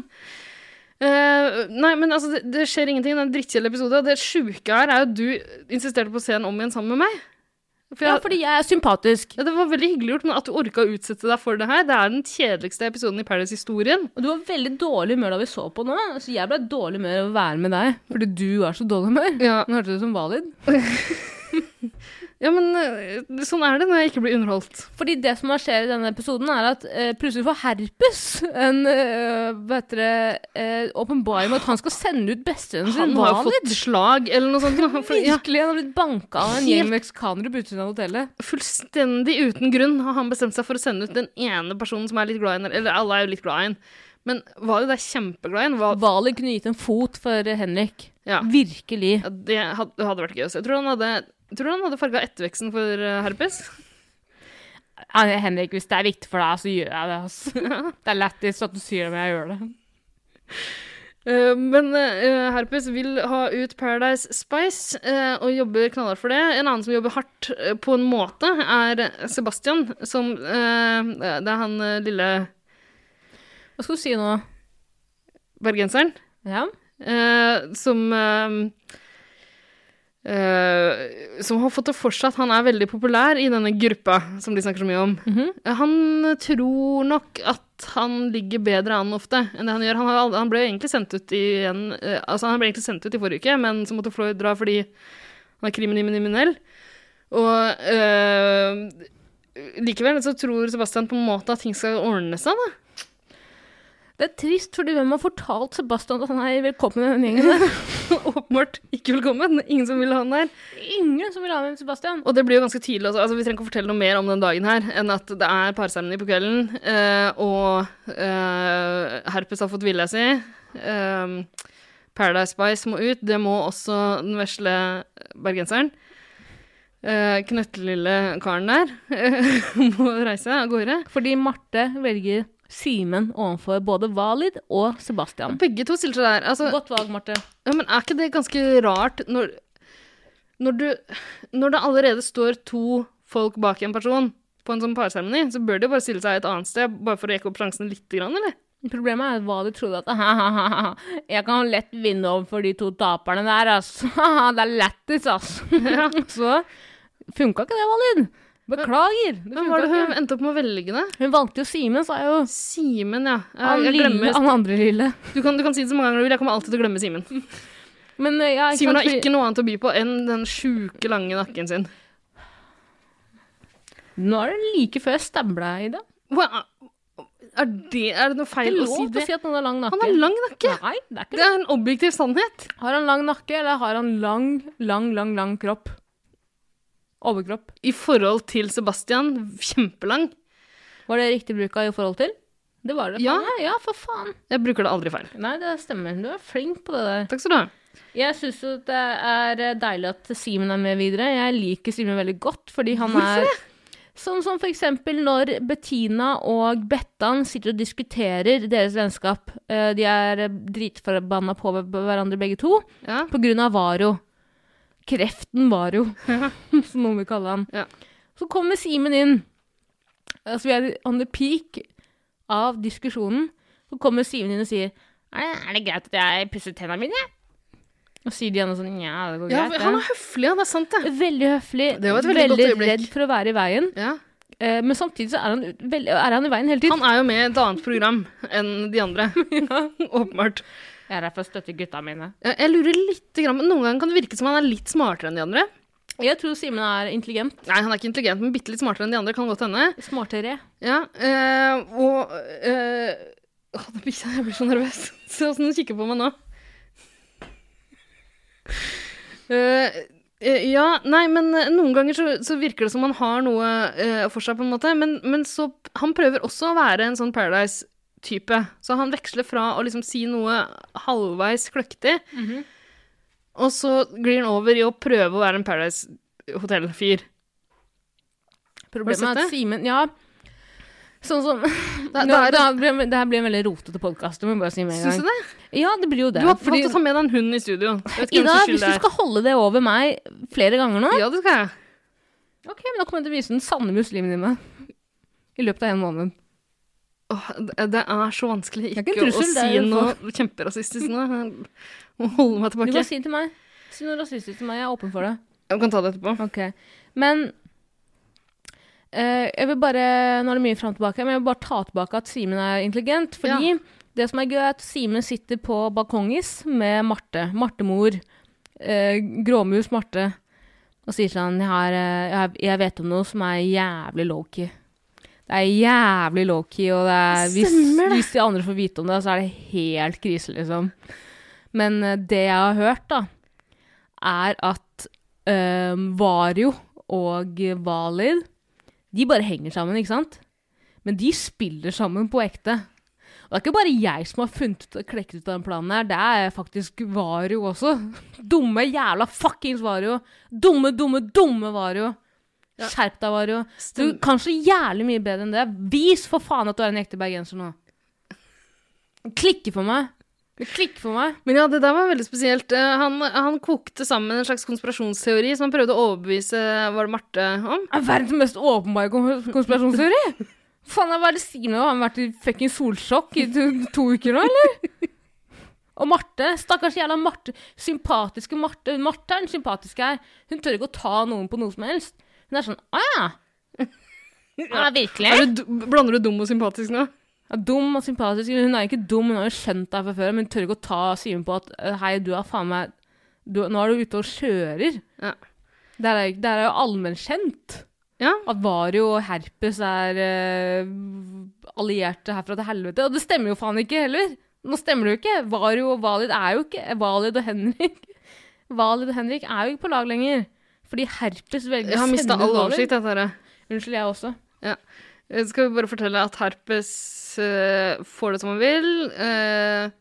Eh, nei, men altså, det, det skjer ingenting. Det er en drittkjedelig episode. Og det sjuke her er jo at du insisterte på å se den om igjen sammen med meg.
Ja, fordi jeg er sympatisk.
Ja, det var veldig hyggelig gjort, men at du orka å utsette deg for det her, det er den kjedeligste episoden i Paradise-historien.
Og du var veldig dårlig humør da vi så på nå. Så jeg ble i dårlig humør av å være med deg. Fordi du er så dårlig humør. Nå hørtes du som valid.
Ja, men eh, sånn er det når jeg ikke blir underholdt.
Fordi det som skjer i denne episoden, er at eh, plutselig får herpes en eh, hva heter det, eh, åpenbaring om at han skal sende ut bestevennen sin.
Han har jo
Valid.
fått slag eller noe sånt. nå, for- ja.
Virkelig, han har blitt banka av en
Helt-
gjeng meksikanere på utsiden av hotellet.
Fullstendig uten grunn har han bestemt seg for å sende ut den ene personen som er litt glad i henne. Eller alle er jo litt glad i henne. Men Valid er kjempeglad i henne. Val-
Vali kunne gitt en fot for Henrik. Virkelig.
Ja, det had- det hadde vært gøy å se. Tror du han hadde, tror du han hadde farga etterveksten for eh, herpes?
Ja, Henrik, hvis det er viktig for deg, så gjør jeg det. Altså. Det er lættis at du sier det, men jeg gjør det.
Eh, men eh, Herpes vil ha ut Paradise Spice eh, og jobber knallhardt for det. En annen som jobber hardt eh, på en måte, er Sebastian, som eh, Det er han eh, lille
Hva skal du si nå?
bergenseren.
Ja.
Eh, som eh, eh, Som har fått det for seg at han er veldig populær i denne gruppa som de snakker så mye om. Eh, Han tror nok at han ligger bedre an ofte enn det han gjør. Han, har, ald- han ble jo egentlig sendt ut i en, eh, altså han ble egentlig sendt ut i forrige uke, men så måtte Floyd dra fordi han er kriminell. Og eh, likevel så tror Sebastian på en måte at ting skal ordne seg, da.
Det er trist, fordi hvem har fortalt Sebastian at han er velkommen i den gjengen?
Åpenbart ikke velkommen. Ingen som vil ha han der.
Ingen som vil ha med Sebastian.
Og det blir jo ganske tydelig også. Altså, vi trenger ikke å fortelle noe mer om den dagen her enn at det er parseremoni på kvelden, eh, og eh, herpes har fått vilja si. Eh, Paradise Spice må ut. Det må også den vesle bergenseren. Eh, Knøttelille karen der må reise av gårde.
Fordi Marte velger Simen overfor både Valid og Sebastian.
Begge to stiller seg der. Altså,
Godt valg, Marte.
Ja, men er ikke det ganske rart når når, du, når det allerede står to folk bak en person på en sånn parseremoni, så bør de jo bare stille seg et annet sted, bare for å eke opp sjansen litt, grann, eller?
Problemet er hva du trodde at «Hahaha, Jeg kan lett vinne overfor de to taperne der, ass. Det er lættis, ass. Så funka ikke det, Valid. Beklager. Det
Hvem var det
funka
hun endte opp med å velge, da?
Hun valgte jo Simen, sa jeg jo.
Simen, ja. Jeg,
Han
jeg
lille-
glemmer-
han andre lille.
Du kan, du kan si det så mange ganger du vil, jeg kommer alltid til å glemme Simen.
Men, eh, ja,
Simen
sant,
har
fordi-
ikke noe annet å by på enn den sjuke, lange nakken sin.
Nå er det like før jeg stabler deg i det.
Hva- Er det, er det noe feil
Ikke
å si
lov til
det?
å si at noen har lang nakke.
Han har lang nakke!
Nei, det er ikke
Det er en objektiv sannhet.
Har han lang nakke, eller har han lang, lang, lang, lang kropp? Overkropp.
I forhold til Sebastian, kjempelang.
Var det riktig bruk av i forhold til? Det var det.
Ja.
faen meg. ja, for faen.
Jeg bruker det aldri feil.
Nei, det stemmer. Du er flink på det der.
Takk skal du ha.
Jeg syns jo det er eh, deilig at Simen er med videre. Jeg liker Simen veldig godt, fordi han er Sånn som for eksempel når Bettina og Bettan sitter og diskuterer deres vennskap. Eh, De er dritforbanna på hver- hverandre begge to på grunn av Varo. Kreften Varo, som noen vil kalle han. Så kommer Simen inn. Eh, Så vi er on the peak av diskusjonen. Så kommer Simen inn og sier Er det, er det greit at jeg pusser tennene mine? Og sier Diana sånn Ja, det går
Ja,
greit.
han
det».
er høflig, ja. Det er sant, det.
Veldig høflig.
Det var et veldig godt øyeblikk.
redd for å være i veien. Eh, men samtidig så er han, ut- veldig, er han i veien hele tiden.
Han er jo med i et annet program enn de andre. Åpenbart.
Jeg er her for å støtte gutta mine.
Jeg jeg lurer litt, grann, men Noen ganger kan det virke som han er litt smartere enn de andre.
Jeg tror Simen er intelligent.
Nei, han er ikke intelligent, men bitte litt smartere enn de andre. Kan godt hende.
Smartere.
Ja, eh, og eh, Å, det bikkja, jeg blir så nervøs. Se åssen hun kikker på meg nå. Eh, eh, ja, nei, men eh, noen ganger så, så virker det som han har noe eh, for seg, på en måte. Men, men så Han prøver også å være en sånn Paradise-type. Så han veksler fra å liksom si noe halvveis kløktig,
Mhm.
og så glir han over i å prøve å være en Paradise Hotel-fyr.
Problemet
Har
er
du sett
at
det?
Simen Ja. Sånn som
det
Nå,
er-
det, her blir, det her blir en veldig rotete podkast. Du må jeg bare si med en gang.
Syns du det?
Ja, det blir jo det.
Du har
fordi-
fått å ta med deg en hund i studio. Jeg vet ikke hvem
Ida,
sin skyld
hvis du
det er.
skal holde det over meg flere ganger nå
Ja, det skal jeg.
Ok, men da kommer jeg til å vise den sanne muslimen i meg. I løpet av en måned.
Åh, det- det er så vanskelig ikke,
er ikke en
å
trussel, det
si
er jo
noe
for-
kjemperasistisk nå. Jeg Må holde meg
Du
tilbake.
kan si det til meg. Si noe rasistisk til meg. Jeg er åpen for det.
Jeg kan ta det etterpå.
Ok. Men eh, jeg vil bare Nå er det mye fram og tilbake, men jeg vil bare ta tilbake at Simen er intelligent. Fordi det som er gøy, er at Simen sitter på balkongis med Marte. Martemor. eh, gråmus Marte. Og sier sånn jeg, har, eh, jeg, har- jeg vet om noe som er jævlig lowkey. Det er jævlig lowkey, og det er, hvis,
Stemmer det.
hvis de andre får vite om det, så er det helt krise, liksom. Men eh, det jeg har hørt, da, er at eh, Vario og Valid De bare henger sammen, ikke sant? Men de spiller sammen på ekte. Og det er ikke bare jeg som har funnet ut, klekket ut av den planen her. Det er faktisk Vario også. Dumme jævla fuckings Vario. Dumme, dumme, dumme Vario. Skjerp deg, Vario. Du
Stemmer.
kan så jævlig mye bedre enn det. Vis for faen at du er en ekte bergenser nå. Klikke for meg. Klikk for meg.
Men ja, det der var veldig spesielt. Eh, Han, han kokte sammen en slags konspirasjonsteori som han prøvde å overbevise var det Marte om.
er verdens mest åpenbare kon- konspirasjonsteori. Faen, jeg bare sier noe. Har han vært i fucking solsjokk i to, to uker nå, eller? Og Marte, stakkars jævla Marte, sympatiske Marte. Marte er den sympatiske her. Hun tør ikke å ta noen på noe som helst. Hun er sånn Å ja. Ja, virkelig?
Er du, d- blander du dum og sympatisk nå?
Ja, dum og sympatisk. Hun er ikke dum, hun har jo skjønt deg fra før, men hun tør ikke å ta Simen på at eh, hei, du er faen meg du, Nå er du ute og kjører.
Ja.
Det er, jo- det er jo allmennkjent. At Vario og herpes er eh, allierte herfra til helvete. Og det stemmer jo faen ikke heller! Nå stemmer det jo ikke. Vario og Valid er jo ikke Valid og Henrik Valid og Henrik er jo ikke på lag lenger. Fordi herpes velger
Jeg har
å
mista
sende
all
Valid.
oversikt, dette her.
Unnskyld, jeg også.
Ja. Eh, Skal vi bare fortelle at herpes eh, får det som han vil, eh,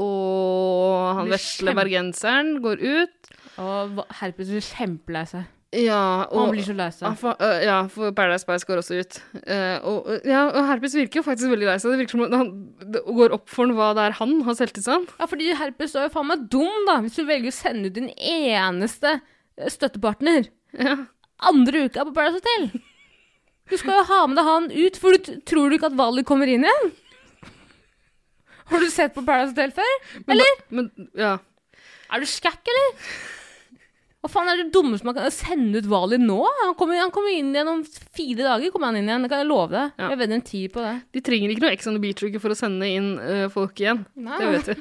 og han
Blir
vesle
kjempe-
bergenseren går ut.
Og va- herpes blir kjempelei seg.
Ja,
Han blir så lei seg.
Ja, for, øh, ja, for Paradise Spice går også ut. Eh, og, øh, ja, og herpes virker jo faktisk veldig lei seg. Det virker som at han det går opp for han hva det er han har selvtillit sånn.
Ja, fordi herpes er jo faen meg dum, da. Hvis du velger å sende ut din eneste eh, støttepartner. Andre uka på Paradise Hotel. Du skal jo ha med deg han ut, for du t- tror du ikke at Vali kommer inn igjen? Har du sett på Paradise Hotel før? Eller? Er du skakk, eller? Hva faen er det dummeste man kan sende ut Vali nå? Han kommer, han kommer inn igjen om fire dager. kommer han inn igjen, Det kan jeg love deg. Jeg vedder en tier på det.
De trenger ikke noe Ex on the Beach-uke for å sende inn eh, folk igjen.
Nei.
Det vet vi.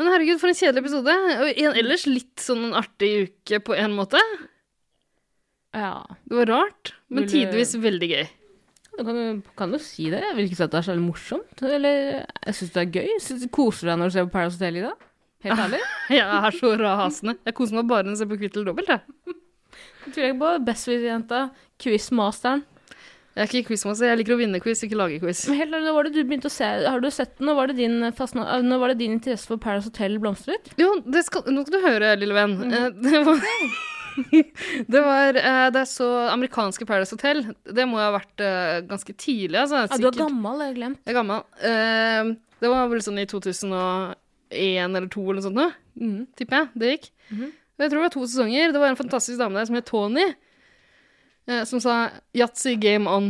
Men herregud, for en kjedelig episode. Og en ellers litt sånn en artig uke på en måte.
Ja.
Det var rart, men
Ville-
tidvis veldig gøy.
Du kan, jo- kan jo si det. Jeg vil ikke si at det er så veldig morsomt. Eller jeg syns det er gøy. Synes, du koser deg når du ser på Paradise Hotel i dag? Helt ærlig?
Jeg er så rasende. Jeg koser meg bare når jeg ser på Kvitt eller dobbelt. Jeg.
I tillegg på Bestvis-jenta, quizmasteren.
Jeg er ikke quizmaster, jeg liker å vinne quiz, ikke lage quiz.
Men helt ærlig, nå var det du begynte å se Har du sett den? Nå var det din, fascina- eh, nå var det din interesse for Paradise Hotel blomstret?
Jo, det skal, nå skal du høre, lille venn.
Mm.
Eh, Det var, det var eh, Det er så amerikanske Paradise Hotel. Det må ha vært eh, ganske tidlig, altså.
Ja, du er gammel, jeg har glemt.
Jeg er gammel. Eh, Det var vel sånn i 2001 eller 2002 eller noe sånt nå,
Mm.
tipper jeg. Det gikk.
Mm-hmm.
Og Jeg tror det var to sesonger. Det var en fantastisk dame der som het Tony, eh, som sa Yatzy game on.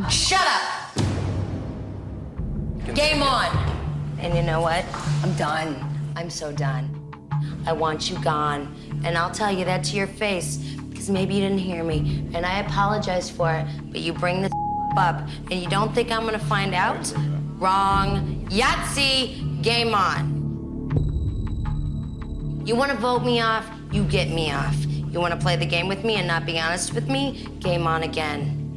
Game on. And you know what? I'm done. I'm so done. I want you gone. And I'll tell you that to your face because maybe you didn't hear me. And I apologize for it, but you bring this up and you don't think I'm going to find out? Wrong. Yahtzee, game on. You want to vote me off? You get me off. You want to play the game with me and not be honest with me? Game on again.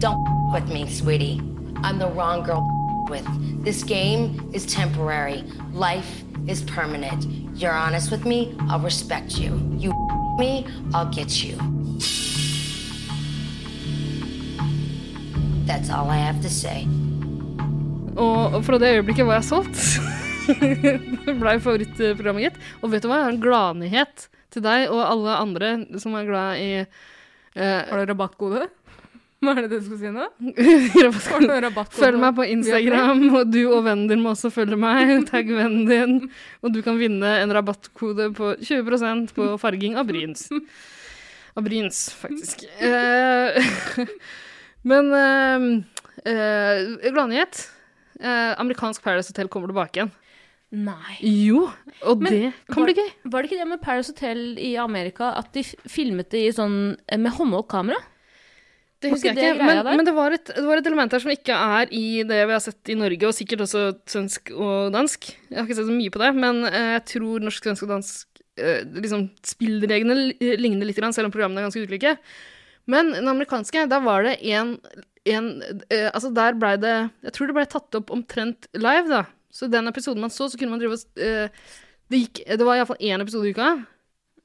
Don't with me, sweetie. I'm the wrong girl with. This game is temporary. Life is permanent. You're honest with me, I'll respect you. You me, I'll get you. That's all I have to say.
Og fra det øyeblikket var jeg solgt. det blei favorittprogrammet mitt. Og vet du hva? Jeg har en gladnyhet til deg og alle andre som er glad i eh, Har
du rabattkode? Hva er det du skal si nå? Får du noe
Rabattkode.
rabattkode?
Følg meg på Instagram,
Via Play?
og du og vennen din må også følge meg. Tagg vennen din. Og du kan vinne en rabattkode på 20 på farging av bryns. Av bryns, faktisk. Eh, Men eh, eh, gladnyhet. Eh, amerikansk Paradise Hotel kommer tilbake igjen.
Nei.
Jo, og
Men
det kan
var,
bli gøy.
Var det ikke det med Paris Hotel i Amerika at de f- filmet det i sånn, eh, med håndholdt kamera?
Det
Var
husker jeg ikke,
greia
men,
der?
men det, var et, det var et element der som ikke er i det vi har sett i Norge, og sikkert også svensk og dansk. Jeg har ikke sett så mye på det, men eh, jeg tror norsk, svensk og dansk eh, liksom, spillreglene li- ligner litt, grann, selv om programmene er ganske ulike. Men den amerikanske, der var det en, en eh, Altså, der blei det Jeg tror det blei tatt opp omtrent live, da. Så den episoden man så, så kunne man drive og eh, Det gikk Det var iallfall én episode i uka,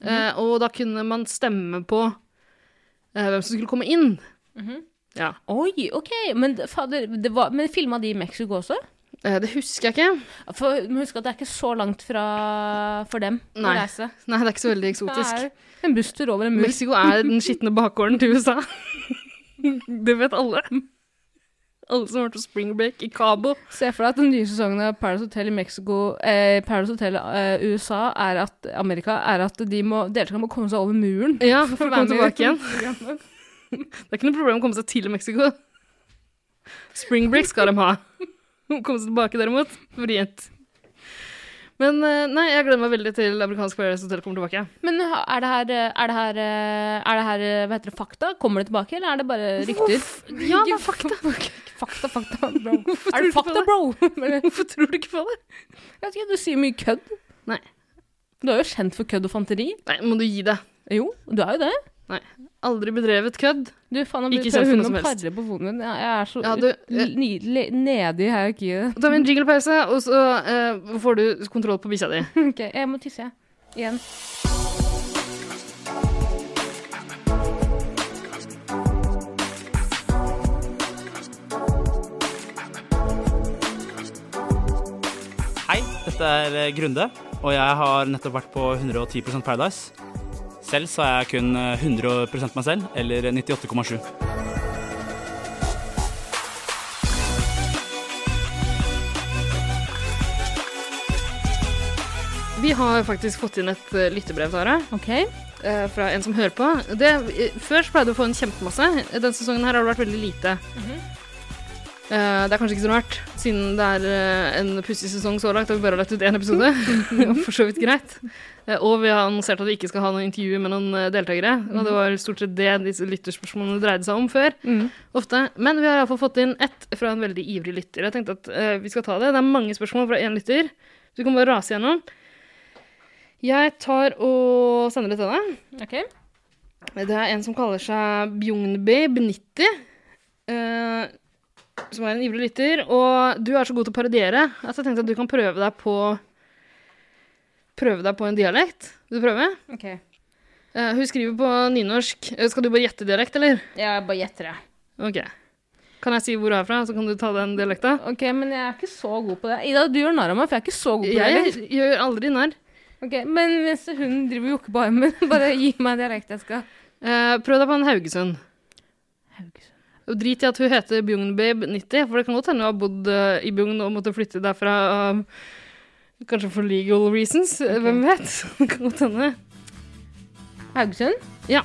Mhm.
eh, og da kunne man stemme på eh, hvem som skulle komme inn.
Mhm.
Ja.
Oi, ok. Men, det- fader, det var, men filma de i Mexico også?
Eh, det husker jeg ikke.
For, men husk at det er ikke så langt fra, for dem
Nei.
å reise.
Nei, det er ikke så veldig eksotisk.
Det er en busstur over en mur.
Mexico er den skitne bakgården til USA. Det vet alle. Alle som har vært på spring break i Cabo.
Se for deg at den nye sesongen av Paradise Hotel i Mexico eh, Paradise Hotel eh, USA er at Amerika er at de må, deltakerne må komme seg over muren.
Ja, for å
være med
komme tilbake
i
igjen.
programmet.
Det er ikke noe problem å komme seg til Mexico. Spring break skal de ha. Å komme seg tilbake, derimot, vrient. Men eh, nei, jeg gleder meg veldig til amerikansk Paradise Hotel kommer tilbake.
Men ha- er det her, eh, er det her, eh, er det her eh, hva heter det, fakta? Kommer det tilbake, eller er det bare rykter?
Ja, det er fakta.
Fakta, fakta, bro. Er det fakta, bro? Hvorfor
tror du ikke på det?
Jeg vet ikke, du sier mye kødd.
Nei.
Du er jo kjent for kødd og fanteri.
Nei, må du gi deg.
Jo, du er jo det.
Nei. Aldri bedrevet kødd.
Du, faen,
Ikke
jeg
kjent
prøver
for noe
hun å
som helst.
parre på foten din. Jeg jeg er så
Ja, du-
ut- nydelig nede i hierarkiet.
Da tar vi en jinglepause, og så eh, får du kontroll på bikkja di.
Ok, jeg må tisse, jeg. Igjen.
Hei, dette er eh, Grunde, og jeg har nettopp vært på 110 Paradise. Selv så er jeg kun eh, 100 meg selv, eller 98,7.
Vi har faktisk fått inn et eh, lyttebrev, Tara. Eh, Fra en som hører på. Det, eh, før så pleide vi å få inn kjempemasse. Denne sesongen her har det vært veldig lite. Eh, det er kanskje ikke så rart, siden det er eh, en pussig sesong så langt, og vi bare har lagt ut én episode. For så vidt greit. Eh, og vi har annonsert at vi ikke skal ha noe intervju med noen eh, deltakere. Og det var stort sett det disse lytterspørsmålene dreide seg om før. Ofte. Men vi har iallfall fått inn ett fra en veldig ivrig lytter. Jeg tenkte at eh, vi skal ta det. Det er mange spørsmål fra én lytter, så vi kan bare rase gjennom. Jeg tar og sender det til deg.
Ok.
Det er en som kaller seg Bjugn-Babe90, eh, som er en ivrig lytter. Og du er så god til å parodiere at jeg tenkte at du kan prøve deg på Prøve deg på en dialekt. Vil du prøve?
Ok.
Eh, hun skriver på nynorsk. Eh, Skal du bare gjette dialekt, eller?
Jeg bare gjetter det.
Ok. Kan jeg si hvor du er fra, så kan du ta den dialekta?
Ok, men jeg er ikke så god på det. Ida, du gjør narr av meg, for jeg er ikke så god på
Jeg
det.
gjør aldri narr.
Ok, Men hvis hun driver og jokker på armen, bare gi meg dialekt jeg skal.
Eh, prøv deg på en Haugesund. Og Drit i at hun heter Bjugn-Babe90, for det kan godt hende hun har bodd eh, i Bjugn og måtte flytte derfra av Kanskje for legal reasons. eh, Hvem vet? Det kan godt hende.
Haugesund?
Ja.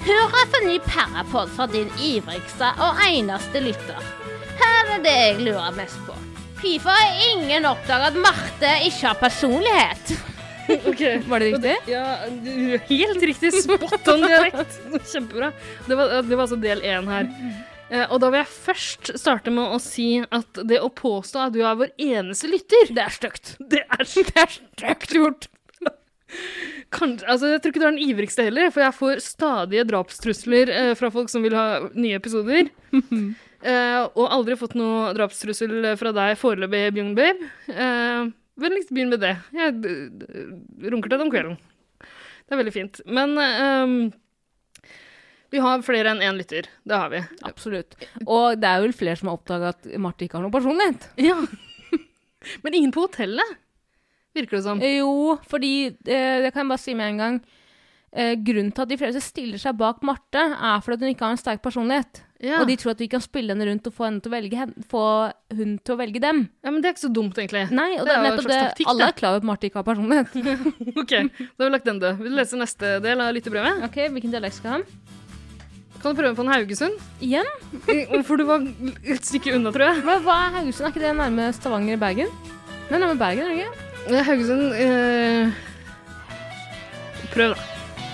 Hurra for ny parapod fra din ivrigste og eneste lytter. Her er det jeg lurer mest på. Hvorfor har ingen oppdaget at Marte ikke har personlighet?
Var det riktig?
Ja, du- helt riktig. Spot on dialekt. Kjempebra. Det var, det var altså del én her. Eh, Og da vil jeg først starte med å si at det å påstå at du er vår eneste lytter Det er stygt. Det er, stygt gjort. Kanskje, altså, jeg tror ikke du er den ivrigste heller, for jeg får stadige drapstrusler eh, fra folk som vil ha nye episoder. Eh, og aldri fått noe drapstrussel fra deg foreløpig, Bjugn Babe. Eh, Vennligst begynn med det. Jeg d- d- runker til det om kvelden. Det er veldig fint. Men ehm, vi har flere enn én lytter. Det har vi.
Absolutt. Og det er vel flere som har oppdaga at Marte ikke har noe personlighet.
Ja. Men ingen på hotellet, virker det som.
Jo, fordi eh, Det kan jeg bare si med en gang. Eh, grunnen til at de fleste stiller seg bak Marte, er fordi at hun ikke har en sterk personlighet.
Ja.
Og de tror at vi kan spille henne rundt og få, henne til å velge hen, få hun til å velge dem.
Ja, Men det er ikke så dumt, egentlig.
Nei, og det er
jo en
nettopp
slags
det.
taktikk,
Alle
det.
er klar over at Marte ikke har personlighet.
OK, da har vi lagt den død. Vil du lese neste del av lyttebrevet?
Ok, Hvilken dialekt skal han?
Kan du prøve på en Haugesund? Eh,
Igjen?
For du var et stykke unna, tror jeg.
Men hva er Haugesund? Er ikke det nærme Stavanger-Bergen? Det er nærme Bergen, er det ikke?
Eh, Haugesund eh, Prøv, da.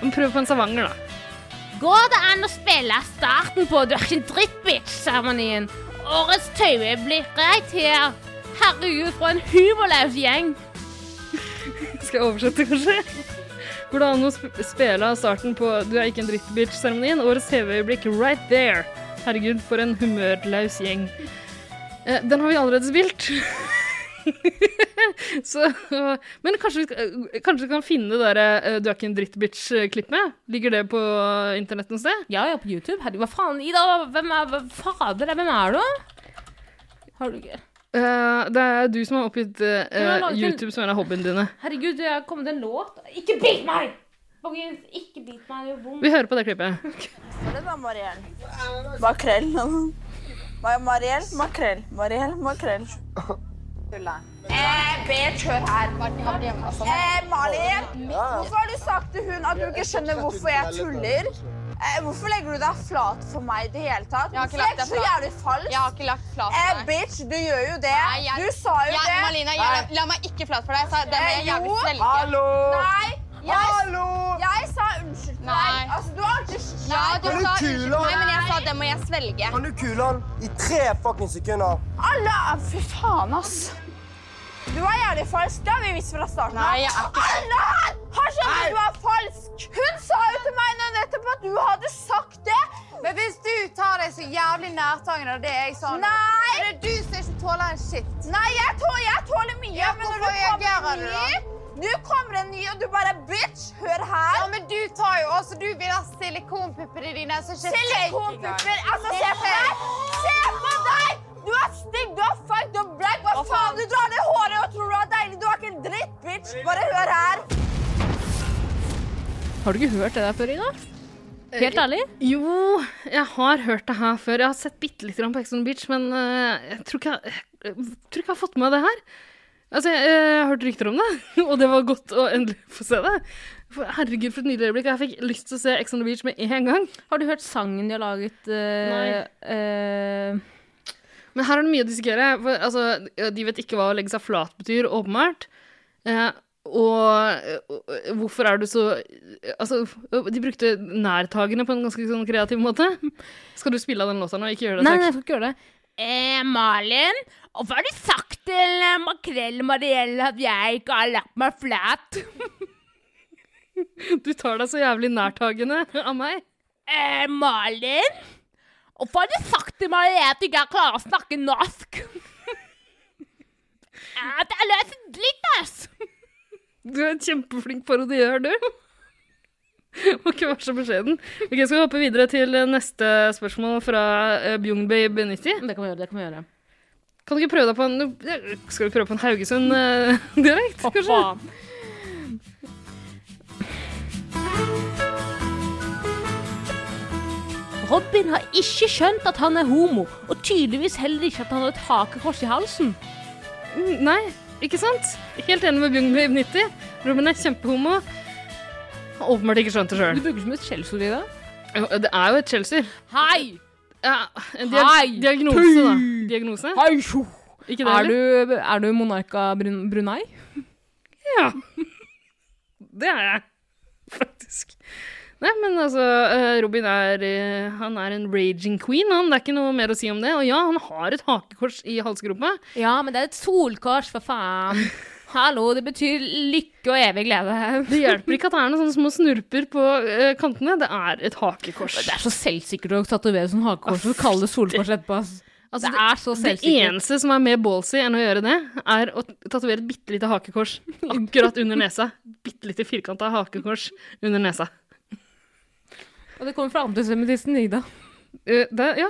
Men Prøv på en Stavanger, da.
Går det an å spille starten på Du er ikke en drittbitch-seremonien? Årets tøye blir rett her. Herregud, for en humorløs gjeng.
Skal jeg oversette, kanskje? Går det an å sp- spille av starten på Du er ikke en drittbitch-seremonien? Årets TV-øyeblikk right there. Herregud, for en humørløs gjeng. Eh, den har vi allerede spilt. Så, men kanskje vi, skal, eh, kanskje vi kan finne det der eh, Du er ikke en drittbitch-klippet? Ligger det på internett noe sted?
Ja, ja, på YouTube. Herregud, hva faen? Ida, hvem er, hva, fader, hvem er du? Har du ikke
Eh, det er du som har oppgitt eh,
Men jeg har laget en-
YouTube som en av hobbyene dine.
Herregud, det er kommet en låt. Ikke bit meg! Folkens, ikke bit meg. Det gjør vondt.
Vi hører på det klippet.
Var det da, Mariell? Makrell. Ma- Mariell, makrell. Mariell, makrell. Eh, bitch, hør her. Eh, Malin, hvorfor har du sagt til hun at du ikke skjønner hvorfor jeg tuller? Eh, hvorfor legger du deg flat for meg i det hele tatt?
Jeg har ikke
Hvorfor
lagt deg
er du
flat.
så jævlig falsk?
Jeg har ikke lagt flat for
Eh,
deg.
bitch, du gjør jo det.
Nei, jeg-
Du sa jo
Jeg-
det.
Malina, jeg- la meg ikke flat for deg. Så det må jeg er
Eh,
jævlig
jo.
svelge.
Nei! Jeg, jeg sa unnskyld til
Nei.
deg. Altså, du har alltid
Ja, du
Nei,
sa
du
unnskyld
tuller.
meg, men jeg sa det må jeg svelge.
Kan
du
kule han
I tre fucking sekunder.
Alle er Fy faen, ass. Du er jævlig falsk. Det har vi visst fra starten
Nei, jeg er ikke falsk.
Alle her har skjønt at du er falsk! Hun sa jo til meg nå nettopp at du hadde sagt det. Men hvis du tar deg så jævlig nærtagende av det jeg sa nå, Nei! er det du som ikke tåler en shit. Nei, jeg tåler, jeg tåler mye,
Ja,
men
hvorfor
når du kommer
reagerer
en
du da?
ny Nå kommer en ny, og du bare Bitch, hør her.
Ja, men du tar jo også Du vil ha silikonpupper i dine. Så ikke
Silikonpupper! Altså, se på deg! Se på deg! Du er stygg, du er feig, du er black. Hva faen? Du drar ned håret og tror du er deilig. Du er ikke en dritt, bitch. Bare hør her.
Har du ikke hørt det der før, Ida? Helt ærlig?
Jo, jeg har hørt det her før. Jeg har sett bitte litt grann på Ex on the Beach, men eh, jeg, tror ikke jeg, jeg tror ikke jeg har fått med meg det her. Altså, jeg, eh, jeg har hørt rykter om det, og det var godt å endelig få se det. For, herregud, for et nydelig øyeblikk. Jeg fikk lyst til å se Ex on the Beach med en gang.
Har du hørt sangen de har laget? eh,
Men her er det mye å diskutere. For, altså, de vet ikke hva å legge seg flat betyr, åpenbart. Eh, og, og hvorfor er du så Altså, de brukte nærtagende på en ganske sånn kreativ måte. Skal du spille av den låta nå? Ikke gjør det.
Nei, nei,
takk.
jeg skal ikke gjøre det. Eh, Malin, og hva har du sagt til eh, Makrell Marielle at jeg ikke har lagt meg flat?
Du tar deg så jævlig nærtagende av meg.
Eh, Malin, og hva har du sagt til Marielle at du ikke klarer å snakke norsk? eh, det er løs dritt, ass!
Du er en kjempeflink parodiør, du. Må ikke være så beskjeden. Ok, Skal vi hoppe videre til neste spørsmål fra eh, Bjungbabe90?
Det kan vi gjøre. det Kan vi gjøre.
Kan du ikke prøve deg på en Skal du prøve på en Haugesund-dialekt, kanskje?
Robin har ikke skjønt at han er homo, og tydeligvis heller ikke at han har et hakekors i halsen.
Mm, Nei, ikke sant? Helt enig med Bjungbabe90. Robin er kjempehomo. Har åpenbart ikke skjønt det sjøl.
Du bruker som et skjellsord i dag.
Det er jo et skjellsord.
Hei!
Ja, en diag
Hei!
Diagnose,
Tøy!
da. Diagnose.
Hei, sjo!
Ikke det,
Er
eller?
du, er du monark av Brun Brunei?
Ja. Det er jeg, faktisk. Nei, men altså, eh, Robin er, eh, han er en raging queen, han. Det er ikke noe mer å si om det. Og ja, han har et hakekors i halsgropa.
Ja, men det er et solkors, for faen. Hallo, det betyr lykke og evig glede.
Det hjelper ikke at det er noen sånne små snurper på eh, kantene. Det er et hakekors.
Det er så selvsikkert å tatovere sånn hakekors og kalle det solkors etterpå. ass.
Altså,
det er så
Det
selvsikkert.
eneste som er mer ballsy enn å gjøre det, er å tatovere et bitte lite hakekors akkurat under nesa. Bitte lite firkanta hakekors under nesa.
Og det kommer fra antisemitisten Ida.
Eh, Det, ja.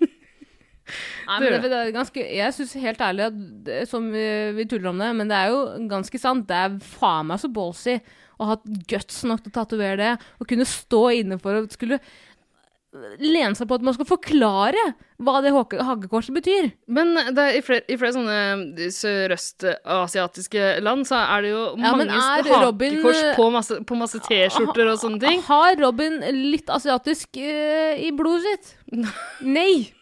Nei,
Det
men
gjør
det, det er ganske, jeg syns helt ærlig at det, som vi, vi tuller om det, men det er jo ganske sant. Det er faen meg så ballsy å ha guts nok til å tatovere det, og kunne stå inne for å skulle lene seg på at man skal forklare hva det hake- hakekorset betyr.
Men det er i flere, i flere sånne eh, sørøstasiatiske land så er det jo
Ja, men
mange
er Robin- eh,
hakekors på masse, på masse T-skjorter og sånne ting.
Har Robin litt asiatisk eh, i blodet sitt? Nei.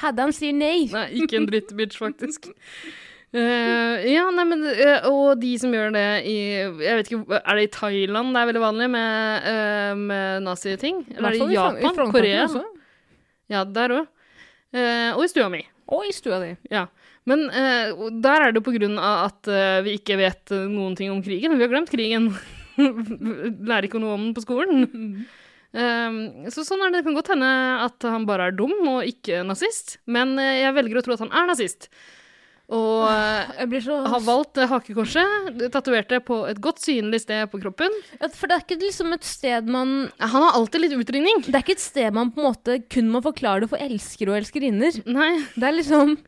Paddan sier nei.
Nei, ikke en drittbitch, faktisk. Eh, ja, nei, men eh, Og de som gjør det i Jeg vet ikke, Er det i Thailand det er veldig vanlig med, uh, med naziting?
I hvert
Eller er
fall i
det i
Fran- i
Japan?
Frankrike
Korea?
også.
Ja, der òg. og i stua mi.
Og i stua di.
Ja. Men eh, og der er det jo på grunn av at eh, vi ikke vet eh, noen ting om krigen. Vi har glemt krigen. Lærer ikke noe om den på skolen. Eh, så sånn er det. Det kan godt hende at han bare er dum og ikke nazist, men eh, jeg velger å tro at han er nazist. Og eh, har valgt eh, hakekorset, tatovert det på et godt synlig sted på kroppen.
For det er ikke liksom et sted man
Han har alltid litt utringning.
Det er ikke et sted man på en måte kun må forklare det for elskere og elskerinner.
Nei.
Det er liksom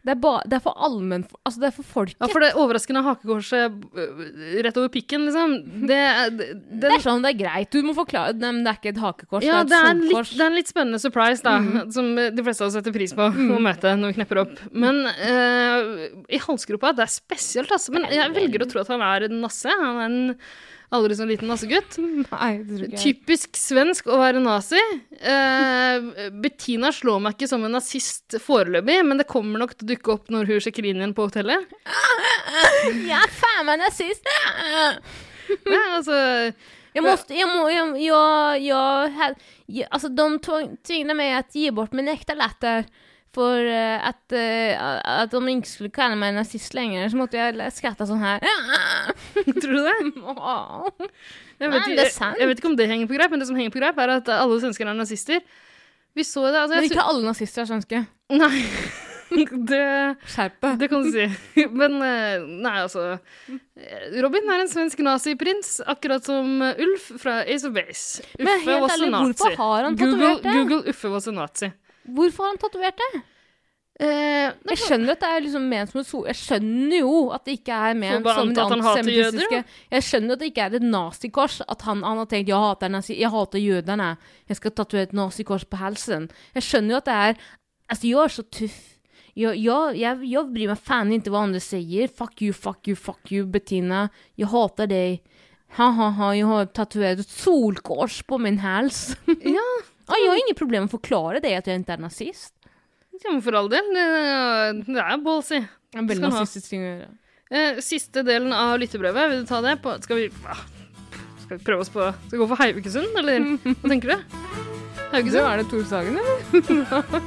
Det er, ba, det er for allmenn... Altså, det er for folket.
Ja, for det overraskende hakekorset øh, rett over pikken, liksom, det, er- det,
Det er sånn det er greit. Du må forklare Nei, men det er ikke et hakekors,
Ja,
det
det
er et
er, en litt,
solkors.
det er en litt spennende surprise, da,
Mm.
som eh, de fleste av oss setter pris på å møte når vi knepper opp. Men eh, i halsgropa, det er spesielt, altså. Men jeg velger å tro at han er en nasse. Han er en aldri så liten nassegutt.
Nei, det tror ikke jeg.
Typisk svensk å være nazi. Eh, Bettina slår meg ikke som en nazist foreløpig, men det kommer nok til å dukke opp når hun sjekker inn igjen på hotellet.
Jeg er faen meg nazist!
Nei, altså
Jag måste, jag må, jag, jag, jag, här- jag, alltså altså, de tvång- tvingade mig att ge bort min äkta latter för eh, att, eh, att de inte skulle kalla mig nazist längre så måste jag lä- skratta sån här.
Tror du det? Jeg vet,
Nei,
ikke,
det er
jeg,
sant.
jeg vet ikke om det henger på greip, men det som henger på greip, er at alle svensker er nazister. Vi så det. Altså,
Men
jeg
ikke alle nazister er svenske.
Nei. Det, det kan du si. Men eh, nei, altså eh, Robin er en svensk naziprins, akkurat som eh, Ulf fra Ace of Base. Uffe
Men helt
was a
ærlig,
nazi.
hvorfor har han
Google,
tatovert det?
Google Uffe was a nazi. Eh,
Hvorfor har han tatuerat det? jeg skjønner at det er liksom ment som et sol... Jeg skjønner jo at det ikke er
Får
ment
bare
som
anta at han hater jøder, da.
Jeg skjønner at det ikke er et nazikors. At han, han har tenkt 'jeg hater, nazi, jeg hater jødene', jeg skal tatovere et nazikors på halsen. Jeg skjønner jo at det er Altså, jeg er så tøff. Jag, jag, jag, jag bryr mig fan inte vad andra säger. Fuck you, fuck you, fuck you Bettina. Jag hatar dig. Ha ha ha, jag har tatuerat ett solkors på min hals. Ja. jag har inget problem att förklara dig att jag inte är nazist.
Ja, men for all del. Det, det er ballsy.
veldig
Skal han ha.
nazistisk ting å gjøre.
Eh, Siste delen av lyttebrevet, vil du ta det? På, skal vi ah, Skal vi prøve oss på Skal vi gå for Haugesund, eller hva tenker du? Haugesund?
er det Tor Sagen, eller?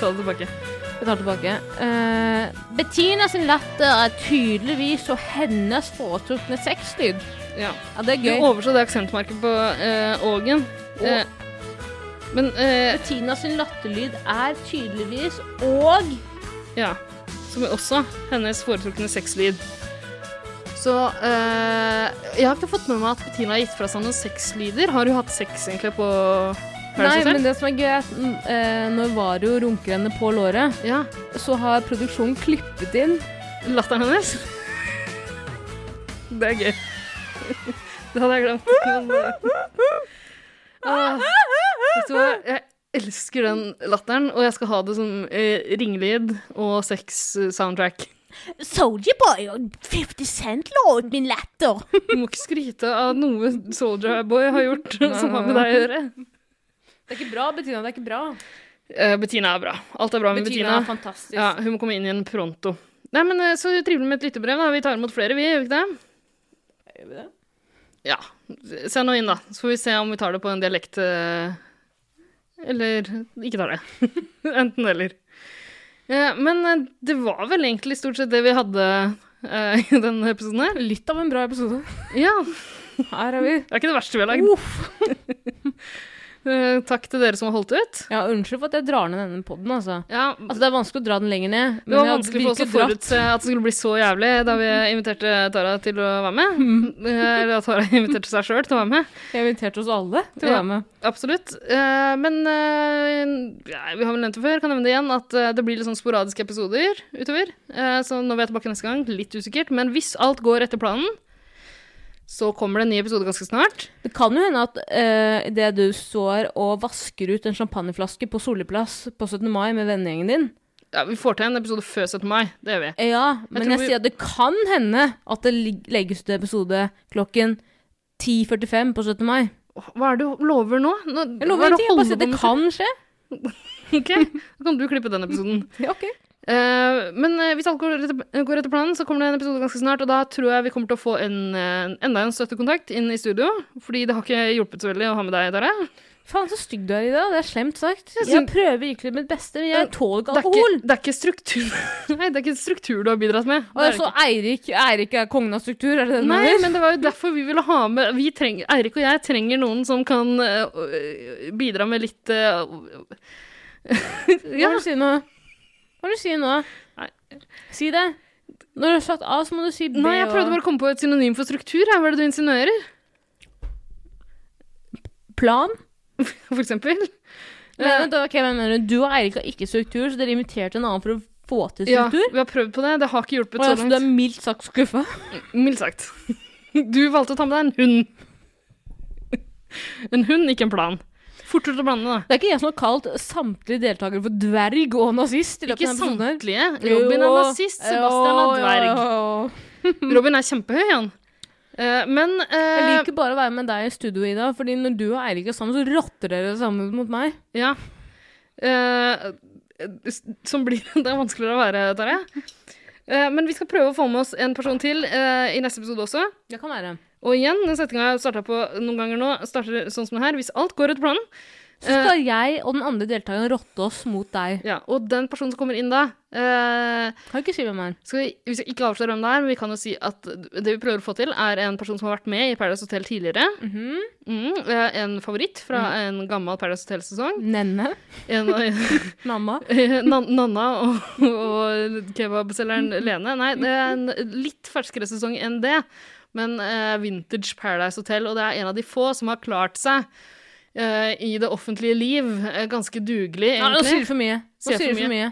Ta det tilbake.
Jeg tar tilbake. Eh, Bettina sin latter er tydeligvis og hennes foretrukne sexlyd.
Ja.
ja, det er
Du
gøy.
overså det aksentmerket på eh, Ågen. Eh, men eh,
Bettina sin latterlyd er tydeligvis og
Ja. Som er også hennes foretrukne sexlyd. Så eh, Jeg har ikke fått med meg at Bettina har gitt fra seg noen sexlyder. Har hun hatt sex egentlig på
Nei,
Paradise Hotel?
men det som er gøy, er at mm, eh, når Vario runker henne på låret, så har produksjonen klippet inn
Latteren hennes? Det er gøy. Det hadde jeg glemt. Men, eh, ah, vet du hva? Jeg elsker den latteren, og jeg skal ha det som eh, ringelyd og eh, sex-soundtrack.
Soldier Boy og 50 Cent la ut min latter.
Du må ikke skryte av noe Soldier Boy har gjort som har med deg å gjøre.
Det er ikke bra, Bettina. Det er ikke bra.
Eh, Bettina er bra. Alt er bra med
Bettina
Bettina.
er fantastisk.
Ja, hun må komme inn igjen pronto. Nei, men eh, Så trivelig med et lyttebrev. da. Vi tar imot flere, vi. Gjør vi ikke det?
Gjør vi det?
Ja. Send noe inn, da. Så får vi se om vi tar det på en dialekt eh, Eller ikke tar det. Enten eller. Eh, Men eh, det var vel egentlig stort sett det vi hadde eh, i denne episoden her.
Litt av en bra episode.
Ja.
Her er vi.
Det er ikke det verste vi har
Oh.
lagd. Eh, Takk til dere som har holdt ut.
Ja, Unnskyld for at jeg drar ned denne poden. Altså.
altså,
det er vanskelig å dra den lenger ned.
Det var vanskelig for oss å forutse at det skulle bli så jævlig da vi inviterte Tara til å være med.
Mm.
Eh, Eller at Tara inviterte seg sjøl til å være med.
Jeg inviterte oss alle til å
Ja,
være med.
Absolutt. Eh, Men eh, ja, vi har vel nevnt det før, kan nevne det igjen, at eh, det blir litt sånn sporadiske episoder utover. Eh, Så når vi er tilbake neste gang, litt usikkert. Men hvis alt går etter planen, så kommer det en ny episode ganske snart.
Det kan jo hende at eh, det du står og vasker ut en champagneflaske på Solli plass på 17. mai med vennegjengen din
Ja, Vi får til en episode før 17. mai. Det gjør vi.
Ja, men
tror
jeg,
vi-
sier at det kan hende at det lig- legges ut episode klokken 10.45 på 17. mai.
Hva er det du lover nå? nå
Jeg lover ingenting. Jeg bare sier at det kan skje.
OK, da kan du klippe den episoden. Eh, men eh, hvis alt går etter, går etter planen, så kommer det en episode ganske snart. Og da tror jeg vi kommer til å få en, eh, enda en støttekontakt inn i studio. Fordi det har ikke hjulpet så veldig å ha med deg, Tara.
Faen, så stygg du er i dag. Det er slemt sagt.
Jeg
Jeg,
syn-
prøver virkelig mitt beste, men jeg tåler ikke
Det er
alkohol.
ikke, det er ikke struktur Nei, det er ikke struktur du har bidratt med.
Og så Eirik Eirik er kongen av struktur, er det det du
Nei,
mener?
men det var jo derfor vi ville ha med vi trenger, Eirik og jeg trenger noen som kan eh, øh, bidra med litt eh,
Hva er det du sier nå? Hva er det du sier nå? Si det. Når du har satt av, så må du si B.
Nei, jeg prøvde bare å komme på et synonym for struktur. Her. Hva er det du insinuerer?
Plan?
For eksempel?
Men, vent, ok, men, mener du? du og Eirik har ikke struktur, så dere inviterte en annen for å få til
Ja,
struktur?
vi har prøvd på det. Det har ikke hjulpet
Å, ja,
så
så
langt.
du er mildt sagt skuffa?
Mildt sagt. Du valgte å ta med deg en hund. En hund, ikke en plan. Fortere til å blande, da.
Det er ikke jeg som har kalt samtlige deltakere for dverg og nazist. i løpet
Ikke
av denne episoden her.
samtlige. Robin er
Jo.
nazist, Sebastian
Jo,
er dverg.
jo, jo.
Robin er kjempehøy, han. Eh, men
Jeg
eh,
liker bare å være med deg i studio, Ida, fordi når du og Eirik er sammen, så rotter dere sammen mot meg.
Ja. Eh, s- som blir det er vanskeligere å være, Tarjei. Eh, men vi skal prøve å få med oss en person til eh, i neste episode også.
Det kan være.
Og igjen, den setninga jeg starta på noen ganger nå, starter sånn som det her. Hvis alt går etter planen
Så
Eh.
skal jeg og den andre deltakeren rotte oss mot deg.
Ja, Og den personen som kommer inn da eh,
Kan ikke si hvem det er.
Skal vi, vi skal ikke avsløre hvem det er, men vi kan jo si at det vi prøver å få til, er en person som har vært med i Paradise Hotel tidligere.
Mhm.
Mm, eh, en favoritt fra
Mm.
en gammel Paradise Hotel-sesong.
Nenne.
En,
Namma.
Eh, Nan Nanna og, og kebabselgeren
Mm.
Lene. Nei, det er en litt ferskere sesong enn det. Men eh, vintage Paradise Hotel, og det er en av de få som har klart seg eh, i det offentlige liv. eh, ganske dugelig,
Ja, nå
egentlig.
sier du for mye. Nå sier du for mye.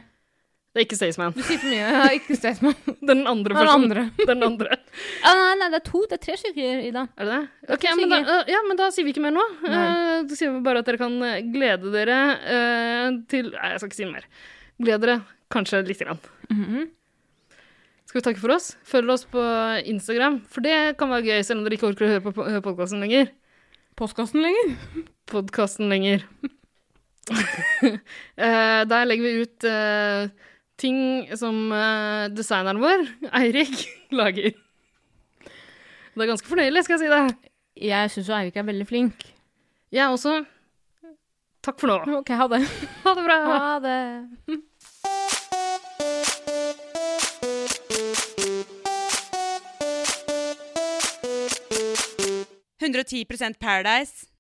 Det er ikke Staysman.
Du sier for mye. Ja, ikke Staysman.
Den andre
Den
personen.
andre.
Den andre.
Ja, nei, nei, det er to. Det er tre stykker, Ida.
Er det det?
Det er
Ok,
to
men da,
stykker.
øh, ja, men da sier vi ikke mer nå.
Nei.
Eh, Da sier vi bare at dere kan eh, glede dere eh, til Nei, jeg skal ikke si mer. Gled dere kanskje lite grann.
Mhm.
Skal vi takke for oss? Følg oss på Instagram, for det kan være gøy, selv om dere ikke orker å høre på po- høre podkasten lenger.
Postkassen lenger?
Podkasten lenger. Eh, der legger vi ut eh, ting som eh, designeren vår, Eirik, lager. Det er ganske fornøyelig, skal jeg si det.
Jeg syns jo Eirik er veldig flink.
Jeg også. Takk for nå.
OK, ha det.
Ha det bra.
Ha det.
Paradise.